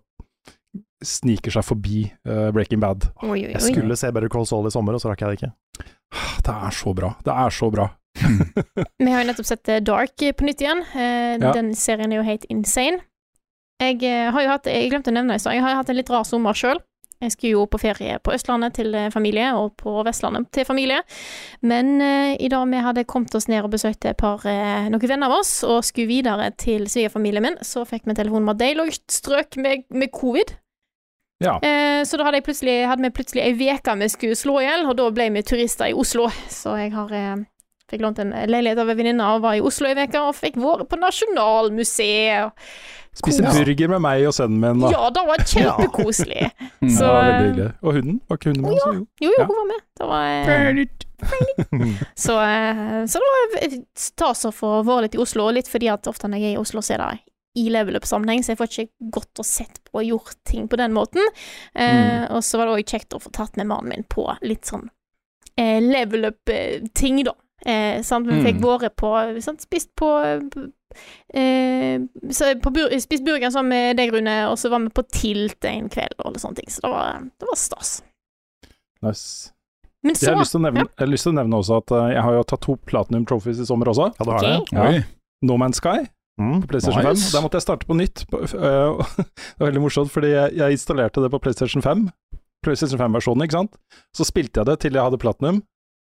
Speaker 4: sniker seg forbi eh, Breaking Bad.
Speaker 1: Oi, oi,
Speaker 2: Jeg
Speaker 1: oi.
Speaker 2: skulle se Better Call Saul i sommer, og så rakk jeg det ikke.
Speaker 4: Ah, Det er så bra. Det er så bra.
Speaker 1: Vi har jo nettopp sett eh, Dark eh, på nytt igjen. Eh,
Speaker 4: Ja.
Speaker 1: Den serien er jo helt insane. Jeg eh, har jo hatt Jeg glemte å nevne det i stad, jeg har jo hatt en litt rar sommer sjøl. Jeg skulle jo på ferie på Østlandet til eh, familie, og på Vestlandet til familie. Men eh, i dag vi hadde kommet oss ned og besøkt et par, eh, noen venner av oss, og skulle videre til svigerfamilien min, så fikk vi telefon om at de lå strøk med, med covid.
Speaker 4: Ja.
Speaker 1: Eh, så da hadde, jeg plutselig, hadde vi plutselig ei uke vi skulle slå i hjel, og da ble vi turister i Oslo. Så jeg har eh, fikk lånt en leilighet av en venninne og var i Oslo i veka og fikk vært på Nasjonalmuseet.
Speaker 4: Spise
Speaker 1: Kos.
Speaker 4: burger med meg og sønnen min. Da.
Speaker 1: Ja, det var kjempekoselig. Så
Speaker 4: Ja, veldig hyggelig. Og hunden? Var ikke hunden med også? Jo.
Speaker 1: jo, jo,
Speaker 4: Ja.
Speaker 1: hun var eh, med. Det var, så, eh, så da tas det for å være litt i Oslo, og litt fordi at ofte når jeg er i Oslo, så er det i level up-sammenheng, så jeg får ikke gått og sett på og gjort ting på den måten. Eh, Og så var det òg kjekt å få tatt med mannen min på litt sånn eh, level up-ting, da. Eh, sant? Vi fikk
Speaker 3: Mm.
Speaker 1: vært på sant? Spist på eh, så på bur Spist burger sammen med deg, Rune, og så var vi på Tilt en kveld, og alle sånne ting. Så det var, det var stas.
Speaker 4: Nice.
Speaker 1: Men
Speaker 4: Jeg
Speaker 1: så
Speaker 4: har, lyst til å nevne, jeg har lyst til å nevne også at eh, jeg har jo tatt to Platinum Trophies i sommer også.
Speaker 2: Ja, du har det.
Speaker 1: Ok.
Speaker 4: Ja.
Speaker 3: Oi.
Speaker 4: No Man's Sky
Speaker 2: Mm.
Speaker 4: på PlayStation
Speaker 3: Nice.
Speaker 4: 5. Der måtte jeg starte på nytt. på- f- øh, Det var veldig morsomt, fordi jeg jeg installerte det på PlayStation 5. PlayStation 5-versjonen, ikke sant. Så spilte jeg det til jeg hadde platinum.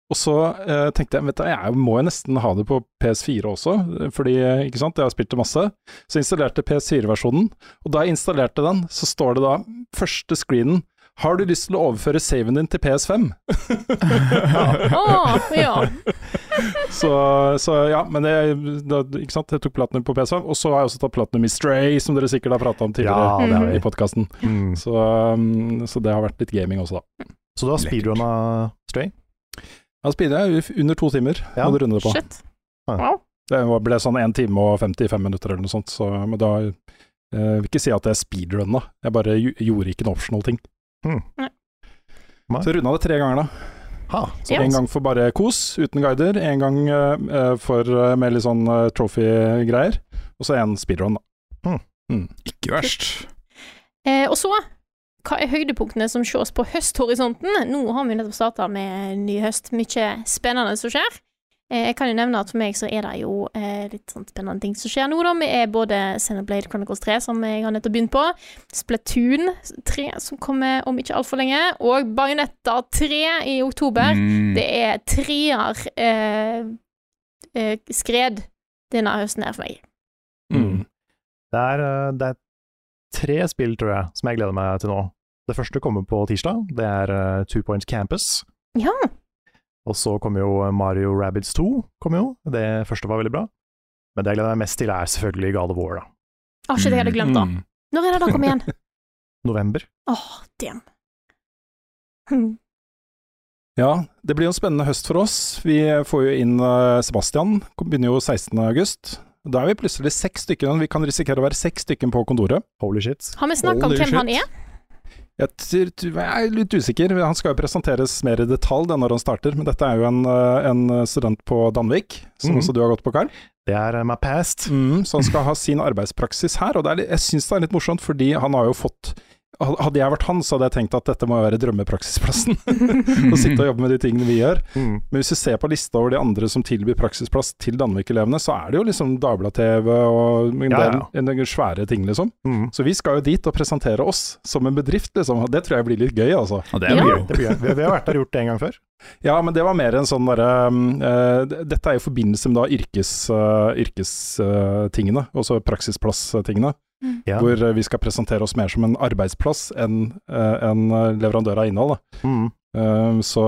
Speaker 4: Og så eh, tenkte jeg vet du, jeg må jo nesten ha det på PS4 også, fordi eh, ikke sant, jeg har spilt det masse. Så jeg installerte PS4-versjonen, og da jeg installerte den, så står det da første screenen Har du lyst til å overføre saven din til PS5?
Speaker 1: Å, ja.
Speaker 4: Så, så ja, men det, da, ikke sant? jeg tok platinum på PS5, og så har jeg også tatt platinum i Stray, som dere sikkert har prata om tidligere
Speaker 2: Ja, det har
Speaker 4: i podkasten.
Speaker 1: Hmm.
Speaker 2: Mm.
Speaker 4: Så, um, så det har vært litt gaming også, da.
Speaker 2: Så du har speedrunna Stray?
Speaker 4: Da speeda jeg i under to timer,
Speaker 2: Ja.
Speaker 4: må du runde det på.
Speaker 1: Shit.
Speaker 2: Ja.
Speaker 1: Wow.
Speaker 4: Det var- ble sånn 1 time og 55 minutter eller noe sånt, så men da eh, vil ikke si at jeg speedrunna, jeg bare ju- gjorde ikke en optional ting.
Speaker 2: Mm.
Speaker 1: Nei.
Speaker 4: Så runda det tre ganger, da.
Speaker 2: Ha.
Speaker 4: Så
Speaker 1: Ja.
Speaker 4: En gang for bare kos, uten guider. En gang eh, for, eh, med litt sånn eh, trophy-greier. Og så en speedrun, da.
Speaker 3: Ikke verst.
Speaker 1: Eh, og så, hva er høydepunktene som ses på høsthorisonten? Nå har vi nettopp starta med ny høst, mye spennende som skjer. Eh, jeg kan jo nevne at for meg så er det jo eh, litt sånn spennende ting som skjer nå, da. Vi er både Xenoblade Chronicles 3, som jeg har nettopp begynt på, Splatoon 3, som kommer om ikke altfor lenge, og Bajonetta 3 i oktober.
Speaker 3: Mm.
Speaker 1: Det er treer eh, eh, skred denne høsten her for meg.
Speaker 4: Mm.
Speaker 2: Det er, eh, det er tre spill, tror jeg, som jeg gleder meg til nå. Det første kommer på tirsdag. Det er eh, Two Points Campus.
Speaker 1: Ja.
Speaker 2: Og så kommer jo eh, Mario Rabbids 2. Kommer jo. Det første var veldig bra. Men det jeg gleder meg mest til, er selvfølgelig God of War, da.
Speaker 1: Ah, shit, jeg hadde glemt det.
Speaker 3: Mm.
Speaker 1: Når er det da kom igjen?
Speaker 2: November.
Speaker 1: Åh, damn. Hm.
Speaker 4: Ja, det blir jo en spennende høst for oss. Vi får jo inn eh, Sebastian, kom- begynner jo 16. august. Da er vi plutselig seks stykker, vi kan risikere å være seks stykker på kontoret.
Speaker 2: Holy shit.
Speaker 1: Har vi snakket om
Speaker 3: Holy
Speaker 1: hvem
Speaker 3: shit.
Speaker 1: han er?
Speaker 4: Jeg, t- t- jeg er litt usikker, han skal jo presenteres mer i detalj det er når han starter, men dette er jo en, eh, en student på Danvik, som
Speaker 2: Mhm.
Speaker 4: også du har gått på, Karl.
Speaker 2: Det er eh, my past.
Speaker 4: Mm, så han skal ha sin arbeidspraksis her, og det er, litt- jeg syns det er litt morsomt, fordi han har jo fått Hadde jeg vært han, så hadde jeg tenkt at dette må jo være drømmepraksisplassen, å sitte og jobbe med de tingene vi gjør.
Speaker 2: Mm.
Speaker 4: Men hvis du ser på lista over de andre som tilbyr praksisplass til Danvik-elevene, så er det jo liksom Dagblad-TV og en
Speaker 2: Ja,
Speaker 4: del
Speaker 2: ja.
Speaker 4: en del svære ting, liksom.
Speaker 2: Mm.
Speaker 4: Så vi skal jo dit og presentere oss som en bedrift, liksom. Og Det tror jeg blir litt gøy, altså.
Speaker 3: Ja, det er
Speaker 1: Ja.
Speaker 3: jo
Speaker 2: Det blir gøy. Vi, vi har vært der og gjort det en gang før.
Speaker 4: Ja, men det var mer en sånn derre um, eh, d- Dette er jo i forbindelse med da yrkestingene, yrkes, eh, tingene, altså praksisplass-tingene.
Speaker 2: Ja.
Speaker 4: Hvor eh, vi skal presentere oss mer som en arbeidsplass enn eh, en eh, leverandør av innhold. Da.
Speaker 2: Mm.
Speaker 4: Eh, så,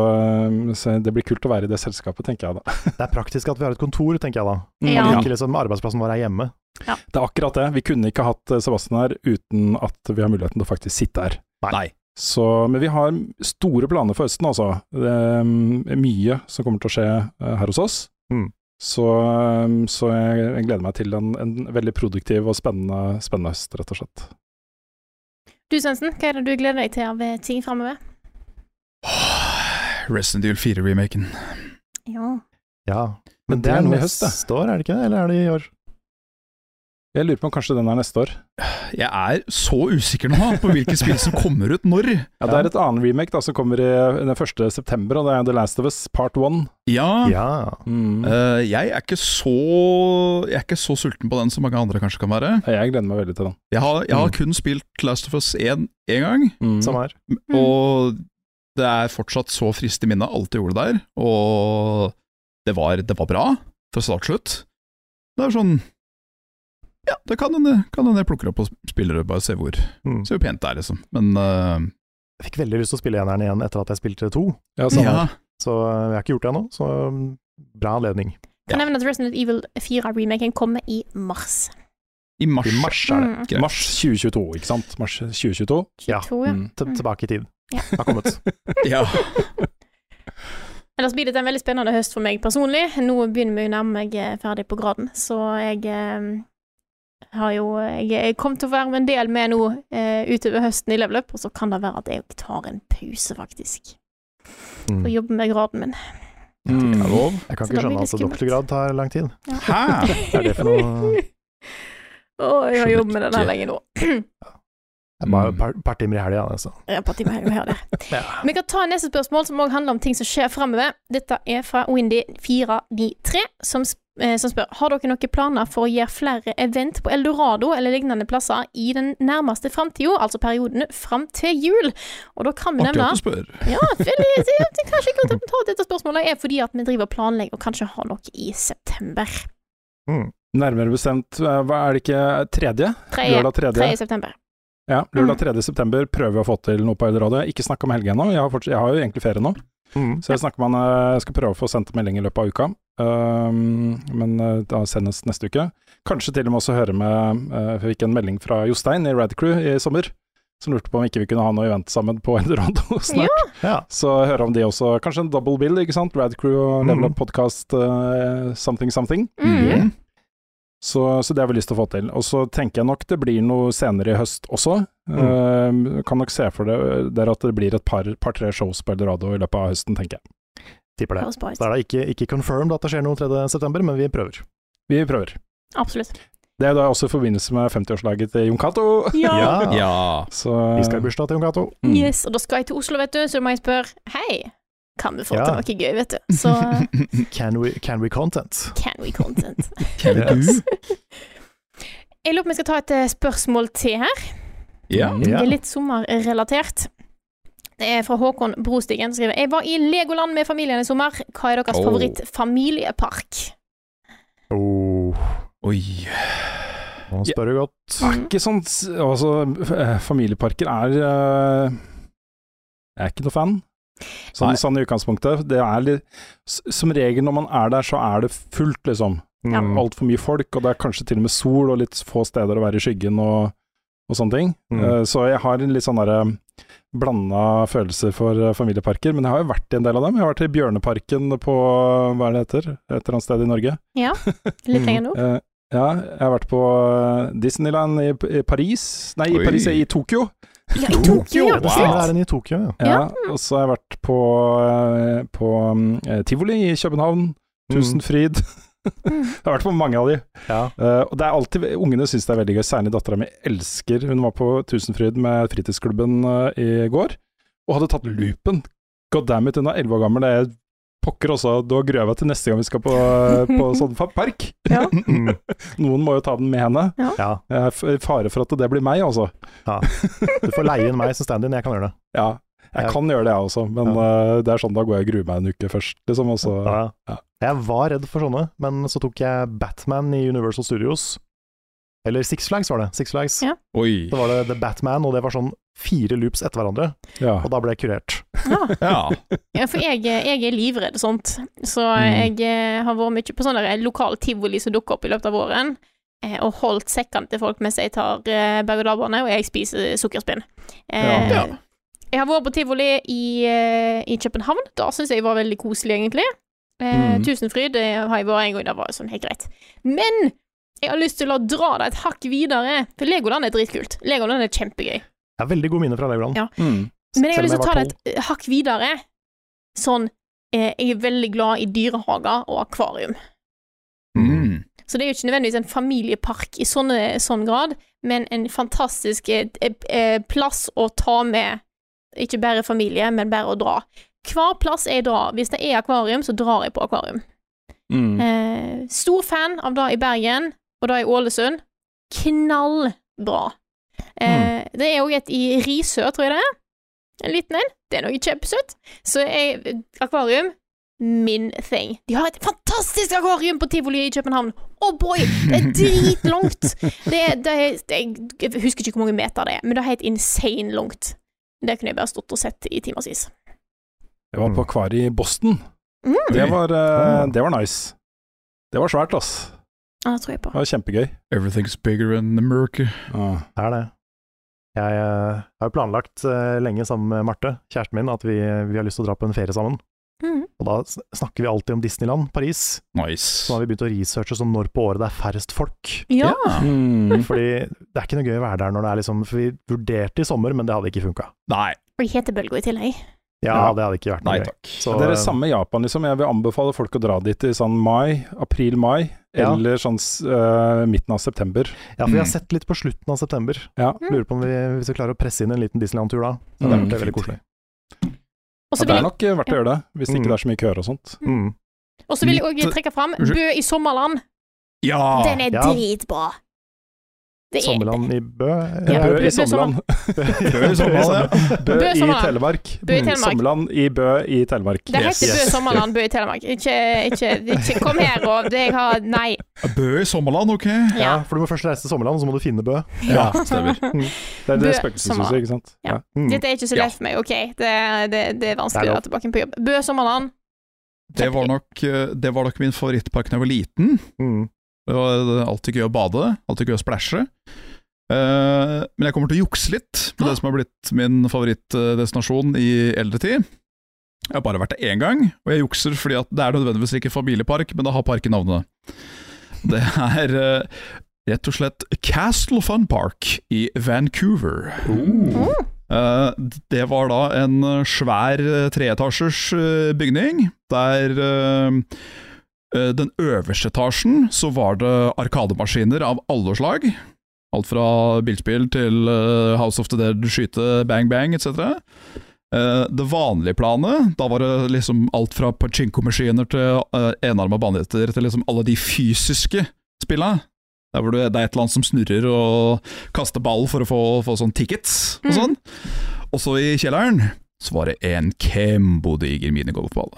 Speaker 4: så det blir kult å være i det selskapet, tenker jeg da.
Speaker 2: Det er praktisk at vi har et kontor, tenker jeg da.
Speaker 1: Ja.
Speaker 2: Ikke liksom arbeidsplassen vår er hjemme.
Speaker 4: Det er akkurat det. Vi kunne ikke hatt eh, Sebastian her uten at vi har muligheten til å faktisk sitte her.
Speaker 3: Nei.
Speaker 4: Så, men vi har store planer for høsten, altså. Det er mm, mye som kommer til å skje eh, her hos oss.
Speaker 2: Mm.
Speaker 4: Så, eh, så jeg, jeg gleder meg til en, en veldig produktiv og spennende, spennende høst, rett og slett.
Speaker 1: Du, Svendsen, hva er det du gleder deg til av eh, ting framover?
Speaker 3: Resident Evil 4-remaken.
Speaker 1: Ja.
Speaker 2: Ja.
Speaker 4: Men det er nå i høst, det.
Speaker 2: neste år, er det ikke det? Eller er det i år?
Speaker 4: Jeg lurer på om kanskje den er neste år.
Speaker 3: Jeg er så usikker nå på hvilke spill som kommer ut når.
Speaker 4: Ja, Det er et annet remake da, som kommer i, den 1. september, og det er The Last of Us Part 1.
Speaker 3: Ja,
Speaker 2: Ja.
Speaker 3: eh, jeg, er ikke så, jeg er ikke så sulten på den som mange andre kanskje kan være.
Speaker 4: Jeg gleder meg veldig til den.
Speaker 3: Jeg har, jeg har kun spilt Last of Us 1 én gang,
Speaker 4: Mm.
Speaker 2: Samme her.
Speaker 3: og det er fortsatt så frist i minnet alt jeg gjorde der. Og det var, det var bra fra start til slutt. Det er sånn Ja, det kan hende kan hende jeg plukker opp og spiller det, bare se hvor,
Speaker 2: Mm.
Speaker 3: se hvor pent det er, liksom. Men eh,
Speaker 2: Jeg fikk veldig lyst til å spille eneren igjen etter at jeg spilte to,
Speaker 4: Ja,
Speaker 3: sånn,
Speaker 4: samme
Speaker 3: ja.
Speaker 4: her.
Speaker 2: så eh, jeg har ikke gjort det ennå. Så um, bra anledning.
Speaker 1: Kan nevne at Resident Evil 4-remaken kommer i mars.
Speaker 3: I mars.
Speaker 2: I mars er det.
Speaker 1: Mm.
Speaker 3: Greit.
Speaker 4: Mars 2022, ikke sant? Mars 2022.
Speaker 2: Ja.
Speaker 1: 22, ja.
Speaker 4: Mm.
Speaker 2: Til-
Speaker 1: Mm.
Speaker 2: Tilbake i tid.
Speaker 1: Ja.
Speaker 2: Har kommet.
Speaker 3: Ja.
Speaker 1: Ellers blir det en veldig spennende høst for meg personlig. Nå begynner vi å nærme meg eh, ferdig på graden, så jeg eh, har jo Jeg, jeg kommer til å være med en del med nå eh, utover høsten i level up, og så kan det være at jeg tar en pause, faktisk.
Speaker 2: Mm.
Speaker 1: Og jobber med graden min.
Speaker 4: Mm.
Speaker 3: Det er lov.
Speaker 2: Jeg kan
Speaker 1: Så da
Speaker 2: ikke
Speaker 1: blir
Speaker 2: skjønne altså,
Speaker 1: det
Speaker 2: at
Speaker 1: skummelt.
Speaker 2: doktorgrad tar lang tid.
Speaker 3: Hæ?
Speaker 2: Hva er det for noe?
Speaker 1: Å, jeg har
Speaker 3: Skjønner
Speaker 1: jobbet med den her
Speaker 3: ikke.
Speaker 1: lenge nå.
Speaker 2: Det er bare
Speaker 3: Mm.
Speaker 2: et par, par timer i helga, altså.
Speaker 1: Jeg er på time her og her der. Vi kan ta neste spørsmål, som også handler om ting som skjer fremover. Dette er fra Windy493, som, sp- eh, som spør Har dere noen planer for å gjøre flere event på Eldorado eller lignende plasser i den nærmeste framtida, altså perioden fram til jul? Og da kan vi
Speaker 3: Artig
Speaker 1: nevne
Speaker 3: at du spør.
Speaker 1: Ja, veldig, det det er kanskje ikke godt å ta dette spørsmålet, er fordi at vi driver og planlegger og kanskje har noe i september.
Speaker 4: Nærmere bestemt, eh, hva er det ikke, tredje?
Speaker 1: Tredje
Speaker 4: Lørdag tredje?
Speaker 1: 3. september.
Speaker 4: Ja, lørdag 3. september prøver vi å få til noe på Eldorado. Jeg har ikke snakka med Helge ennå, jeg, har fortsatt- jeg har jo egentlig ferie nå.
Speaker 2: Mm.
Speaker 4: Så jeg snakker med han, eh, jeg skal prøve å få sendt melding i løpet av uka. Um, men eh, da sendes neste uke. Kanskje til og med også høre med eh, Jeg fikk en melding fra Jostein i Radcrew i sommer, som lurte på om ikke vi kunne ha noe event sammen på Eldorado snart.
Speaker 2: Ja.
Speaker 4: Så høre om de også. Kanskje en double bill, ikke sant? Radcrew og Level Up Podcast eh, something something.
Speaker 1: Mm.
Speaker 4: Så, så det har vi lyst til å få til. Og så tenker jeg nok det blir noe senere i høst også. Eh, kan nok se for dere dere at det blir et par-tre shows på Eldorado i løpet av høsten, tenker jeg.
Speaker 2: Tipper det.
Speaker 1: Høres bra ut.
Speaker 2: Så er det ikke, ikke confirmed at det skjer noe 3.9, men vi prøver.
Speaker 4: Vi prøver.
Speaker 1: Absolutt.
Speaker 4: Det er da også i forbindelse med 50-årslaget til Jon Cato.
Speaker 2: Ja.
Speaker 3: Ja.
Speaker 4: Så
Speaker 2: Vi skal i bursdag til Jon Cato.
Speaker 4: Mm.
Speaker 1: Yes, og da skal jeg til Oslo, vet du, så da må jeg spørre Hei, kan vi få
Speaker 2: Ja.
Speaker 1: til noe gøy, vet du? Så
Speaker 2: Can we, can we content?
Speaker 1: can we content?
Speaker 3: Kan du?
Speaker 1: Jeg lurer på om jeg skal ta et eh, spørsmål til her.
Speaker 3: Ja.
Speaker 1: Det
Speaker 2: Ja.
Speaker 1: er litt sommerrelatert. Det er fra Håkon Brostigen som skriver Jeg var i Legoland med familien i sommer. Hva er deres
Speaker 3: Oh.
Speaker 1: favorittfamiliepark?
Speaker 2: Oh,
Speaker 3: Oi.
Speaker 2: nå spør du godt.
Speaker 1: Mm.
Speaker 4: Ikke sånn s- Altså, f- eh, familieparker er eh, Jeg er ikke noe fan. Sånn,
Speaker 3: Nei.
Speaker 4: sånn i utgangspunktet. Det er litt s- Som regel når man er der, så er det fullt, liksom.
Speaker 1: Ja.
Speaker 2: Mm.
Speaker 4: Altfor mye folk, og det er kanskje til og med sol og litt få steder å være i skyggen og, og sånne ting.
Speaker 2: Mm.
Speaker 4: Eh, så jeg har en litt sånn derre blanda følelser for eh, familieparker. Men jeg har jo vært i en del av dem. Jeg har vært i Bjørneparken på hva er det heter, et eller annet sted i Norge.
Speaker 1: Litt lenger nå.
Speaker 4: Eh, ja, jeg har vært på eh, Disneyland i, i Paris Nei, i
Speaker 3: Oi.
Speaker 4: Paris, i Tokyo.
Speaker 1: Ja, i Tokyo, ja.
Speaker 3: Wow.
Speaker 2: Det er den i Tokyo, ja.
Speaker 4: Ja, Og så har jeg vært på, eh, på eh, tivoli i København. Tusenfryd.
Speaker 1: Mm.
Speaker 4: Jeg har vært på mange av de.
Speaker 2: Ja.
Speaker 4: Eh, og det er alltid, Ungene syns det er veldig gøy, særlig dattera mi elsker Hun var på Tusenfryd med fritidsklubben eh, i går, og
Speaker 2: Mm.
Speaker 4: hadde tatt loopen. God damn it, hun er elleve år gammel. Det er pokker også, da gruer jeg meg til neste gang vi skal på, på sånn fa- park.
Speaker 2: Mm.
Speaker 4: Noen må jo ta den med henne.
Speaker 2: ja.
Speaker 4: Jeg er f- i fare for at det blir meg, altså.
Speaker 2: Du får leie inn meg som stand-in, jeg kan gjøre det.
Speaker 4: Ja, jeg
Speaker 2: Ja.
Speaker 4: kan gjøre det, jeg også, men eh, det er sånn da går jeg og gruer meg en uke først, liksom. Og så
Speaker 2: Ja.
Speaker 4: Ja.
Speaker 2: Jeg var redd for sånne, men så tok jeg Batman i Universal Studios. Eller Six Flags var det. Six Flags.
Speaker 1: Ja.
Speaker 3: Oi.
Speaker 2: Da var det The Batman, og det var sånn fire loops etter hverandre,
Speaker 4: ja.
Speaker 2: og da ble jeg kurert.
Speaker 1: Ja.
Speaker 3: Ja.
Speaker 1: Ja, for jeg, jeg er livredd sånt, så
Speaker 4: Mm.
Speaker 1: jeg eh, har vært mye på sånne der lokale tivoli som dukker opp i løpet av våren, eh, og holdt sekkene til folk mens jeg tar eh, berg-og-dal-bane, og jeg spiser sukkerspinn. Eh,
Speaker 3: Ja.
Speaker 1: Jeg har vært på tivoli i, eh, i København, da syns jeg var veldig koselig, egentlig. Eh,
Speaker 4: Mm.
Speaker 1: Tusenfryd det har jeg vært en gang, det var sånn helt greit. Men jeg har lyst til å dra det et hakk videre, for Legoland er dritkult. Legoland er kjempegøy.
Speaker 2: Jeg har veldig gode minner fra Legoland.
Speaker 1: Ja.
Speaker 2: Mm.
Speaker 1: Men jeg har lyst
Speaker 2: Selv
Speaker 1: til å
Speaker 2: om
Speaker 1: ta
Speaker 2: jeg
Speaker 1: det et eh, hakk videre. Sånn eh, Jeg er veldig glad i dyrehager og akvarium.
Speaker 3: Mm.
Speaker 1: Så det er jo ikke nødvendigvis en familiepark i sånne, sånn grad, men en fantastisk eh, eh, plass å ta med ikke bare familie, men bare å dra. Hver plass jeg drar, hvis det er akvarium, så drar jeg på akvarium.
Speaker 4: Mm.
Speaker 1: Eh, stor fan av det i Bergen, og det i Ålesund. Knallbra. Eh, Det er òg et i Risør, tror jeg det er. En liten en. Det er noe kjempesøtt. Så jeg, akvarium Min thing. De har et fantastisk akvarium på tivoli i København. Oh boy, det er dritlangt! Det er, det er, det er, jeg husker ikke hvor mange meter det er, men det er helt insane langt. Det kunne jeg bare stått og sett i timevis.
Speaker 4: Jeg var på akvariet i Boston.
Speaker 1: Mm,
Speaker 4: Det var, eh,
Speaker 3: Ah.
Speaker 4: det var nice. Det var svært, ass.
Speaker 1: ja, det tror jeg på.
Speaker 4: Det var kjempegøy.
Speaker 3: Everything's bigger in America.
Speaker 4: Ja.
Speaker 2: Det er det. Jeg eh, har jo planlagt eh, lenge sammen med Marte, kjæresten min, at vi, vi har lyst til å dra på en ferie sammen.
Speaker 1: Mm.
Speaker 2: Og da s- snakker vi alltid om Disneyland, Paris.
Speaker 3: Nice.
Speaker 2: Så nå har vi begynt å researche sånn når på året det er færrest folk.
Speaker 1: Ja.
Speaker 4: Mm.
Speaker 2: Fordi det er ikke noe gøy å være der når det er liksom For vi vurderte i sommer, men det hadde ikke funka.
Speaker 3: Nei,
Speaker 1: Og de heter Bølgo i tillegg.
Speaker 2: Ja,
Speaker 4: Ja.
Speaker 2: det hadde ikke vært noe
Speaker 3: nei
Speaker 2: gøy.
Speaker 3: takk.
Speaker 2: Så,
Speaker 4: det er det
Speaker 2: eh,
Speaker 4: samme i Japan, liksom. Jeg vil anbefale folk å dra dit i sånn mai, april-mai,
Speaker 2: Ja.
Speaker 4: eller sånn eh, midten av september.
Speaker 2: Ja, for vi har
Speaker 3: Mm.
Speaker 2: sett litt på slutten av september.
Speaker 4: Ja.
Speaker 2: Lurer på om vi, hvis vi klarer å presse inn en liten Disneyland-tur da. Så det
Speaker 4: Mm.
Speaker 2: hadde vært veldig koselig.
Speaker 1: Og
Speaker 4: Ja,
Speaker 1: så
Speaker 4: det
Speaker 1: vil
Speaker 4: er nok eh, verdt å gjøre det, hvis det
Speaker 2: Mm.
Speaker 4: ikke det er så mye køer og sånt.
Speaker 2: Mm.
Speaker 1: Og så vil jeg også
Speaker 3: Litt-
Speaker 1: trekke fram
Speaker 3: Unnskyld.
Speaker 1: Bø i Sommerland.
Speaker 3: Ja!
Speaker 1: Den er
Speaker 2: ja.
Speaker 1: dritbra. Det er,
Speaker 2: Sommerland i Bø?
Speaker 1: Ja,
Speaker 4: Bø
Speaker 1: Bø
Speaker 4: i
Speaker 1: i
Speaker 4: Sommerland.
Speaker 3: Bø i Sommerland, ja.
Speaker 4: Bø
Speaker 1: Bø i
Speaker 4: i
Speaker 1: Sommerland.
Speaker 4: Telemark.
Speaker 1: Bø i
Speaker 4: Mm.
Speaker 1: Telemark.
Speaker 4: Sommerland i Bø i Telemark.
Speaker 1: Det
Speaker 3: Yes.
Speaker 1: heter Bø
Speaker 3: Yes.
Speaker 1: Sommerland, Bø i Telemark. Ikke, ikke, ikke kom her og det jeg har Nei.
Speaker 3: Bø i Sommerland, ok?
Speaker 2: Ja,
Speaker 1: Ja.
Speaker 2: for du må først reise til Sommerland, så må du finne Bø.
Speaker 3: Ja, stemmer.
Speaker 4: Mm. Det er det
Speaker 1: Bø-
Speaker 4: spøkelseshuset,
Speaker 1: Sommerland.
Speaker 4: ikke sant.
Speaker 1: Ja.
Speaker 2: Mm.
Speaker 1: Dette er ikke så
Speaker 3: Ja.
Speaker 1: lett for meg, OK? Det, det, det er
Speaker 2: Det
Speaker 1: vanskelig
Speaker 2: er
Speaker 1: å
Speaker 2: lov.
Speaker 1: være tilbake på jobb. Bø Sommerland.
Speaker 3: Det var nok, eh, det var nok min favorittpark da jeg var liten.
Speaker 2: Mm.
Speaker 3: Det var alltid gøy å bade, alltid gøy å splæsje. Eh, men jeg kommer til å jukse litt med det som har blitt min favorittdestinasjon i eldre tid. Jeg har bare vært der én gang, og jeg jukser fordi at det er nødvendigvis ikke familiepark, men det har parkenavnet. Det er eh, rett og slett Castle Fun Park i Vancouver. Eh, det var da en eh, svær eh, treetasjers eh, bygning, der eh, eh, den øverste etasjen så var det arkademaskiner av alle slag. Alt fra bilspill til eh, House of the Dead, skyte, bang bang, etc. Eh, det vanlige planet, da var det liksom alt fra pachinko-maskiner til uh, enarma banditter, til liksom alle de fysiske spilla. Der hvor du, det er et eller annet som snurrer og kaster ball for å få, få sånn tickets og sånn. Og så i kjelleren så var det en kjempodiger minigolfball.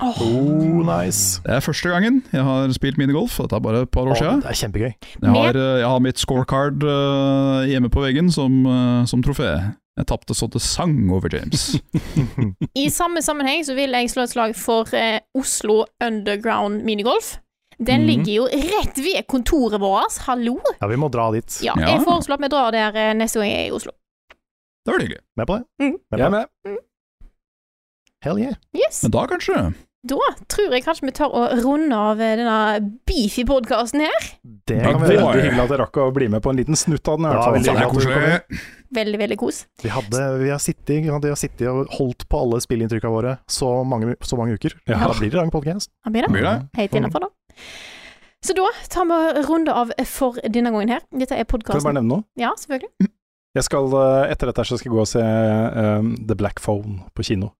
Speaker 2: Oh, nice.
Speaker 3: Det er første gangen jeg har spilt minigolf, og dette er bare et par år
Speaker 2: Å,
Speaker 3: siden.
Speaker 2: det er kjempegøy.
Speaker 3: Jeg har, eh, jeg har mitt scorecard eh, hjemme på veggen som, eh, som trofé. Jeg tapte så det sang over James.
Speaker 1: I samme sammenheng så vil jeg slå et slag for eh, Oslo Underground Minigolf. Den
Speaker 3: Mhm.
Speaker 1: ligger jo rett ved kontoret vårt. Hallo!
Speaker 2: Ja, vi må dra dit.
Speaker 1: Ja,
Speaker 3: Ja.
Speaker 1: jeg foreslår at vi drar der eh, neste gang jeg er i Oslo.
Speaker 3: Det var hyggelig.
Speaker 2: Med på det?
Speaker 4: Jeg er med.
Speaker 2: Hell yeah.
Speaker 1: Yes.
Speaker 3: Men da kanskje
Speaker 1: Da tror jeg kanskje vi tør å runde av eh, denne beefy podkasten her.
Speaker 2: Det
Speaker 3: Ja,
Speaker 2: kan vi
Speaker 3: det-
Speaker 2: gjøre.
Speaker 3: Boy.
Speaker 4: Veldig hyggelig at jeg rakk å bli med på en liten snutt av den. i
Speaker 2: Ja,
Speaker 4: hvert fall.
Speaker 2: veldig
Speaker 3: Faen, Altså, det er
Speaker 2: hyggelig at du kom
Speaker 3: koselig.
Speaker 1: Veldig, veldig kos.
Speaker 2: Vi, hadde, vi, har sittet, ikke sant, vi har sittet og holdt på alle spillinntrykkene våre så mange, så mange uker.
Speaker 4: Ja.
Speaker 2: Da blir det lang podkast.
Speaker 1: Han blir det.
Speaker 3: Blir det?
Speaker 1: Helt innafor, da. Så da tar vi en runde av for denne gangen her. Dette er
Speaker 4: Kan jeg bare
Speaker 1: podkasten.
Speaker 4: nevne noe?
Speaker 1: Ja, selvfølgelig.
Speaker 4: Jeg skal, eh, etter dette her så skal jeg gå og se eh, The Black Phone på kino.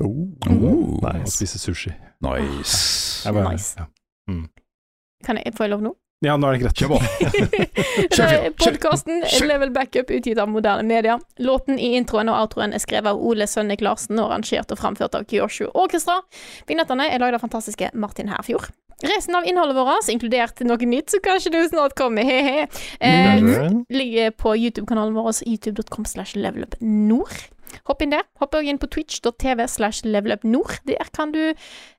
Speaker 3: Oh,
Speaker 4: Og spise sushi.
Speaker 3: nice.
Speaker 4: Jeg bare-
Speaker 1: Nice.
Speaker 4: ja.
Speaker 1: Kan jeg, får jeg lov nå?
Speaker 4: ja, nå er det greit.
Speaker 3: Kjør på. Kjør, kjør,
Speaker 1: Podkasten Eh, Level Backup utgitt av moderne media. Låten i introen og outroen er skrevet av Ole Sønnek Larsen og arrangert og framført av Kyoshu Orchestra. Vignettene er lagd av fantastiske Martin Herfjord. Resten av innholdet vårt, inkludert noe nytt, så kanskje du snart kommer, he-he, eh, ligger på YouTube-kanalen vår, youtube.com slash levelupnord. Hopp inn der. Hopp også inn på twitch.tv slash levelupnord. Der kan du,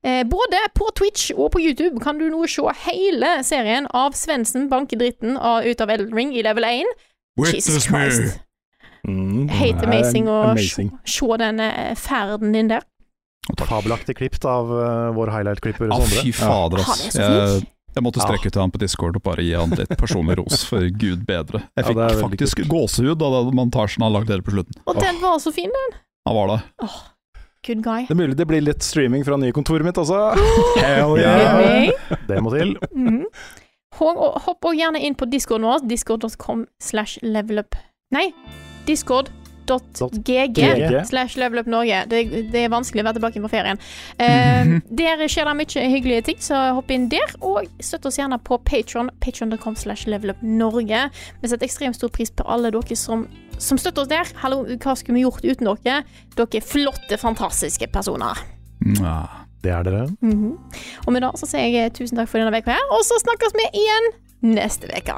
Speaker 1: eh, både på Twitch og på YouTube, kan du nå se hele serien av Svendsen banker dritten av, ut av Elden Ring i level 1. Jesus
Speaker 3: Witness me.
Speaker 1: Christ.
Speaker 4: Mm,
Speaker 1: Helt
Speaker 4: det er
Speaker 1: amazing å
Speaker 4: amazing.
Speaker 1: se- se den eh, ferden din der.
Speaker 2: Fabelaktig klippet av eh, vår highlight-klipper
Speaker 4: sånn
Speaker 3: Å,
Speaker 2: Sondre.
Speaker 3: fy fader,
Speaker 1: Han
Speaker 3: ass.
Speaker 1: er så
Speaker 3: Jeg,
Speaker 1: flink.
Speaker 3: jeg måtte strekke ut til han på Discord og bare gi han litt personlig ros, for gud bedre. Jeg
Speaker 4: Ja,
Speaker 3: fikk
Speaker 4: det er veldig
Speaker 3: faktisk gåsehud av den montasjen han lagde her på slutten.
Speaker 1: Og den var så fin, den.
Speaker 3: Han var det.
Speaker 1: Good guy.
Speaker 4: Det er mulig det blir litt streaming fra nye kontoret mitt også.
Speaker 3: Hell
Speaker 2: yeah.
Speaker 1: Hey.
Speaker 2: Det må til.
Speaker 1: Mhm. Hå- og Hopp også gjerne inn på discorden vår, discord.com slash levelup. Nei, discord.gg
Speaker 7: GG.
Speaker 1: slash levelupnorge. Det, det er vanskelig å være tilbake på ferien. Eh, der skjer det mye hyggelige ting, så hopp inn der. Og støtt oss gjerne på Patron, patron.com slash levelupnorge. Vi setter ekstremt stor pris på alle dere som, som støtter oss der. Hallo, hva skulle vi gjort uten dere? Dere er flotte, fantastiske personer.
Speaker 3: Mwah.
Speaker 2: Det er dere.
Speaker 1: Mhm. Og med det så sier jeg tusen takk for denne uka her, og så snakkes vi igjen neste uke.